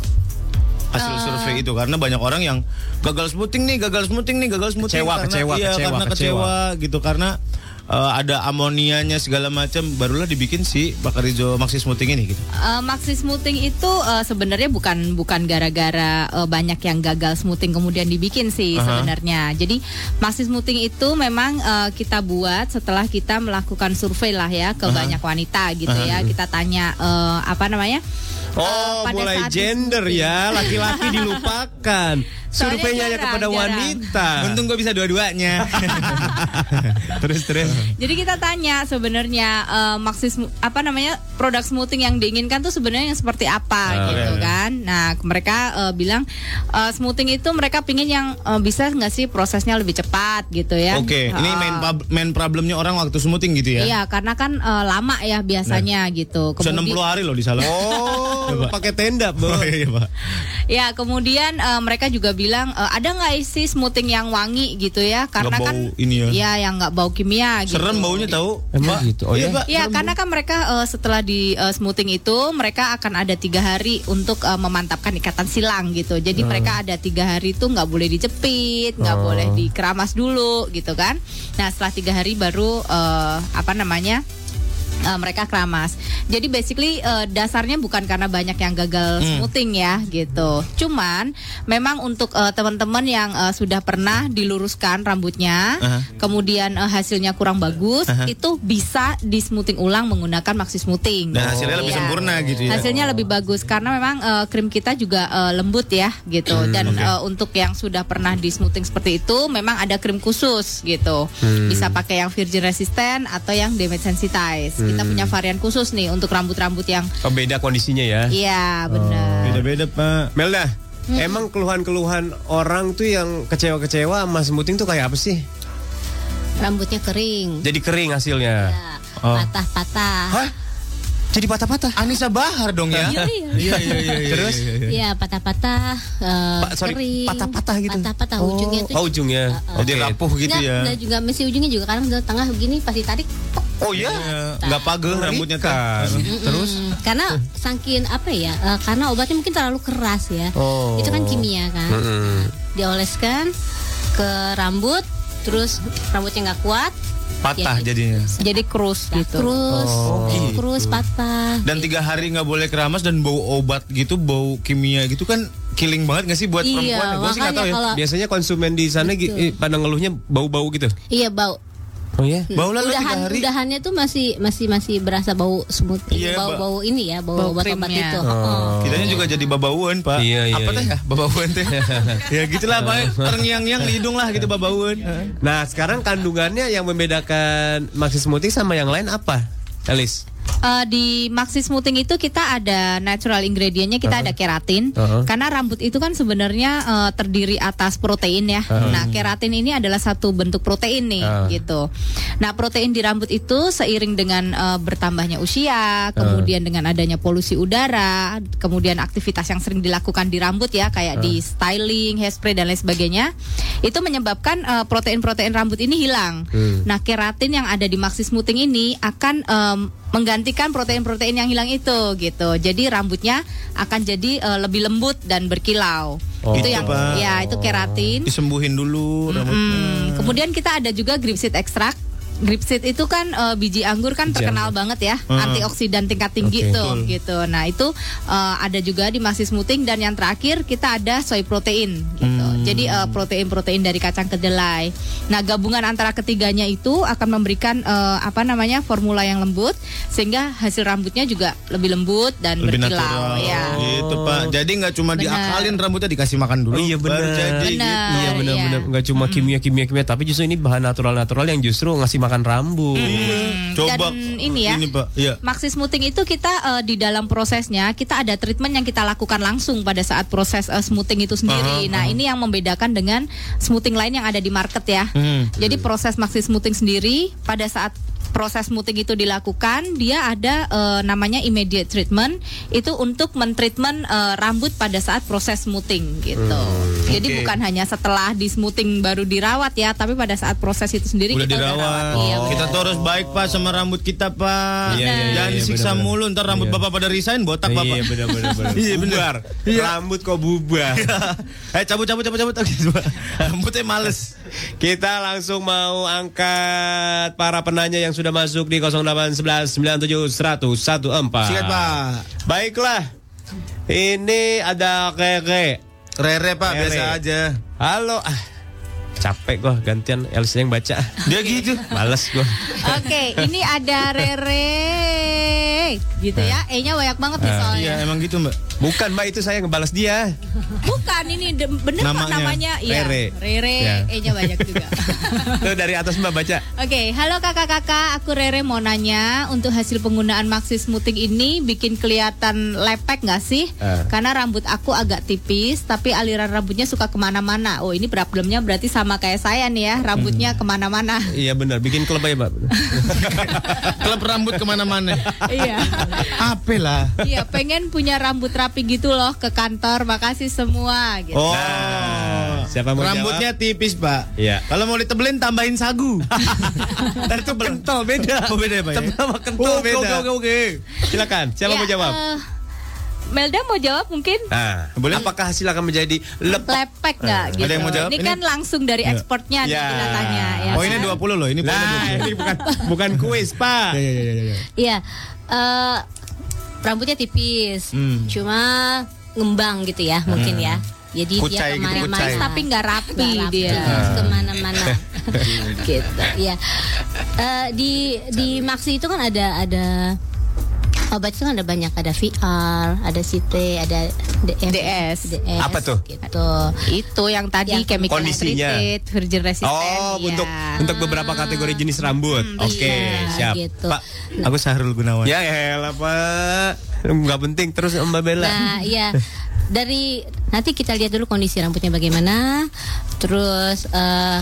hasil
Eh.
survei itu karena banyak orang yang gagal smoothing nih, gagal smoothing nih, gagal smoothing karena
Kecewa, kecewa,
iya,
kecewa,
karena kecewa, gitu karena eh, ada amonianya segala macam barulah dibikin si Bakarijo Maxi Smoothing ini gitu.
Eh, maxi smoothing itu eh, sebenarnya bukan bukan gara-gara eh, banyak yang gagal smoothing kemudian dibikin sih
Aha.
sebenarnya. Jadi maxi smoothing itu memang eh, kita buat setelah kita melakukan survei lah ya ke
Aha.
banyak wanita gitu
Aha.
ya. Kita tanya eh, apa namanya?
Oh,
Eh, pada
mulai
saat di
gender ya, laki-laki dilupakan.
Soalnya
Surveinya hanya
jarang,
kepada
jarang.
wanita.
Untung gue bisa dua-duanya.
terus terus.
Jadi kita tanya sebenarnya eh, maksud smu- apa namanya produk smoothing yang diinginkan tuh sebenarnya yang seperti
Ah,
apa gitu
iya,
oke.
kan? Nah mereka eh, bilang eh, smoothing itu mereka pingin yang eh, bisa nggak sih prosesnya lebih cepat gitu ya?
Oke, ini
Heeh.
main pub- main problemnya orang waktu smoothing gitu ya. Nah,
Iya karena kan eh, lama ya biasanya gitu.
Bisa 60 hari loh di sana.
Oh, pakai tenda, Bu.
iya, Pak.
Ya kemudian eh, mereka juga bilang eh, ada nggak sisi smoothing yang wangi gitu ya? Karena
Nggak
kan
bau ini ya.
Iya yang nggak bau kimia. gitu.
Serem baunya tahu. Emang gitu.
Iya, karena kan mereka eh, setelah di eh, smoothing itu mereka akan ada tiga hari untuk eh, memantapkan ikatan silang gitu. Jadi
Hmm.
mereka ada tiga hari itu nggak boleh dijepit, nggak
Oh.
boleh dikeramas dulu gitu kan. Nah setelah tiga hari baru eh, apa namanya? eh, mereka keramas. Jadi basically eh, dasarnya bukan karena banyak yang gagal
Hmm.
smoothing ya gitu. Cuman memang untuk eh, teman-teman yang eh, sudah pernah diluruskan rambutnya,
Aha.
kemudian eh, hasilnya kurang bagus,
Aha.
itu bisa di smoothing ulang menggunakan maxi smoothing.
Dan Nah, hasilnya lebih
Iya.
sempurna gitu ya.
Hasilnya lebih bagus karena memang eh, krim kita juga eh, lembut ya gitu.
Hmm,
Dan
oke.
eh, untuk yang sudah pernah di smoothing seperti itu memang ada krim khusus gitu.
Hmm.
Bisa pakai yang virgin resistant atau yang damage sensitized. Kita
Hmm.
punya varian khusus nih untuk rambut-rambut yang
Oh, beda kondisinya ya.
Eh.
Iya, benar.
Oh.
Beda-beda, Pak. Melda,
Hmm.
emang keluhan-keluhan orang tuh yang kecewa-kecewa sama smoothing tuh kayak apa sih?
Rambutnya kering,
Jadi kering hasilnya.
Iya.
Oh.
patah-patah.
Jadi patah-patah.
Anissa Bahar dong ya.
Iya, iya.
Terus?
Iya, patah-patah, eh,
Pa- sorry,
kering. Patah-patah gitu. Patah-patah
Oh,
ujungnya tuh.
oh, ujungnya. Jadi rapuh gitu
Nggak,
ya.
nggak juga mesti ujungnya juga karena misalnya tengah begini pas ditarik tok.
Oh iya. Enggak pagel rambutnya kan. Terus
Mm, karena saking apa ya? eh, karena obatnya mungkin terlalu keras ya.
Oh.
Itu kan kimia kan. Dioleskan ke rambut terus rambutnya nggak kuat Iya,
patah jadinya.
jadi krus gitu. Krus,
Oh, gitu.
krus patah.
Dan tiga hari nggak boleh keramas dan bau obat gitu, bau kimia gitu kan killing banget nggak sih buat
Iya,
perempuan? Gua sih nggak
makanya
tahu ya.
kalau-
Biasanya konsumen di sana gi-
Betul.
eh, pada ngeluhnya bau-bau gitu.
Iya bau.
Oh iya.
Bau udahan, udahannya tuh masih masih masih Iya, berasa bau smoothie,
Iya,
bau
Mbak.
bau ini ya, bau
Bau
obat obat
krimnya.
itu.
Kitanya juga jadi babauan, Pak.
Iya, iya,
Apa teh
iya.
ya? Babauan teh. ya gitulah, Pak. Terngiang-ngiang di hidung lah gitu babauan.
Nah, sekarang kandungannya yang membedakan maxi smoothie sama yang lain apa? Elis.
Eh, di Maxi Smoothing itu kita ada natural ingredientnya kita
Uh-huh.
ada keratin
Uh-huh.
karena rambut itu kan sebenarnya eh, terdiri atas protein ya.
Uh-huh.
Nah keratin ini adalah satu bentuk protein nih
Uh.
gitu. Nah protein di rambut itu seiring dengan eh, bertambahnya usia, kemudian dengan adanya polusi udara, kemudian aktivitas yang sering dilakukan di rambut ya
Uh.
kayak di styling, hairspray dan lain sebagainya itu menyebabkan eh, protein-protein rambut ini hilang.
Hmm.
Nah, keratin yang ada di Maxi Smoothing ini akan em, menggantikan protein-protein yang hilang itu gitu. Jadi rambutnya akan jadi eh, lebih lembut dan berkilau.
Oh, gitu,
itu yang
Pak. Oh.
ya itu keratin.
Disembuhin dulu rambutnya.
Hmm, Kemudian kita ada juga grapeseed extract. Grapeseed itu kan eh, biji anggur kan
Biji
terkenal
anggur.
banget ya,
Hmm.
antioksidan tingkat tinggi
Oke.
tuh
Betul.
gitu. Nah, itu eh, ada juga di Maxi Smoothing dan yang terakhir kita ada soy protein gitu. Jadi eh, protein-protein dari kacang kedelai. Nah, gabungan antara ketiganya itu akan memberikan eh, apa namanya? formula yang lembut sehingga hasil rambutnya juga lebih lembut dan
Lebih
berkilau
natural.
iya.
ya.
Gitu, Pak. Jadi nggak cuma
Benar.
diakalin rambutnya dikasih makan dulu. iya,
benar.
Jadi
Benar,
gitu.
Iya benar-benar nggak cuma kimia kimia kimia tapi justru ini bahan natural natural yang justru ngasih makan rambut. Hmm,
Coba Dan ini ya. ini,
Pak. Iya.
Maxi smoothing itu kita eh, di dalam prosesnya kita ada treatment yang kita lakukan langsung pada saat proses eh, smoothing itu
Aha,
sendiri. nah,
aha.
ini yang membedakan dengan smoothing lain yang ada di market ya.
Hmm.
Jadi proses maxi smoothing sendiri pada saat proses smoothing itu dilakukan, dia ada eh, namanya immediate treatment itu untuk mentreatment eh, rambut pada saat proses smoothing gitu.
Hmm.
Jadi
Oke.
bukan hanya setelah di smoothing baru dirawat ya, tapi pada saat proses itu sendiri
Udah
kita udah
dirawat. Oh.
rawat. Iya,
Kita tuh harus baik Pak sama rambut kita Pak.
ya, Iya, iya,
Jangan
iya,
disiksa
benar-benar.
mulu ntar rambut Bapak pada resign botak
Iya,
Bapak.
benar-benar, benar.
Iya
Bubar.
benar.
Rambut kok bubar.
eh cabut cabut cabut cabut. Oke, Pak. Rambutnya males.
Kita langsung mau angkat para penanya yang sudah masuk di 0811 97 1014.
Sikat, Pak.
Baiklah. Ini ada Rere.
Rere, Pak, biasa aja.
Halo. Ah, capek gua gantian Elsa yang baca. Dia gitu. Males gua.
Oke, ini ada Rere gitu ya. E-nya banyak banget nih
Oh,
soalnya.
iya.
emang gitu, Mbak.
Bukan, Mbak, itu saya ngebalas dia.
Bukan ini de- bener namanya.
Namanya.
namanya Iya,
Rere.
Rere,
Ya.
E-nya banyak juga.
Tuh dari atas Mbak baca.
Oke, halo kakak-kakak, aku Rere mau nanya untuk hasil penggunaan maxi smoothing ini bikin kelihatan lepek nggak sih?
Eh.
Karena rambut aku agak tipis, tapi aliran rambutnya suka kemana-mana. Oh ini problemnya berarti sama kayak saya nih ya, rambutnya kemana-mana.
Iya benar, bikin klub aja, Mbak.
klub rambut kemana-mana.
Iya.
Apa lah?
Iya, pengen punya rambut rapi gitu loh ke kantor. Makasih semua gitu.
Oh.
Nah, siapa mau
Rambutnya tipis, Pak.
Iya.
Kalau mau ditebelin tambahin sagu. Ntar itu kental beda. Oh, beda ya, Pak. Tebel sama kental
beda.
Oke, oke, oke.
Silakan, siapa
Ya,
mau jawab?
eh, Melda mau jawab mungkin?
Nah, boleh apakah hasil akan menjadi lep
Lepek nggak
Eh,
gitu.
ada yang mau jawab
Ini
ini?
kan langsung dari
Iya.
ekspornya nih
Ya.
kita tanya ya.
Oh, ini 20 loh, ini poinnya
Nah, kan? ini bukan bukan kuis, Pak.
Iya, iya, iya, iya.
Iya. eh, rambutnya tipis.
Hmm.
Cuma ngembang gitu ya mungkin
Hmm.
ya. Jadi
Kucai
dia
gitu,
kemana-mana.
kucai.
Tapi nggak rapi dia.
Terus
Ah.
Kemana-mana. gitu. Iya. Eh, di di Maxi itu kan ada ada obat itu kan ada banyak ada VR, ada CT, ada DF, DS.
Apa tuh?
Gitu. Iya.
Itu yang tadi chemical
Kondisinya.
treated, virgin iya. resistant.
Oh, untuk untuk beberapa kategori jenis rambut.
Hmm,
Oke,
iya,
siap.
Iya, gitu.
Pak,
aku Sahrul Gunawan.
Ya elah, Pak. Enggak penting terus Mbak Bella.
Nah, iya. Dari nanti kita lihat dulu kondisi rambutnya bagaimana, terus eh,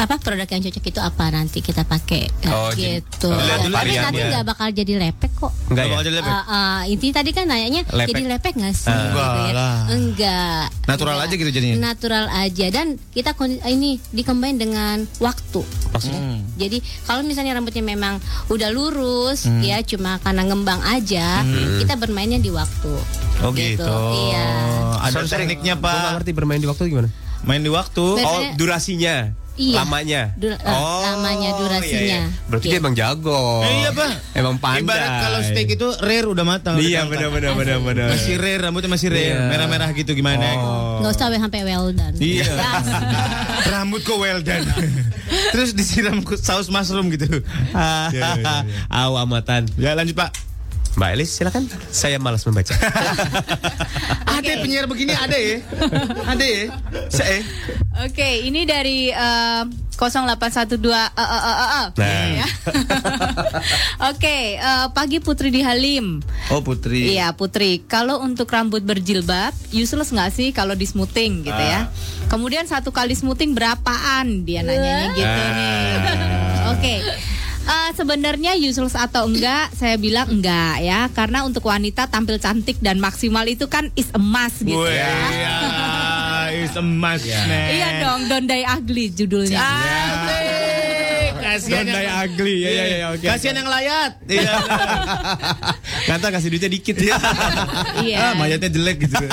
apa produk yang cocok itu apa nanti kita pakai
Oh, jadi-
gitu.
oh, lihat dulu
Tapi nanti
variannya.
nggak bakal jadi lepek kok.
Enggak ya?
Eh, eh, intinya tadi kan nanyanya
Lepek.
jadi lepek nggak
Eh.
sih?
Ah.
gitu
Enggak lah.
Enggak.
Natural aja gitu jadinya.
Natural aja dan kita kon- ini dikembangin dengan waktu.
Hmm.
Jadi kalau misalnya rambutnya memang udah lurus
Hmm.
ya cuma karena ngembang aja,
Hmm.
kita bermainnya di waktu.
Oh, gitu.
Iya.
Ada tekniknya, Pak.
Gua nggak ngerti bermain di waktu gimana?
Main di waktu.
Biasanya-
Oh, durasinya.
Iya.
Lamanya. Oh, iya,
Du- eh, lamanya durasinya.
Berarti dia emang jago.
Iya, Pak.
Emang pandai.
Ibarat kalau steak itu rare udah matang. udah
Iya,
matang.
benar benar benar benar.
Masih rare, rambutnya masih rare,
Iya.
merah-merah gitu gimana?
Oh.
Nggak usah sampai well done.
Iya.
Ya,
Rambut kok well done. Terus disiram ke saus mushroom gitu.
Iya, Aw amatan.
Ya lanjut Pak.
iya. Mbak Elis silakan. Saya malas membaca.
Ada penyiar begini ada ya? Ada ya? Saya.
Oke, ini dari eh, 0812 eh, eh, eh, eh, eh.
Nah.
Ya. Oke, eh, pagi Putri di Halim.
Oh Putri.
Iya Putri, kalau untuk rambut berjilbab useless nggak sih kalau di smoothing gitu ya? Kemudian satu kali smoothing berapaan dia nanyanya gitu
Ah.
nih. Oke. Eh, sebenarnya useless atau enggak saya bilang enggak ya karena untuk wanita tampil cantik dan maksimal itu kan is emas gitu
Wih,
ya.
ah, is emas, man.
Iya dong, Don't Die Ugly judulnya.
Iya. Asik. Kasihan
Don't
yang-
die ugly. Ya ya ya,
Iya.
ya oke.
Kasihan yang layat. Iya.
Kata kasih duitnya dikit ya.
Iya.
Ah, mayatnya jelek gitu.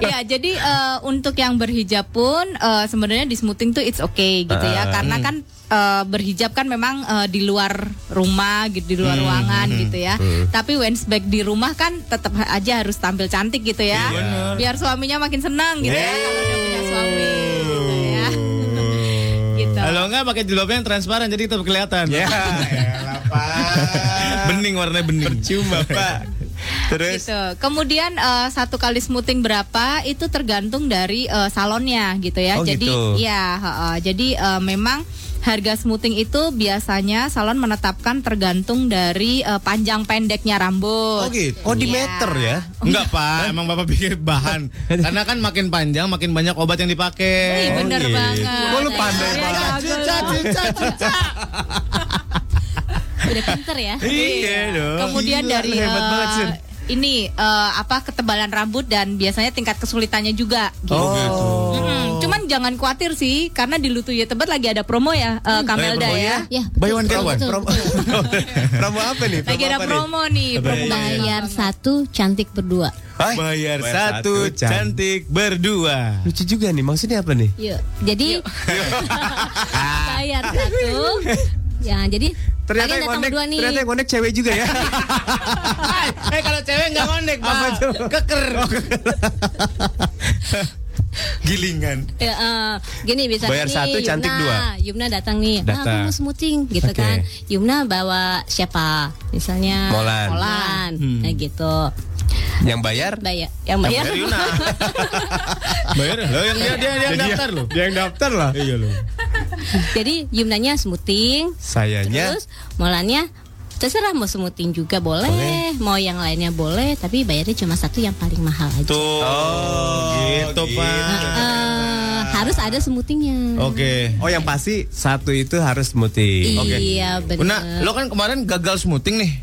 Ya, jadi eh, untuk yang berhijab pun eh, sebenarnya di smoothing tuh it's okay gitu ya,
Ah.
karena kan eh, berhijab kan memang eh, di luar rumah gitu, di luar ruangan gitu ya. Tapi once back di rumah kan tetap aja harus tampil cantik gitu ya, biar suaminya makin senang gitu ya kalau udah punya suami gitu ya. gitu.
Kalau enggak pakai jilbabnya yang transparan jadi tetap kelihatan.
Ya.
bening warnanya bening.
Percuma Pak. Terus
Gitu. Kemudian eh, satu kali smoothing berapa itu tergantung dari eh, salonnya gitu ya.
Oh,
jadi
gitu.
ya, heeh. jadi eh, memang harga smoothing itu biasanya salon menetapkan tergantung dari eh, panjang pendeknya rambut.
Oh di
Iya.
meter ya.
Enggak pak, emang bapak pikir bahan. Karena kan makin panjang, makin banyak obat yang
Wih,
dipakai. Oh, iya.
bener
gitu.
banget.
Wah, lu pandai
Iya,
banget.
jago lu.
udah pinter ya.
Iya dong.
Kemudian
Gila,
dari
lu hebat
eh,
banget, Sun.
ini eh, apa ketebalan rambut dan biasanya tingkat kesulitannya juga
Oh.
gitu. Mm-mm. Cuman jangan khawatir sih karena di Lutuye Tebet lagi ada promo ya eh,
Hmm.
Kamelda
Oh, iya,
ya.
Ya,
Buy one get one.
betul.
Promo, promo apa nih?
Lagi ada
apa nih?
promo nih, promo
Bayar satu, cantik berdua.
Hah?
Bayar satu, cantik berdua.
Lucu juga nih, maksudnya apa nih?
Yuk. Jadi bayar satu. Ya, jadi
Ternyata
kalian
yang
datang
konek,
berdua nih.
ternyata yang konek cewek juga ya.
Eh kalau cewek nggak ngondek pak, keker.
Gilingan.
Ya, eh, gini bisa
Bayar
nih,
satu, cantik
Yumna.
dua.
Yumna datang nih. Ah, aku
Datang.
mau smoothing gitu
Oke.
kan. Yumna bawa siapa? Misalnya
Molan. Hmm.
Molan. Nah, gitu.
Yang bayar?
Bayar yang bayar.
Bayar lo yang dia dia, dia yang daftar lo.
Dia yang daftar lah. Iya loh.
Jadi Yumnanya smoothing,
Ya.
Sayanya
terus Molannya terserah mau smoothing juga boleh, mau yang lainnya boleh, tapi bayarnya cuma satu yang paling mahal aja.
Tuh.
Oh,
gitu,
Eh,
pak.
eh, harus ada smoothingnya.
Hmm.
Oke.
Oh yang pasti satu itu harus muti.
Iya
Oh,
benar.
Una, lo kan kemarin gagal smoothing nih,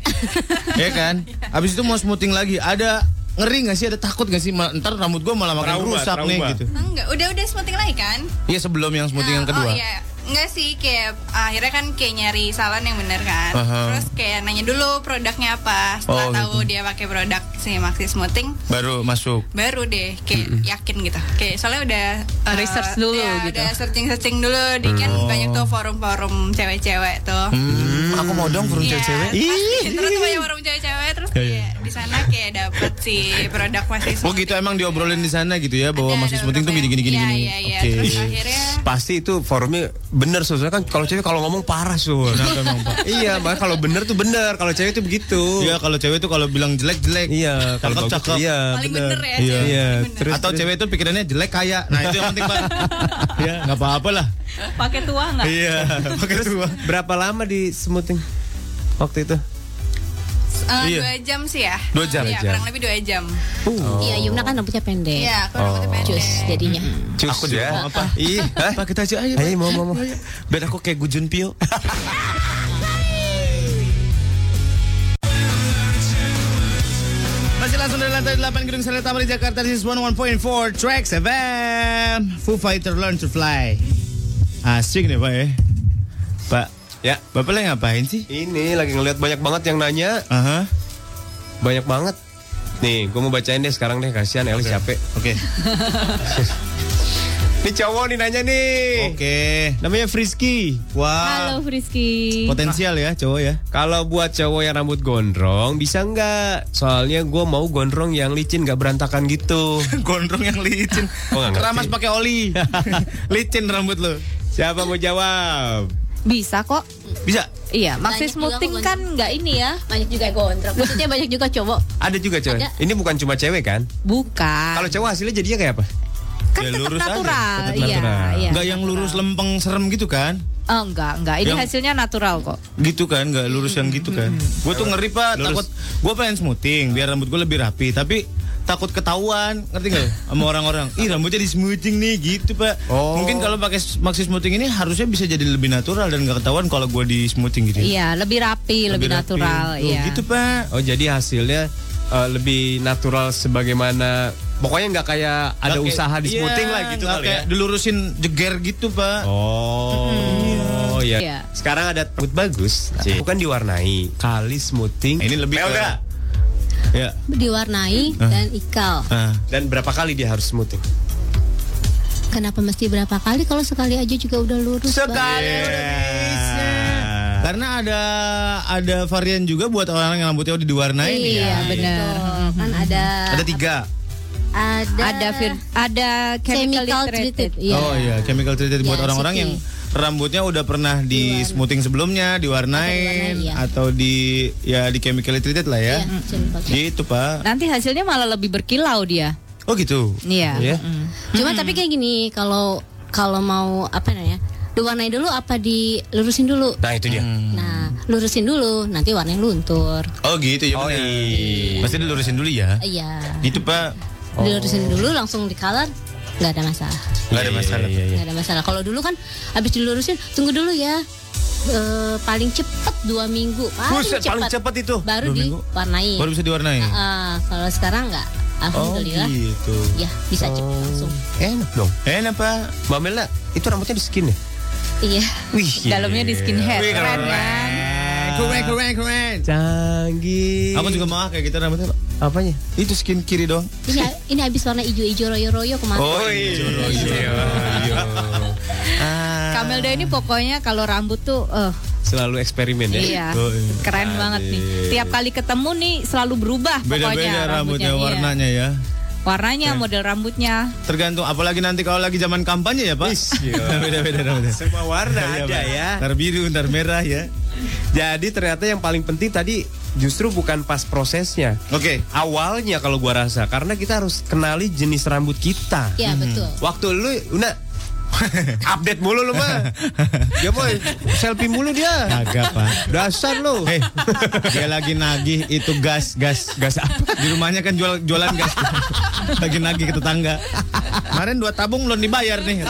ya kan? Abis itu mau smoothing lagi, ada ngeri nggak sih? Ada takut nggak sih? Ma- Ntar rambut gue malah makin
Trauma,
rusak nih
trauma.
gitu.
Enggak, udah udah smoothing lagi kan?
Iya sebelum yang smoothing yang
Nah,
kedua.
Oh iya. Enggak sih kayak akhirnya kan kayak nyari salon yang bener kan.
Aha.
Terus kayak nanya dulu produknya apa. Setelah
Oh,
tahu dia pakai produk si Maxi Smoothing
Baru masuk.
baru deh kayak yakin gitu. Kayak soalnya udah eh,
Research dulu
Iya,
ya,
gitu.
Udah searching-searching dulu di kan
Oh.
banyak tuh forum-forum cewek-cewek tuh.
Hmm.
Hmm.
Aku mau dong burung
Iya,
cewek-cewek.
pasti. Terus banyak forum cewek-cewek terus kayak di sana kayak dapet si produk Maxi
Oh
Smoothing.
gitu emang diobrolin di sana gitu ya bahwa
Ada,
masih
ada
smoothing tuh
beberapa
gini gini gini
yang-
gini.
Iya, iya, iya.
Oke.
Terus akhirnya
Pasti itu forumnya bener soalnya kan kalau cewek kalau ngomong parah sur. iya, makanya kalau bener tuh bener, kalau cewek tuh begitu.
Iya kalau cewek tuh kalau bilang jelek jelek.
Iya,
Cakep,
kalau bagus
cakep.
iya
Paling
bener.
bener ya,
Iya,
cewek
iya.
paling bener.
Terus
Atau
terus.
cewek tuh pikirannya jelek kaya. Nah itu yang penting pak. Iya nggak apa apa lah.
pakai tua nggak?
Iya. Pakai tua.
berapa lama di smoothing waktu itu?
Eh,
Iya.
dua jam sih ya.
Dua jam.
Iya,
Dua jam.
kurang lebih dua jam.
Uh. Oh.
Iya, Yumna kan rambutnya pendek.
Iya, kurang lebih pendek.
Cus jadinya.
Cus aku ya. apa? Ih, hah?
Pakai tajam aja. Pak.
Ayo mau mau mau. Biar aku kayak Gujun Pio.
Masih langsung dari lantai 8 gedung Sarjana Tamrin Jakarta This is 101.4 Tracks FM Foo Fighter Learn to Fly Asik nih Pak ya Pak
Ya.
Bapak lagi ngapain sih?
Ini lagi ngelihat banyak banget yang nanya,
Aha
banyak banget. Nih, gue mau bacain deh sekarang deh kasihan Elis capek.
Oke
Ini cowok nih nanya nih. Oke. Namanya Frisky. Wah.
Halo Frisky.
ya cowok ya. Kalau buat cowok yang rambut gondrong bisa nggak? Soalnya gue mau gondrong yang licin nggak berantakan gitu. gondrong yang licin.
Keramas pakai oli.
licin rambut lo. Siapa mau jawab?
Bisa kok.
Bisa.
Iya,
Nah,
Banyak
Maxi
gitu
juga
Smoothing
kok
kan nggak ini ya.
Banyak juga kontrak. Maksudnya banyak juga cowok.
Ada juga cowok.
Ada.
Ini bukan cuma cewek kan?
Bukan.
Ah.
Kalau cowok hasilnya jadinya kayak apa?
Kan tetap natural. Iya, iya.
Nggak yang lurus lempeng serem gitu kan?
Oh, enggak, enggak. Ini
Yang-
hasilnya natural kok.
Gitu kan, nggak lurus yang gitu kan?
Hmm.
Gue tuh ngeri pak, takut gue pengen smoothing biar rambut gue lebih rapi, tapi takut ketahuan, ngerti nggak lo? sama orang-orang? Ih rambutnya di smoothing nih gitu pak.
Oh.
Mungkin kalau pakai maxi smoothing ini harusnya bisa jadi lebih natural dan nggak ketahuan kalau gue di smoothing gitu.
Iya, lebih rapi, lebih,
rapi.
natural,
Tuh,
iya.
Gitu pak.
Oh jadi hasilnya eh, lebih natural sebagaimana pokoknya nggak kayak ada
Nggak kayak-
usaha di
iya,
smoothing lah gitu
nggak
kali ya.
kayak dilurusin jeger gitu pak.
Oh. Oh ya.
Iya.
Sekarang ada rambut bagus, Nah, bukan diwarnai, kali smoothing. Ini lebih Melda.
Eh.
Ya.
Diwarnai
Ah.
dan ikal.
Dan berapa kali dia harus smoothing?
Kenapa mesti berapa kali? Kalau sekali aja juga udah lurus. Sekali.
Iya.
Karena ada ada varian juga buat orang yang rambutnya udah diwarnai nih
Iya,
kan.
benar. Kan ada
Ada tiga.
ada
Ada fir- ada chemical treated. Iya.
Oh iya, chemical treated buat
Iya,
orang-orang
city.
yang rambutnya udah pernah di smoothing sebelumnya, diwarnain
iya.
atau di ya di chemical treated lah ya. Gitu, Pak.
Nanti hasilnya malah lebih berkilau dia.
Oh gitu.
Iya.
Oh, ya?
Cuma tapi kayak gini, kalau kalau mau apa namanya? Diwarnai dulu apa dilurusin dulu?
Nah, itu dia.
Mm.
Nah, lurusin dulu, nanti warnanya luntur.
Hmm. Oh gitu ya. Oh iya. Pasti dilurusin dulu ya.
Iya.
Gitu, Pak.
Dilurusin dulu langsung di color nggak ada masalah.
Gak
Iya,
ada masalah.
Nggak ada masalah. Kalau dulu kan habis dilurusin, tunggu dulu ya. Eh, paling cepet dua minggu. Paling
Buset, paling cepet itu.
Baru
Dua minggu.
diwarnai.
Baru Oh, bisa diwarnai.
Ah, ah. kalau sekarang nggak. Alhamdulillah.
gitu.
Ya, bisa cepet langsung.
Enak dong.
Enak, Pak.
Mbak Melda, itu rambutnya di skin ya?
Iya.
Wih.
Dalamnya di skinhead.
Wih,
Keren kan?
Keren, keren, keren.
Iya.
Canggih.
Aku juga mau kayak gitu rambutnya, Pak. Apanya? Itu skin kiri dong.
Ini ini habis warna ijo-ijo royo-royo kemarin.
Oh.
Iya.
Kamelda ini pokoknya kalau rambut tuh eh,
Selalu eksperimen ya.
iya,
Oh, iya.
keren banget nih. Tiap kali ketemu nih selalu berubah pokoknya
Beda-beda rambutnya,
iya.
warnanya ya.
Warnanya, model rambutnya.
Tergantung apalagi nanti kalau lagi zaman kampanye ya, Pak. Beda-beda rambutnya.
Semua warna
Iya,
iya. ada
Pak.
ya.
Ntar biru, ntar merah ya.
Jadi ternyata yang paling penting tadi justru bukan pas prosesnya.
Oke.
Awalnya kalau gua rasa karena kita harus kenali jenis rambut kita.
Iya,
Mhm.
betul.
Waktu lu Una update mulu lu mah. Ya boy, selfie mulu dia.
Kagak, Pak.
Dasar lu.
Eh, dia lagi nagih itu gas, gas, gas apa? Di rumahnya kan jual jualan gas. lagi nagih ke tetangga. Kemarin dua tabung belum dibayar nih.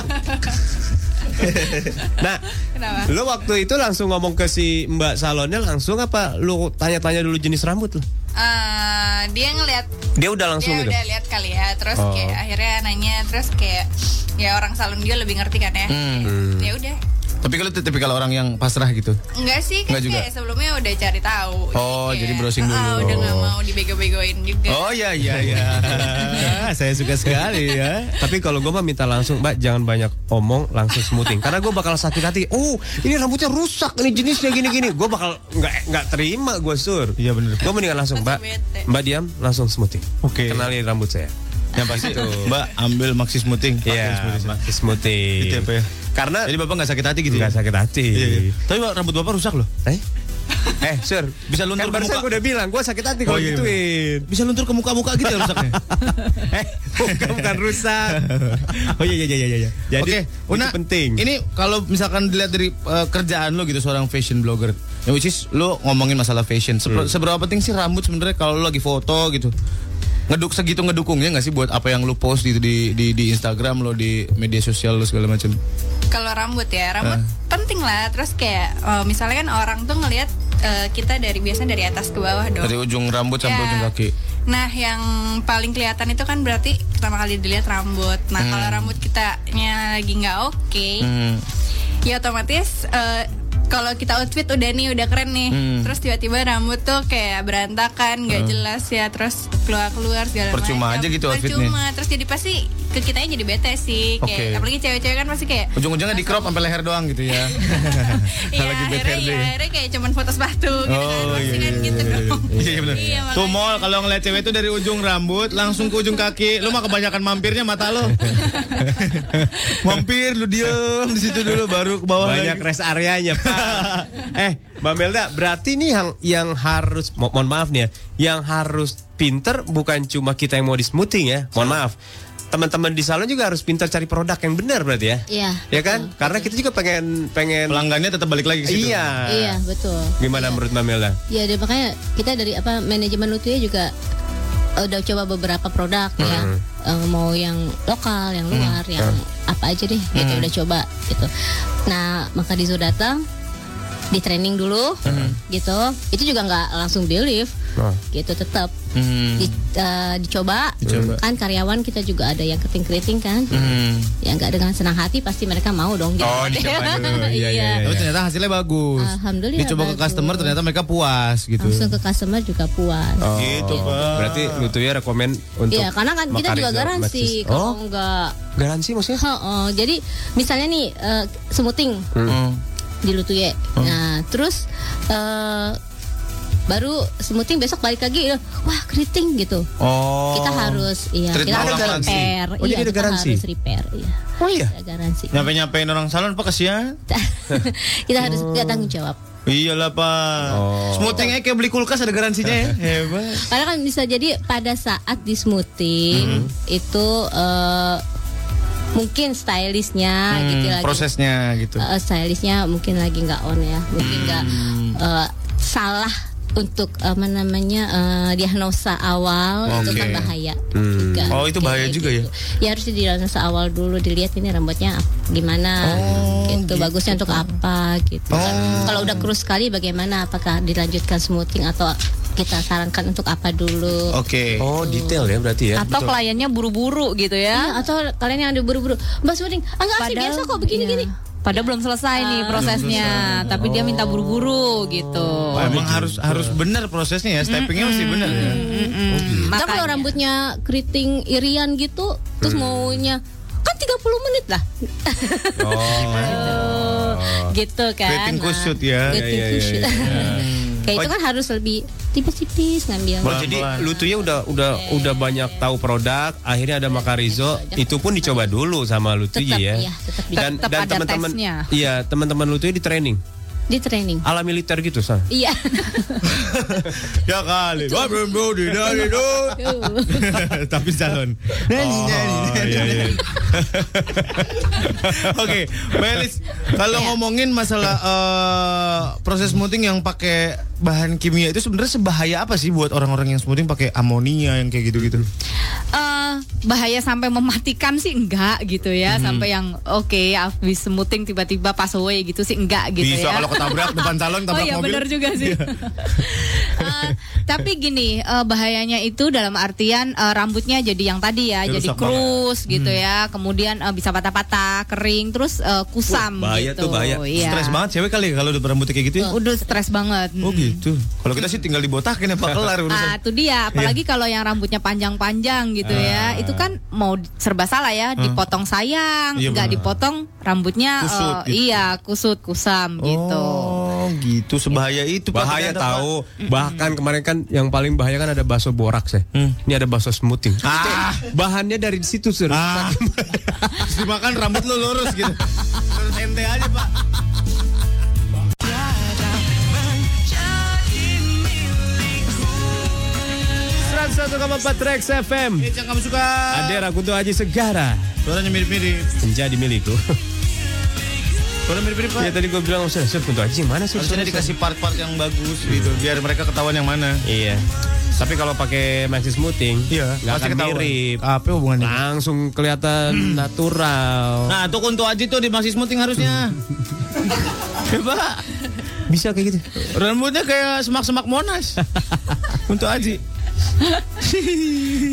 Nah,
Kenapa?
lu waktu itu langsung ngomong ke si Mbak salonnya langsung apa lu tanya-tanya dulu jenis rambut lu?
Eh, dia ngelihat
Dia udah langsung
dia
gitu.
udah lihat kali ya terus
Oh.
kayak akhirnya nanya terus kayak ya orang salon dia lebih ngerti kan ya ya udah
Tapi kalau tapi kalau orang yang pasrah gitu.
Enggak sih kan
Nggak juga?
kayak sebelumnya udah cari tahu
Oh, jadi browsing dulu.
Ah, udah nggak mau dibego-begoin juga
Oh iya iya iya. Ah, Saya suka sekali ya.
Tapi kalau gue mah minta langsung, Mbak jangan banyak omong, langsung smoothing. Karena gue bakal sakit hati. Oh, ini rambutnya rusak, ini jenisnya gini-gini. Gue bakal nggak nggak terima gue sur.
Iya bener.
Gue mendingan langsung, Mbak.
bete.
Mbak diam, langsung smoothing.
Oke.
Kenali rambut saya.
Yang pasti
Gitu.
Mbak ambil maxi smoothing. Pakai
Iya,
smoothing.
pakai smoothing.
Itu apa ya?
Karena
Jadi Bapak nggak sakit hati gitu.
nggak
ya?
sakit hati.
Iya, iya. Tapi Pak, rambut Bapak rusak loh.
Eh? Eh, sur,
Bisa luntur
kan
ke
barusan
muka.
gue udah bilang, gue sakit hati
Oh,
kalau
iya,
gituin.
Bisa luntur ke muka-muka gitu ya rusaknya.
eh, bukan, bukan rusak.
oh iya iya iya iya, iya.
Jadi, itu
Una,
penting.
Ini kalau misalkan dilihat dari uh, kerjaan lo gitu seorang fashion blogger. Ya which is lo ngomongin masalah fashion. Seber-
Hmm.
Seberapa penting sih rambut sebenarnya kalau lo lagi foto gitu? Ngeduk segitu ngedukungnya nggak sih buat apa yang lo post gitu di di di Instagram lo di media sosial lo segala macam.
kalau rambut ya rambut
Ah.
penting lah terus kayak eh, misalnya kan orang tuh ngelihat eh, kita dari biasanya dari atas ke bawah dong
Eh, Dari ujung rambut sampai
Ya.
ujung kaki.
Nah, yang paling kelihatan itu kan berarti pertama kali dilihat rambut. Nah,
Hmm.
kalau rambut kitanya lagi nggak oke,
Hmm.
ya otomatis eh,
kalau kita outfit udah nih udah keren nih
Hmm.
terus tiba-tiba rambut tuh kayak berantakan nggak
Eh.
jelas ya terus keluar-keluar segala
Percuma
macam.
aja gitu outfitnya.
percuma terus jadi pasti ke kitanya jadi bete sih kayak
Oke.
apalagi cewek-cewek kan pasti kayak
Ujung-ujungnya di crop sampai leher doang gitu ya.
Iya,
Lagi bad
akhirnya,
hair
iya,
day.
akhirnya kayak cuman foto sepatu gitu kan
Oh
Pasti kan gitu dong
Iya iya, bener.
Iya,
Tuh mall kalau ngeliat cewek itu dari ujung rambut langsung ke ujung kaki. Lu mah kebanyakan mampirnya mata lu. Mampir lu diem di situ dulu baru ke bawah
Banyak
lagi.
rest areanya, Pak. eh, Mbak Melda, berarti nih yang yang harus mo- mohon maaf nih ya, yang harus pinter bukan cuma kita yang mau di smoothing ya. Mohon maaf. Teman-teman di salon juga harus pintar cari produk yang benar berarti ya.
Iya.
Ya kan? Karena kita juga pengen pengen
pelanggannya tetap balik lagi
ke situ. Iya.
Iya, betul.
Gimana menurut Mbak Melda?
Ya, dan makanya kita dari apa manajemen lutunya juga eh, udah coba beberapa produk ya.
Hmm.
Eh, mau yang lokal, yang luar, yang apa aja deh gitu
Hmm.
udah coba gitu. Nah, maka Dizo datang di training dulu
Hmm.
gitu. Itu juga nggak langsung di lift
Oh.
Nah.
gitu tetap
Hmm.
di- eh, dicoba.
Dicoba.
Kan karyawan kita juga ada yang keting-keting kan.
Hmm.
Ya nggak dengan senang hati pasti mereka mau dong gitu.
Oh, dicoba dulu. Iya, iya, iya. Tapi ternyata hasilnya bagus.
Alhamdulillah
Dicoba ke customer ternyata mereka puas gitu.
langsung ke customer juga puas.
Gitu, Pak. Berarti Lutu ya rekomen untuk
Iya, karena kan kita juga
Makarizo
garansi
Matches.
kalau
Oh,
enggak.
garansi maksudnya?
Heeh, jadi misalnya nih eh, semuting
Hmm.
di Lutuye. Nah, terus eh, baru semuting besok balik lagi eh, wah keriting gitu.
Oh.
Kita harus iya,
Treatment
kita harus
ulang lagi.
repair.
Oh, jadi
iya,
ada
kita
garansi?
harus repair, iya.
Oh iya.
Ada garansi.
Nyampe-nyampein orang salon pak kasihan.
Kita harus kita tanggung jawab.
Iyalah pak. Smoothingnya kayak beli kulkas ada garansinya ya. Hebat.
Karena kan bisa jadi pada saat di
Hmm.
smoothing itu eh, mungkin stylistnya
Hmm,
gitu lagi
prosesnya gitu.
eh, stylistnya mungkin lagi nggak on ya, mungkin
Hmm.
nggak eh, salah untuk eh, apa namanya eh, diagnosa awal itu kan
Oke.
bahaya.
Hmm.
juga.
Oh, itu bahaya
Kayak
juga ya?
Ya harus diagnosa awal dulu dilihat ini rambutnya ap- gimana,
Oh,
gitu, bagusnya untuk apa gitu. kan. Kalau udah kurus sekali bagaimana? Apakah dilanjutkan smoothing atau kita sarankan untuk apa dulu?
Oke.
Oh, detail ya berarti ya.
Atau
Betul.
kliennya buru-buru gitu ya.
Iya, atau kalian yang ada buru-buru. Mbak smoothing, ah enggak sih
Padahal- iya.
biasa kok begini-gini.
iya.
Padahal belum selesai
Ah.
nih prosesnya, tapi dia
Oh.
minta buru-buru gitu.
Wah, emang harus harus benar prosesnya ya. Steppingnya mesti benar ya.
Oh, gitu.
Tapi kalau rambutnya keriting irian gitu, terus maunya kan 30 menit lah. gitu kan.
Oh, Keriting
Nah,
kusut ya.
keriting
Iya, iya,
kusut.
iya, iya.
Kayak itu kan harus lebih tipis-tipis ngambil.
Oh, jadi Lutunya udah udah udah banyak tahu produk, akhirnya ada Makarizo, itu pun dicoba dulu sama Lutunya
Tetap,
ya.
iya,
dan
tetap dicoba.
dan
Tetap ada
teman-teman
tesnya.
iya, teman-teman Lutunya di training.
di training.
Ala militer gitu, San.
Iya.
Ya kali. Wah, belum belum, tidak, tidak. Tapi salon. Oh, iya, iya. Oke, Melis, kalau ngomongin masalah eh, proses smoothing yang pakai bahan kimia itu sebenarnya sebahaya apa sih buat orang-orang yang smoothing pakai amonia yang kayak gitu-gitu?
eh bahaya sampai mematikan sih enggak gitu
Mm-hmm.
ya
Mhm.
sampai yang oke habis smoothing tiba-tiba pass away gitu sih enggak gitu
Bisa
ya
kalau ketabrak depan salon
oh
tabrak
iya
mobil.
benar juga sih
Iya.
Eh, tapi gini eh, bahayanya itu dalam artian eh, rambutnya jadi yang tadi ya
Rusak
jadi
banget.
krus gitu
Hmm.
ya kemudian eh, bisa patah-patah kering terus eh, kusam
bahaya
gitu
tuh bahaya.
Iya.
Stres banget cewek kali ya kalau udah berambutnya kayak gitu. ya?
udah stres banget
Oh gitu. Kalau kita sih tinggal dibotakin apa kelar
Ah,
urusan.
itu dia. Apalagi kalau yang rambutnya panjang-panjang gitu ya,
Ah. Hmm.
itu kan mau serba salah ya, dipotong sayang,
Iya,
nggak
benar.
dipotong rambutnya, eh,
Kusut gitu.
iya kusut kusam gitu.
Oh gitu sebahaya itu Pak.
Bahaya
Ternyata, Pak.
tahu. Bahkan kemarin kan yang paling bahaya kan ada bakso boraks ya. Ini ada bakso smoothing.
Hmm. Ah.
Bahannya dari situ, Sur.
Terus dimakan rambut lo lurus gitu. Terus ente aja pak.
Trax FM.
Yang kamu suka.
Ada Rakunto Haji Segara.
Suaranya mirip-mirip.
Menjadi milikku.
Suara mirip-mirip pak.
Ya tadi gue bilang, Sur, Sur, Kunto Haji mana, Sur?
Harusnya
Sur, Sur?"
dikasih part-part yang bagus gitu biar mereka ketahuan yang mana.
Iya. Tapi kalau pakai maxi smoothing, nggak
pasti
akan
ketahuan.
Iya, mirip. Nah.
Apa hubungannya?
Langsung kelihatan natural.
Nah, tuh kuntu aja tuh di masih smoothing harusnya. Coba.
Bisa kayak gitu.
Rambutnya kayak semak-semak Monas. Kuntu Aji.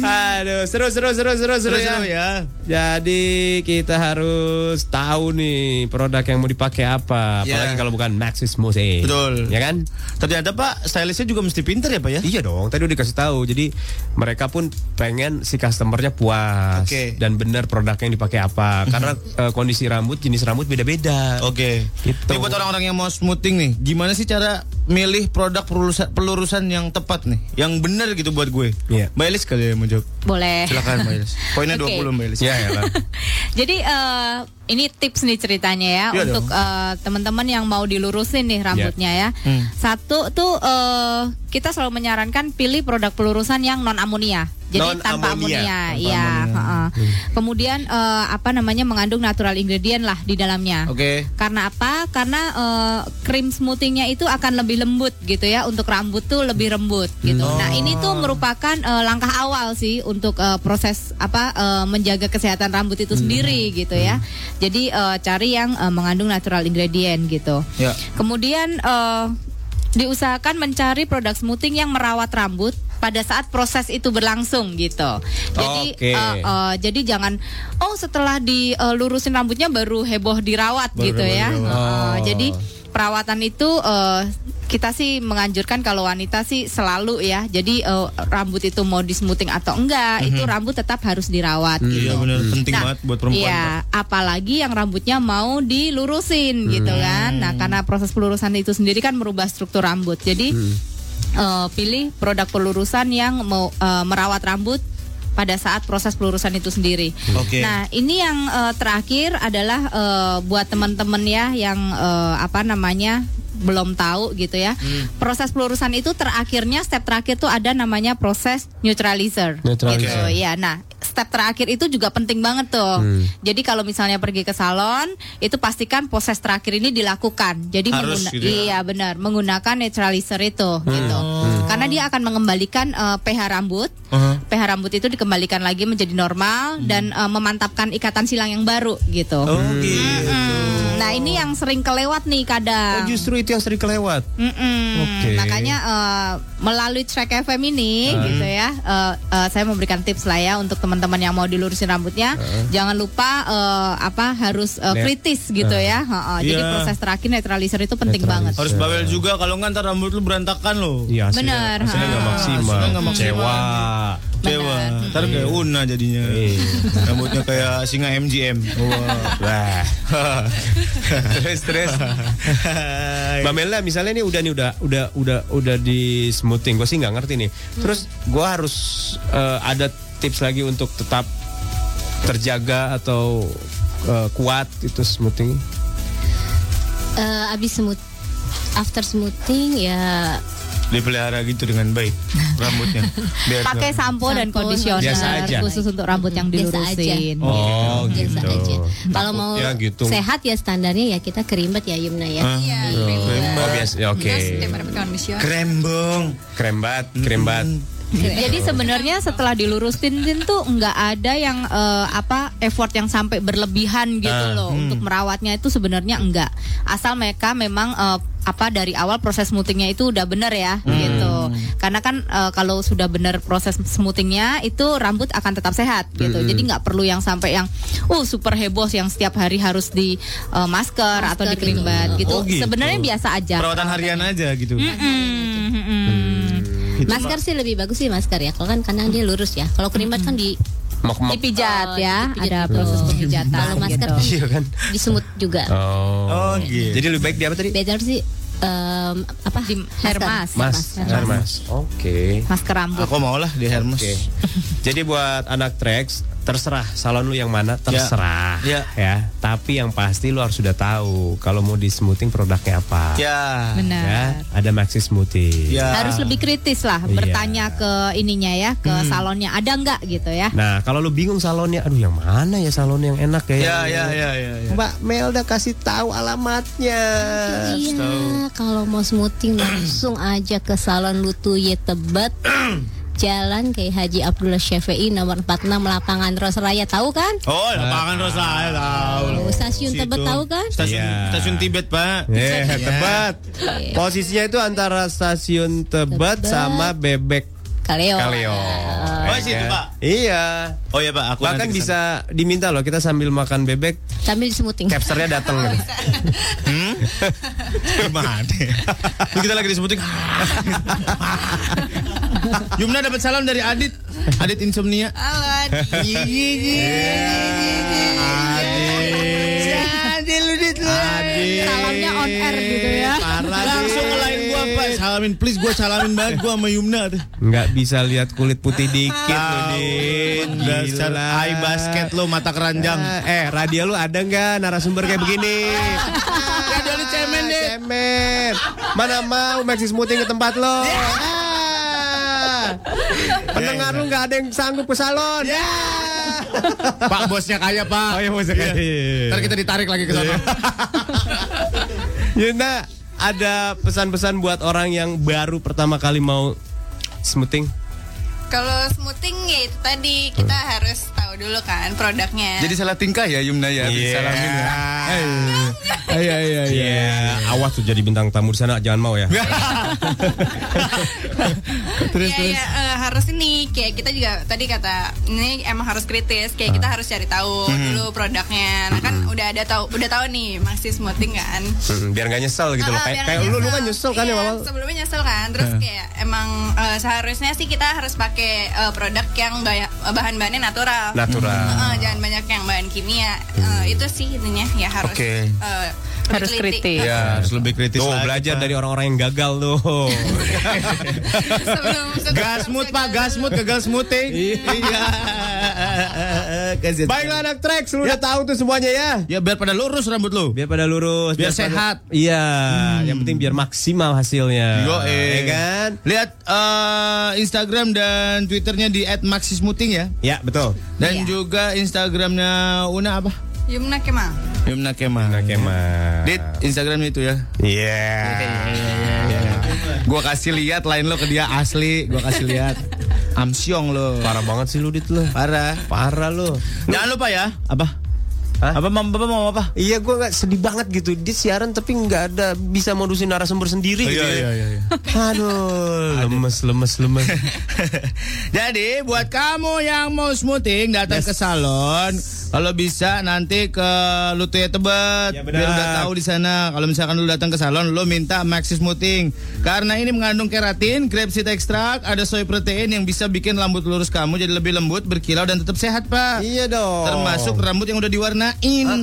Aduh, seru seru seru seru seru, ya.
Seru-seru ya.
Jadi kita harus tahu nih produk yang mau dipakai apa,
Ya.
apalagi kalau bukan Maxis Music.
Betul.
Ya kan?
Ternyata Pak, stylistnya juga mesti pinter ya Pak ya?
Iya dong, tadi udah dikasih tahu. Jadi mereka pun pengen si customernya puas
Oke.
dan benar produknya yang dipakai apa. Karena eh, kondisi rambut, jenis rambut beda-beda.
Oke.
Gitu.
Ini buat orang-orang yang mau smoothing nih, gimana sih cara milih produk pelurusan, pelurusan yang tepat nih, yang benar gitu buat gue?
Iya.
Mbak Elis kali ya mau jawab.
Boleh.
Silakan Mbak Elis. Poinnya
Eh. Oke.
20 Mbak Elis.
Iya, iyalah.
Jadi eh, ini tips nih ceritanya ya
Iya
untuk
dong.
eh, teman-teman yang mau dilurusin nih rambutnya ya.
Hmm.
Satu tuh eh, kita selalu menyarankan pilih produk pelurusan yang non amonia. Jadi tanpa
Non-amonia.
amonia,
Tanpa
iya.
amonia.
heeh.
Hmm.
Kemudian eh, apa namanya mengandung natural ingredient lah di dalamnya.
Oke.
Karena apa? Karena eh, krim smoothingnya itu akan lebih lembut gitu ya untuk rambut tuh lebih lembut gitu. Nah ini tuh merupakan eh, langkah awal sih untuk eh, proses apa eh, menjaga kesehatan rambut itu sendiri gitu ya. Jadi eh, cari yang eh, mengandung natural ingredient gitu.
Ya.
Kemudian eh, diusahakan mencari produk smoothing yang merawat rambut pada saat proses itu berlangsung gitu. Jadi
Oke.
eh, eh, jadi jangan oh setelah dilurusin rambutnya baru heboh dirawat
Baru
gitu
heboh
ya.
dirawat.
Eh,
Oh.
jadi perawatan itu eh, kita sih menganjurkan kalau wanita sih selalu ya. Jadi eh, rambut itu mau di smoothing atau enggak itu
Mhm.
rambut tetap harus dirawat gitu.
Iya benar
Hmm.
penting
Nah,
banget buat perempuan.
Iya,
Pak. Hmm.
apalagi yang rambutnya mau dilurusin gitu kan. Nah, karena proses pelurusan itu sendiri kan merubah struktur rambut. Jadi
Hmm.
eh, pilih produk pelurusan yang mau eh, merawat rambut pada saat proses pelurusan itu sendiri.
Oke.
Nah, ini yang eh, terakhir adalah eh, buat teman-teman ya yang eh, apa namanya belum tahu gitu ya.
Hmm.
Proses pelurusan itu terakhirnya step terakhir tuh ada namanya proses neutralizer.
Neutralizer.
Gitu, ya. Nah, step terakhir itu juga penting banget tuh.
Hmm.
Jadi kalau misalnya pergi ke salon, itu pastikan proses terakhir ini dilakukan. Jadi
Harus
mengguna-
gitu ya. Hmm.
iya benar, menggunakan neutralizer itu gitu. Karena dia akan mengembalikan eh, pH rambut.
Uh-huh.
pH rambut itu dikembalikan lagi menjadi normal dan eh, memantapkan ikatan silang yang baru gitu.
Hmm. Oh gitu.
Hmm, Nah, ini yang sering kelewat nih kadang.
Oh, Justru itu yang sering kelewat.
Mm-mm.
Oke.
Makanya eh, melalui Track FM ini gitu ya, eh, eh, saya memberikan tips lah ya untuk teman-teman yang mau dilurusin rambutnya, jangan lupa eh, apa harus eh,
Net-
kritis gitu ya. Heeh. Jadi
Iya.
proses terakhir netralizer itu penting banget.
Harus bawel juga kalau enggak ntar rambut lu berantakan loh.
Iya, hasilnya-
Benar,
Hasilnya nggak
ha.
maksimal.
Hasilnya nggak maksimal.
Kecewa.
Dewa, ntar kayak
Iya.
Una jadinya. Rambutnya kayak singa MGM. Wah.
Terus terus. Mbak Mela misalnya nih udah nih udah udah udah udah di smoothing. Gue sih nggak ngerti nih. Terus gue harus eh, ada tips lagi untuk tetap terjaga atau eh, kuat itu smoothing.
Eh, abis smooth after smoothing ya
Dipelihara gitu dengan baik rambutnya. Biar
Pakai
nggak-
sampo dan
Sampo,
Biasa
kondisioner
aja.
khusus untuk rambut yang
Biasa
dilurusin.
Oh
biasa
gitu.
aja. Iya, Kalau mau
Takutnya gitu.
sehat ya standarnya ya kita kerimet ya Yumna ya.
Ah,
Oh, biasa. Ya, Oke.
Kan
Conditioner.
Krembong.
Krembat, krembat.
Gitu.
Jadi sebenarnya setelah dilurusin Din, tuh nggak ada yang eh, apa effort yang sampai berlebihan gitu
Nah, hmm.
Ah,
loh untuk merawatnya itu sebenarnya enggak. Asal mereka memang eh, apa dari awal proses smoothingnya itu udah bener ya
Hmm.
gitu. Karena kan eh, kalau sudah bener proses smoothingnya itu rambut akan tetap sehat gitu.
Hmm.
Jadi nggak perlu yang sampai yang uh super heboh yang setiap hari harus di eh, masker, atau di kerimbat gitu.
Oh, gitu.
Sebenarnya biasa aja. Hmm,
Perawatan harian aja gitu.
Mm-mm, mm-mm.
Itu
Masker sih lebih bagus sih masker ya. Kalau kan kadang dia lurus ya. Kalau kerimet kan di
Mok-mok.
dipijat
Oh,
ya,
dipijat
ada
dulu.
proses pemijatan.
Kalau masker
gitu.
kan
Iya kan?
disemut juga.
Oh.
Oh gitu.
Jadi lebih baik dia apa tadi?
Better sih em, apa?
Di hair mask.
Mas,
Masker.
Mas. Oke.
masker rambut.
Aku mau lah di Hermes.
Oke. Jadi buat anak Trax terserah salon lu yang mana terserah
Ya.
ya. Tapi yang pasti lu harus sudah tahu kalau mau di smoothing produknya apa.
Ya.
Benar.
Ya, ada Maxi Smoothing.
Ya.
Harus lebih kritis lah,
Iya. Hmm.
bertanya ke ininya ya, ke salonnya ada nggak gitu ya.
Nah, kalau lu bingung salonnya, aduh yang mana ya salon yang enak ya?
Ya ya ya ya. ya.
Mbak Melda kasih tahu alamatnya.
Iya, kalau mau smoothing langsung aja ke salon Lutuye Tebet. Jalan Kiai Haji Abdullah Syafi'i nomor 46 lapangan Rosraya tahu kan?
Oh, lapangan Rosa ya, tahu.
Oh, stasiun
Situ.
Tebet tahu kan?
Stasiun
Iya.
Stasiun Tibet, Pak. Iya.
Eh, tebat. Posisinya itu antara stasiun
Tebet.
Tebet, sama Bebek
Oh,
Kaleo.
Kaleo.
Nah,
Ya kan? Iya.
Oh iya Pak, aku
Bahkan
nanti
bisa diminta loh kita sambil makan bebek
Sambil disemuting.
capsernya datang gitu.
Gimana? Lu kita lagi disebutin. Yumna dapat salam dari Adit. Adit insomnia.
Halo, Adi.
Jadi lu dit lu.
Salamnya on air gitu ya.
Langsung ngelain gua Pak. Salamin please gua salamin banget gua sama Yumna.
Nggak bisa lihat kulit putih
Gitu,
dikit loh, Dit.
Dasar
Gila.
eye basket lu mata keranjang.
Eh, radio lu ada nggak narasumber kayak begini?
Radio lu cemen deh.
Cemen. Mana mau Maxi Smoothie ke tempat lo? Pendengar lu nggak ada yang sanggup ke salon.
Pak bosnya kaya Pak.
Oh iya mau sekali.
Ntar kita ditarik lagi ke sana.
Iya.
Yuna, ada pesan-pesan buat orang yang baru pertama kali mau smoothing?
Kalau smoothing ya itu tadi kita harus tahu dulu kan produknya.
Jadi salah tingkah ya Yumna ya.
Iya.
Salamin ya. Iya iya
Iya, awas tuh jadi bintang tamu di sana, jangan mau ya.
Iya, iya, eh, harus ini kayak kita juga tadi kata ini emang harus
Ah.
kritis kayak kita harus cari tahu
Mm-hmm.
dulu produknya. Nah kan udah ada tahu udah tahu nih maxi smoothing kan.
Hmm, biar nggak nyesel gitu loh.
Ah,
Kayak,
biar
kayak
nggak
lu, lu kan nyesel kan
Iya,
ya awal.
Sebelumnya nyesel kan. Terus
Ah.
kayak emang eh, seharusnya sih kita harus pakai eh, produk yang baya- bahan-bahannya natural.
Natural.
Heeh, jangan banyak yang bahan kimia. Eh,
Hmm.
itu sih intinya ya harus
Oke.
eh, lebih
Harus
teliti. Iya.
kritis.
Ya, harus lebih kritis
Tuh
lagi,
belajar
Pak.
dari orang-orang yang gagal tuh.
Sebelum- sebelum-
Gasmut Pak, gasmut gagal smoothing. Iya. Kasihan.
Baiklah anak Trax, lu udah tahu tuh semuanya ya.
Ya biar pada lurus rambut lu.
Biar pada lurus,
Biar
pada-
sehat.
Iya, yang penting biar maksimal hasilnya.
Yo,
Ya kan?
Lihat eh, Instagram dan Twitternya di @maxismuting ya.
Ya, betul.
Dan
Iya.
juga Instagramnya Una apa?
Yumna Kemal.
Yumna Kemal.
Nah, Kemal.
Dit, Instagramnya itu ya.
Iya.
Gua kasih lihat lain lo ke dia asli, gua kasih lihat. Amsyong lo.
Parah banget sih lu dit lu.
Parah.
Parah lu.
Jangan lupa ya. Apa?
Hah?
Apa mam, apa mau apa?
Iya, gue nggak sedih banget gitu. Dia siaran tapi nggak ada bisa modusin narasumber sendiri. gitu ya.
iya.
Aduh, lemes, lemes, lemes.
Jadi buat kamu yang mau smoothing datang ke salon, kalau bisa nanti ke Lutu ya Tebet.
Ya, benar.
biar udah tahu di sana. Kalau misalkan lu datang ke salon, lu minta Maxi Smoothing. Karena ini mengandung keratin, grape seed extract, ada soy protein yang bisa bikin rambut lurus kamu jadi lebih lembut, berkilau dan tetap sehat, Pak.
iya dong.
Termasuk rambut yang udah diwarnain.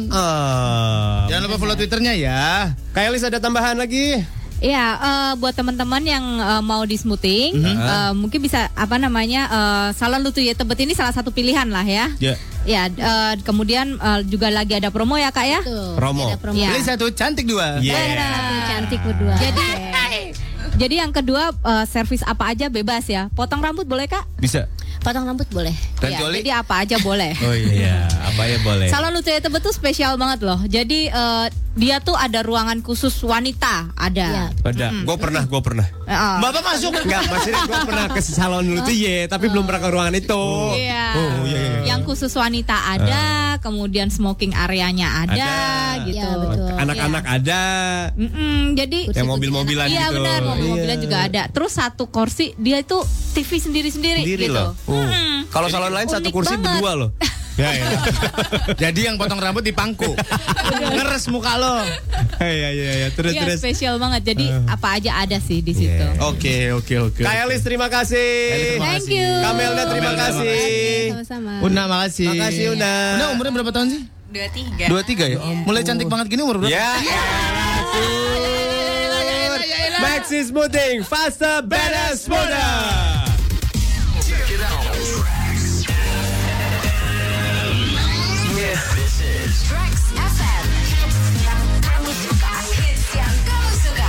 Ah.
Jangan lupa follow Twitternya ya.
Kayak Elis ada tambahan lagi?
Iya, eh, buat teman-teman yang eh, mau di smoothing,
Hmm.
eh, mungkin bisa apa namanya eh, salon lutu ya tebet ini salah satu pilihan lah ya.
Ya.
Ya, eh, kemudian eh, juga lagi ada promo ya kak ya.
Tuh,
Romo.
ada promo.
Iya.
Beli
ya.
satu, cantik dua.
Iya.
Satu cantik berdua.
Jadi, jadi yang kedua eh, servis apa aja bebas ya. Potong rambut boleh kak?
Bisa.
potong rambut boleh.
Iya,
Kecuali-
jadi apa aja boleh.
Oh iya, apa ya boleh.
Salon Lutu ya Tebet tuh spesial banget loh. Jadi eh, dia tuh ada ruangan khusus wanita,
Iya.
ada.
Ada. Gue pernah, gue pernah.
Heeh.
Bapak masuk? Enggak, maksudnya gue pernah ke salon dulu tuh ya, tapi belum pernah ke ruangan itu.
Iya.
Oh, iya, iya, iya.
Yang khusus wanita ada, kemudian smoking areanya ada,
Ada.
gitu.
Iya, betul.
Anak-anak ada.
Mm-mm, jadi
Yang mobil-mobilan
Iya
gitu.
benar, mobil-mobilan
Iya.
juga ada. Terus satu kursi dia itu TV sendiri-sendiri
Sendiri
gitu.
loh. Oh. Kalau salon lain
unik
satu kursi
banget.
berdua loh. Ya, iya.
Jadi yang potong rambut di pangku. Ngeres muka lo.
Iya, iya, iya. Terus,
Iya,
terus.
spesial banget. Jadi
Ah.
apa aja ada sih
Iya.
di situ.
Oke, oke, oke.
Kak Elis, terima kasih.
Thank you.
Kamelda, terima
Kamelda,
kasih.
Sama-sama.
Una makasih.
Makasih, Una.
Una umurnya berapa tahun sih?
Dua tiga.
23
Iya.
ya. Mulai cantik banget gini umur berapa?
Ya. Maxi Smoothing, faster, better, smoother.
Trax FM. Hits yang kamu suka. Hits yang kamu suka.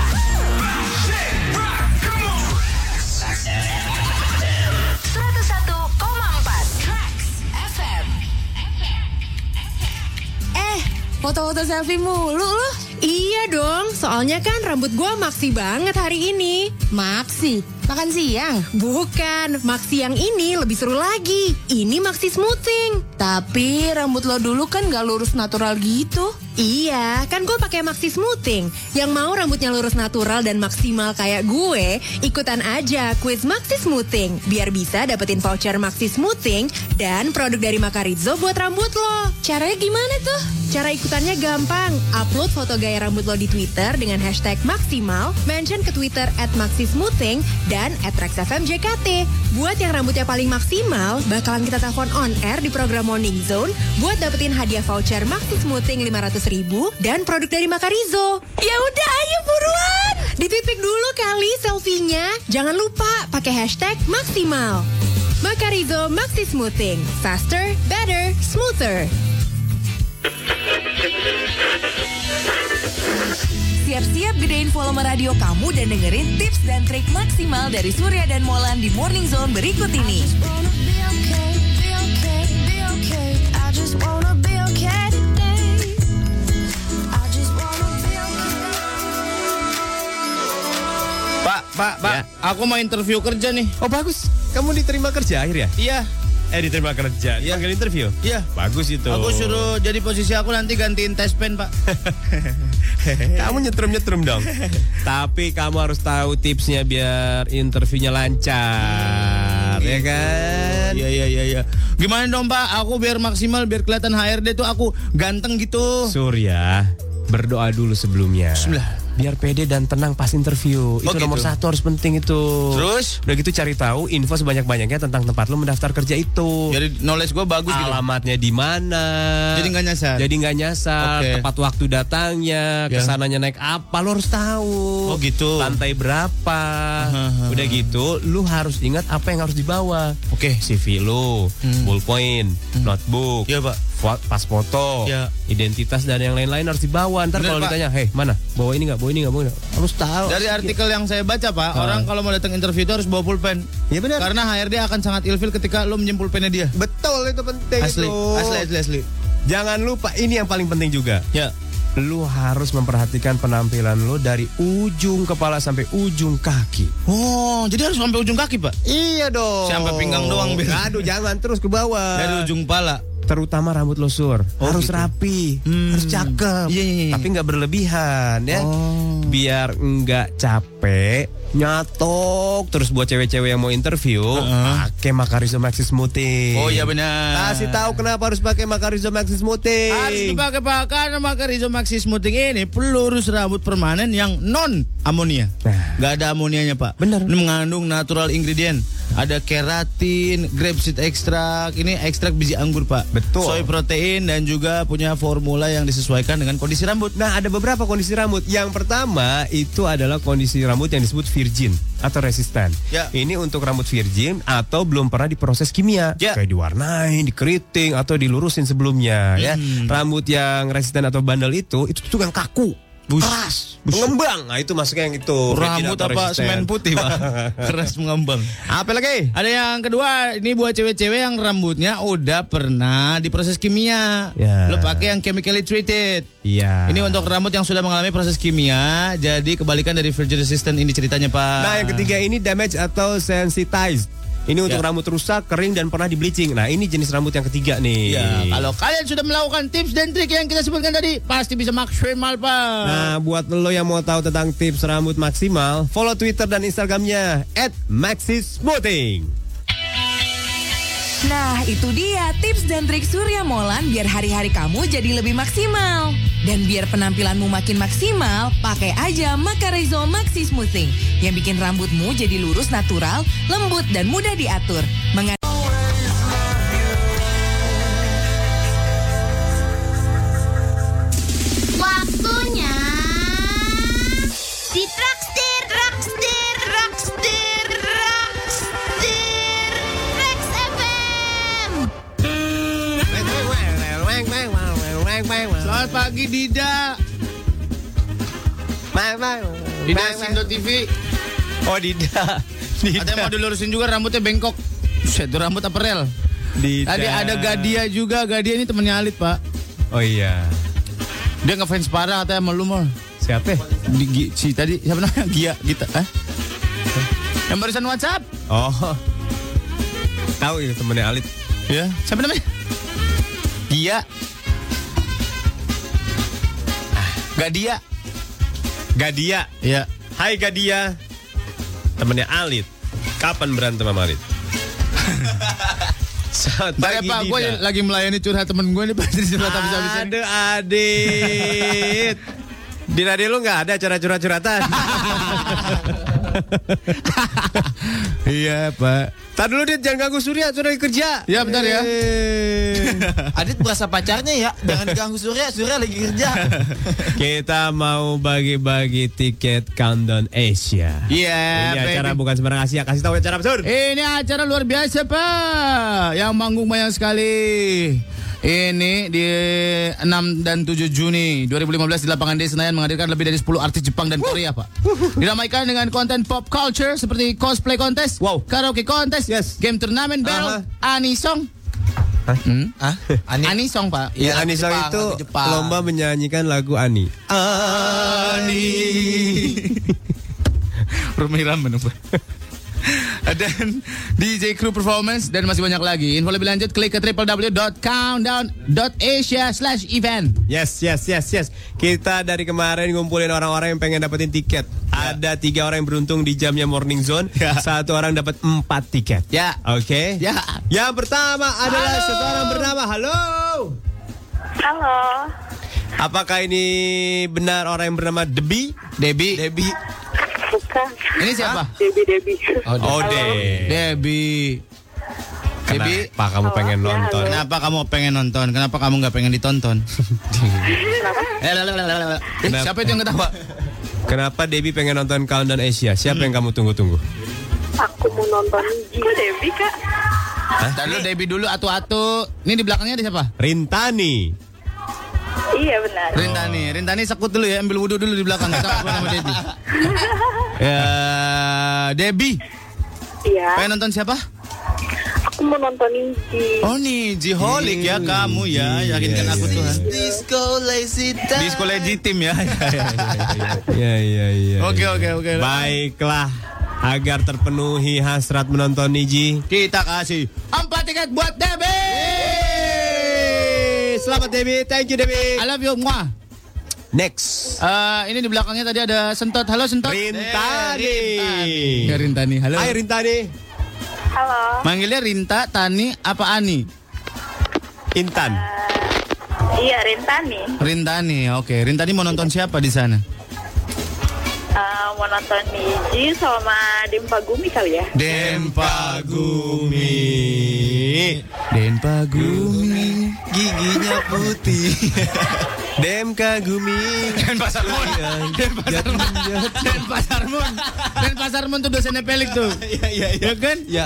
Trax FM. 101,4 Trax FM.
Eh, foto-foto selfie mulu lu. Iya dong, soalnya kan rambut gua maksi banget hari ini. Maksi? Makan siang? Bukan, maksi yang ini lebih seru lagi. Ini maksi smoothing. Tapi rambut lo dulu kan gak lurus natural gitu.
Iya, kan gue pakai Maxi Smoothing. Yang mau rambutnya lurus natural dan maksimal kayak gue, ikutan aja quiz Maxi Smoothing biar bisa dapetin voucher Maxi Smoothing dan produk dari Makarizo buat rambut lo. Caranya gimana tuh? Cara ikutannya gampang. Upload foto gaya rambut lo di Twitter dengan hashtag maksimal, mention ke Twitter at Maxi Smoothing dan at Rex FM JKT. Buat yang rambutnya paling maksimal, bakalan kita telepon on air di program Morning Zone buat dapetin hadiah voucher Maxi Smoothing 500 ribu dan produk dari Makarizo. Ya udah, ayo buruan! Dititip dulu kali selfie-nya. Jangan lupa pakai hashtag maksimal. Makarizo Maxi Smoothing. Faster, better, smoother.
Siap-siap gedein volume radio kamu dan dengerin tips dan trik maksimal dari Surya dan Molan di Morning Zone berikut ini.
Pak, Pak, Pak,
Ya.
aku mau interview kerja nih.
Oh bagus, kamu diterima kerja akhirnya?
Iya.
Eh diterima kerja, iya. panggil interview?
Iya.
Bagus itu.
Aku suruh jadi posisi aku nanti gantiin tes pen, Pak.
kamu nyetrum-nyetrum dong. Tapi kamu harus tahu tipsnya biar interviewnya lancar, ya kan?
Gitu. Iya, iya, iya, iya. Gimana dong, Pak? Aku biar maksimal biar kelihatan HRD tuh aku ganteng gitu.
Surya, berdoa dulu sebelumnya.
Bismillah.
Biar pede dan tenang pas interview. Itu
Oh, gitu.
nomor satu harus penting itu.
Terus?
Udah gitu cari tahu info sebanyak-banyaknya tentang tempat lo mendaftar kerja itu.
Jadi knowledge gue bagus gitu.
Alamatnya di mana?
Jadi nggak nyasar?
Jadi nggak nyasar.
Oke.
Tepat waktu
Ya.
datangnya. Kesananya naik apa? Lo harus tahu.
Oh, gitu.
Lantai berapa? Udah gitu, lo harus ingat apa yang harus dibawa. Eh,
Oke.
CV lo,
Hmm.
ballpoint, notebook,
Iya, Pak.
fo- pas foto,
Ya.
identitas dan yang lain-lain harus dibawa. Ntar
Bener,
kalau
Pak.
ditanya, hei mana? Bawa ini nggak? Bawa ini nggak? Bawa ini nggak?" Harus tahu.
Dari artikel yang saya baca pak, orang kalau mau datang interview itu harus bawa pulpen.
Iya benar.
Karena HRD akan sangat ilfil ketika lo menyem pulpennya dia.
Betul itu penting
Asli,
itu.
asli, asli, asli.
Jangan lupa ini yang paling penting juga.
Ya.
Lu harus memperhatikan penampilan lu dari ujung kepala sampai ujung kaki.
Oh, jadi harus sampai ujung kaki pak?
Iya dong.
Sampai pinggang doang, Bil.
Aduh, jangan terus ke bawah.
Dari ujung pala.
terutama rambut lo sur
Oh,
harus
gitu.
rapi, harus cakep,
Iya, iya, iya.
tapi nggak berlebihan ya,
Oh.
biar nggak capek nyatok terus buat cewek-cewek yang mau interview pakai Makarizo Maxi Smoothing.
Oh iya benar.
Kasih tahu kenapa harus pakai Makarizo Maxi Smoothing.
Harus dipakai pak karena maka Maxi Smoothing ini pelurus rambut permanen yang non amonia.
Nah.
Gak ada amonianya pak.
Benar.
Ini mengandung natural ingredient. Ada keratin, grape seed extract, ini ekstrak biji anggur pak.
Betul.
Soy protein dan juga punya formula yang disesuaikan dengan kondisi rambut.
Nah, ada beberapa kondisi rambut. Yang pertama itu adalah kondisi rambut yang disebut virgin atau resisten.
Ya.
Ini untuk rambut virgin atau belum pernah diproses kimia,
Ya.
kayak diwarnain, dikeriting atau dilurusin sebelumnya ya.
Hmm.
Rambut yang resisten atau bandel itu itu tukang kaku. Keras, mengembang. Nah, itu masuknya yang itu. virgin
Rambut
atau
apa
resisten.
semen putih pak? Keras mengembang.
Apa lagi?
Ada yang kedua, ini buat cewek-cewek yang rambutnya udah pernah diproses kimia.
Ya.
Lo pakai yang chemically treated.
Iya.
Ini untuk rambut yang sudah mengalami proses kimia, jadi kebalikan dari virgin resistant ini ceritanya pak.
Nah, yang ketiga ini damage atau sensitized. Ini untuk
Ya.
rambut rusak, kering dan pernah di bleaching. Nah, ini jenis rambut yang ketiga nih.
Ya, kalau kalian sudah melakukan tips dan trik yang kita sebutkan tadi, pasti bisa maksimal pak.
Nah, buat lo yang mau tahu tentang tips rambut maksimal, follow Twitter dan Instagramnya @maxismoothing.
Nah itu dia tips dan trik Surya Molan biar hari-hari kamu jadi lebih maksimal. Dan biar penampilanmu makin maksimal, pakai aja Makarizo Maxi Smoothing yang bikin rambutmu jadi lurus natural, lembut dan mudah diatur. Mengan-
Waktunya di Trakstir, Trakstir, Trakstir, Trakstir, Trax FM.
Selamat pagi Dida. Dida Sindo TV.
Oh, Dida. Dida.
Ada yang mau dilurusin juga rambutnya bengkok. Buset, itu rambut apa rel?
Dida.
Tadi ada Gadia juga. Gadia ini temennya Alit, Pak.
Oh iya.
Dia ngefans parah katanya sama lu, Mol.
Siapa? ya?
Di, Gi- si tadi siapa namanya? Gia, Gita. Hah? Yang barusan WhatsApp?
Oh. Tahu itu temennya Alit.
Ya, siapa namanya? Gia. Gadia.
Gadia.
Ya.
Hai Gadia. Temennya Alit. Kapan berantem sama Alit? Saat
Bentar ya, Pak, gue lagi melayani curhat temen gue nih Pak. Jadi curhat habis-habisan.
Aduh, Adit. Di radio lu nggak ada acara curhat-curhatan.
iya, Pak.
Tar dulu, Dit. Jangan ganggu Surya. Surya lagi kerja.
Ya, bentar ya.
Adit berasa pacarnya ya. Jangan ganggu Surya, Surya lagi kerja.
Kita mau bagi-bagi tiket Countdown Asia.
Iya,
Ini acara
baby.
bukan sembarang Asia. Kasih tahu acara apa, Sur.
Ini acara luar biasa, Pak. Yang manggung banyak sekali. Ini di 6 dan 7 Juni 2015 di lapangan D Senayan menghadirkan lebih dari 10 artis Jepang dan Korea, Pak. Dinamaikan dengan konten pop culture seperti cosplay contest, wow. karaoke contest, game turnamen, battle, anisong. Hmm?
Hah? Ani-
Anisong, Pak. Iya,
Ya, Ani Song
Jepang,
itu
lagu Jepang.
lomba menyanyikan lagu Ani.
Ani. Rumah Iram menunggu. dan DJ Crew Performance dan masih banyak lagi. Info lebih lanjut klik ke www.countdown.asia slash event.
Yes, yes, yes, yes. Kita dari kemarin ngumpulin orang-orang yang pengen dapetin tiket. Ada tiga orang yang beruntung di jamnya Morning Zone. Satu orang dapat empat tiket.
Ya.
Oke.
Ya.
Yang pertama adalah seseorang bernama Halo.
Halo.
Apakah ini benar orang yang bernama Debi?
Debi.
Debi.
Bukan.
Ini siapa?
Debi Debi.
Oh, Debi.
Debi. Debi.
Kenapa kamu
ya,
pengen
Halo.
nonton?
Kenapa kamu pengen nonton? Kenapa kamu nggak pengen ditonton? Eh, lah, lah, lah, lah, lah. Eh,
Kenapa?
siapa itu yang ketawa?
Kenapa Debi pengen nonton Countdown Asia? Siapa yang kamu tunggu-tunggu?
Aku mau nonton Niji. Kok Debi kak?
Tadi dulu Debi dulu atu-atu. Ini di belakangnya ada siapa?
Rintani.
Iya benar.
Rintani. Rintani sekut dulu ya, ambil wudhu dulu di belakang. Kita ngobrol sama Debi. Ya, Debi.
Iya.
Eh, Pengen nonton siapa?
Aku mau nonton Niji.
Oh nih, Jiholic ya kamu ya. Yakinkan aku Tuhan.
Disco lazy time.
Disco legitim ya.
Iya, iya, iya.
Oke,
iya.
oke, oke.
Baiklah. Agar terpenuhi hasrat menonton Niji.
Kita kasih empat tiket buat Debi.
Selamat Debi, thank you Debi.
I love you, muah.
Next.
Eh, ini di belakangnya tadi ada sentot. Halo sentot.
Rintani.
Ya Rintani. Halo.
Hai Rintani.
Halo.
Manggilnya Rinta, Tani, apa Ani?
Intan.
Iya Rintani.
Rintani, oke. Rintani mau nonton siapa di sana?
Eh, mau nonton Niji sama Dempa Gumi kali ya.
Gumi.
Den Pagumi
Giginya putih.
Dem Kagumi. Iya,
Den Pasar Mun Den Pasar Mun Den Pasar Mun Den Pasar Mun tuh dosennya Pelik tuh
Iya, iya, iya.
Ya kan?
Ya.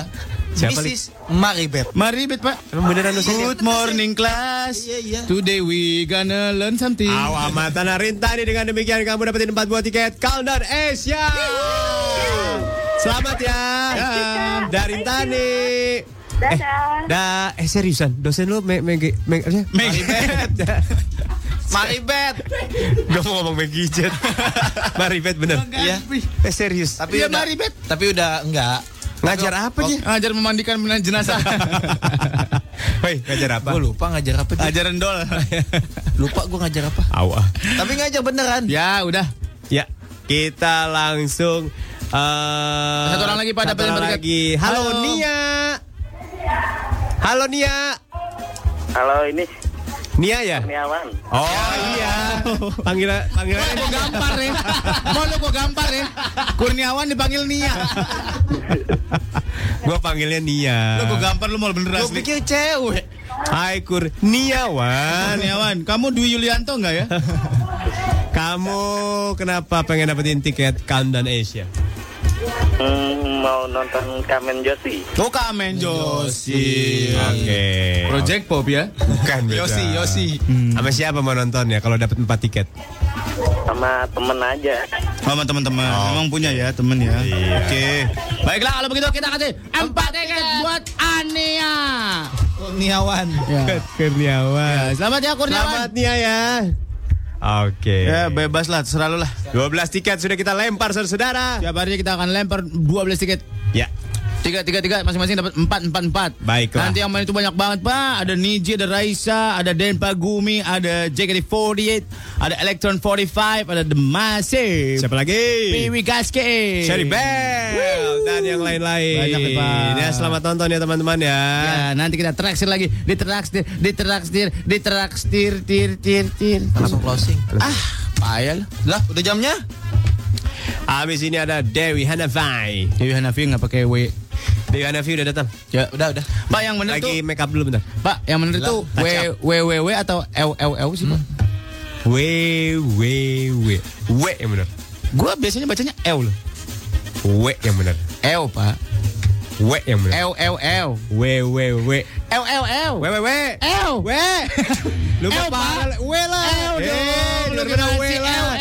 Siapa,
Mrs. Maribet.
Mari bet pak
Emang beneran dosen ya?
Good morning class
Iya, iya.
Today we gonna learn something
Awamatana Rintani dengan demikian kamu dapetin 4 buah tiket Countdown Asia. Selamat ya. Dari Rintani.
Eh,
Dadah.
Dah, eh seriusan, dosen lu me, me, me, apa sih? Maribet.
Maribet.
Gua mau ngomong Megijit. Maribet bener.
Iya.
Eh serius.
Tapi
Iya
udah,
mari bet
Tapi udah Oh. enggak.
Ngajar apa dia?
Ajar memandikan benar jenazah
Hei, ngajar apa?
Gue lupa ngajar apa. Dia.
Ajaran dol
Lupa gue ngajar apa.
Awah.
Tapi ngajar beneran.
Ya udah
Ya, kita langsung eh,
Satu orang lagi, Pak,
satu
dapetin
orang
berkat.
lagi. Halo,
Halo.
Nia. Halo Nia.
Halo ini
Nia ya?
Kurniawan.
Oh, iya. Panggilan panggilan
Mau gampar ya Mau lu gua gampar ya Kurniawan dipanggil Nia
gua panggilnya Nia.
Lu gua gampar lu mau bener
Gue
asli
pikir cewek.
Hai Kurniawan.
Ah, Kurniawan Kamu Dwi Yulianto nggak ya
Kamu kenapa pengen dapetin tiket Countdown Asia?
Hmm, mau nonton Kamen Josi.
Oh Kamen Josi
Oke.
Project Pop ya
bukan beda.
Yosi, Yosi.
Sama siapa mau nonton ya kalau dapat 4 tiket?
Sama temen aja.
sama teman-teman. Emang punya ya temen ya.
Iya.
Oke. Baiklah kalau begitu kita kasih empat tiket buat Ania. Iya.
Kurniawan.
Kurniawan.
Selamat ya Kurniawan.
Selamat Nia ya. Oke.
Ya bebas lah, terserah lu lah.
12 tiket sudah kita lempar saudara-saudara.
Tiap hari kita akan lempar 12 tiket.
Ya.
Tiga, tiga, tiga, masing-masing dapat empat, empat, empat.
Baiklah.
Nanti yang main itu banyak banget, Pak. Ada Niji, ada Raisa, ada Den Pagumi, ada JKT48, ada Electron 45, ada The Massive.
Siapa lagi?
Piwi Gaskin.
Sherry Bell dan yang lain-lain.
Banyak ya, Pak.
Ya, selamat tonton ya teman-teman ya.
Ya, nanti kita teraksir lagi. Diteraksir, diteraksir, diteraksir, tir, tir, tir.
Langsung closing.
Ah, payah
Lah, udah jamnya?
Habis ini ada Dewi Hanafai.
Dewi Hanafi nggak pakai W.
Dewi Hanafi udah datang.
Ya,
udah, udah.
Pak yang bener
Lagi
tuh,
make up dulu bentar.
Pak yang bener
Lah,
tuh W
touch up.
W W W atau L L L sih, Pak?
W W W W yang benar.
Gua biasanya bacanya L loh.
W yang benar.
L, Pak.
W yang benar.
L L L.
W W W
L L L.
W W W
L.
W. Lupa
L, Eh. Pak.
parah, W lah.
L dong,
Eh,
lu
bener-bener
generasi
Eh, W lah.
L,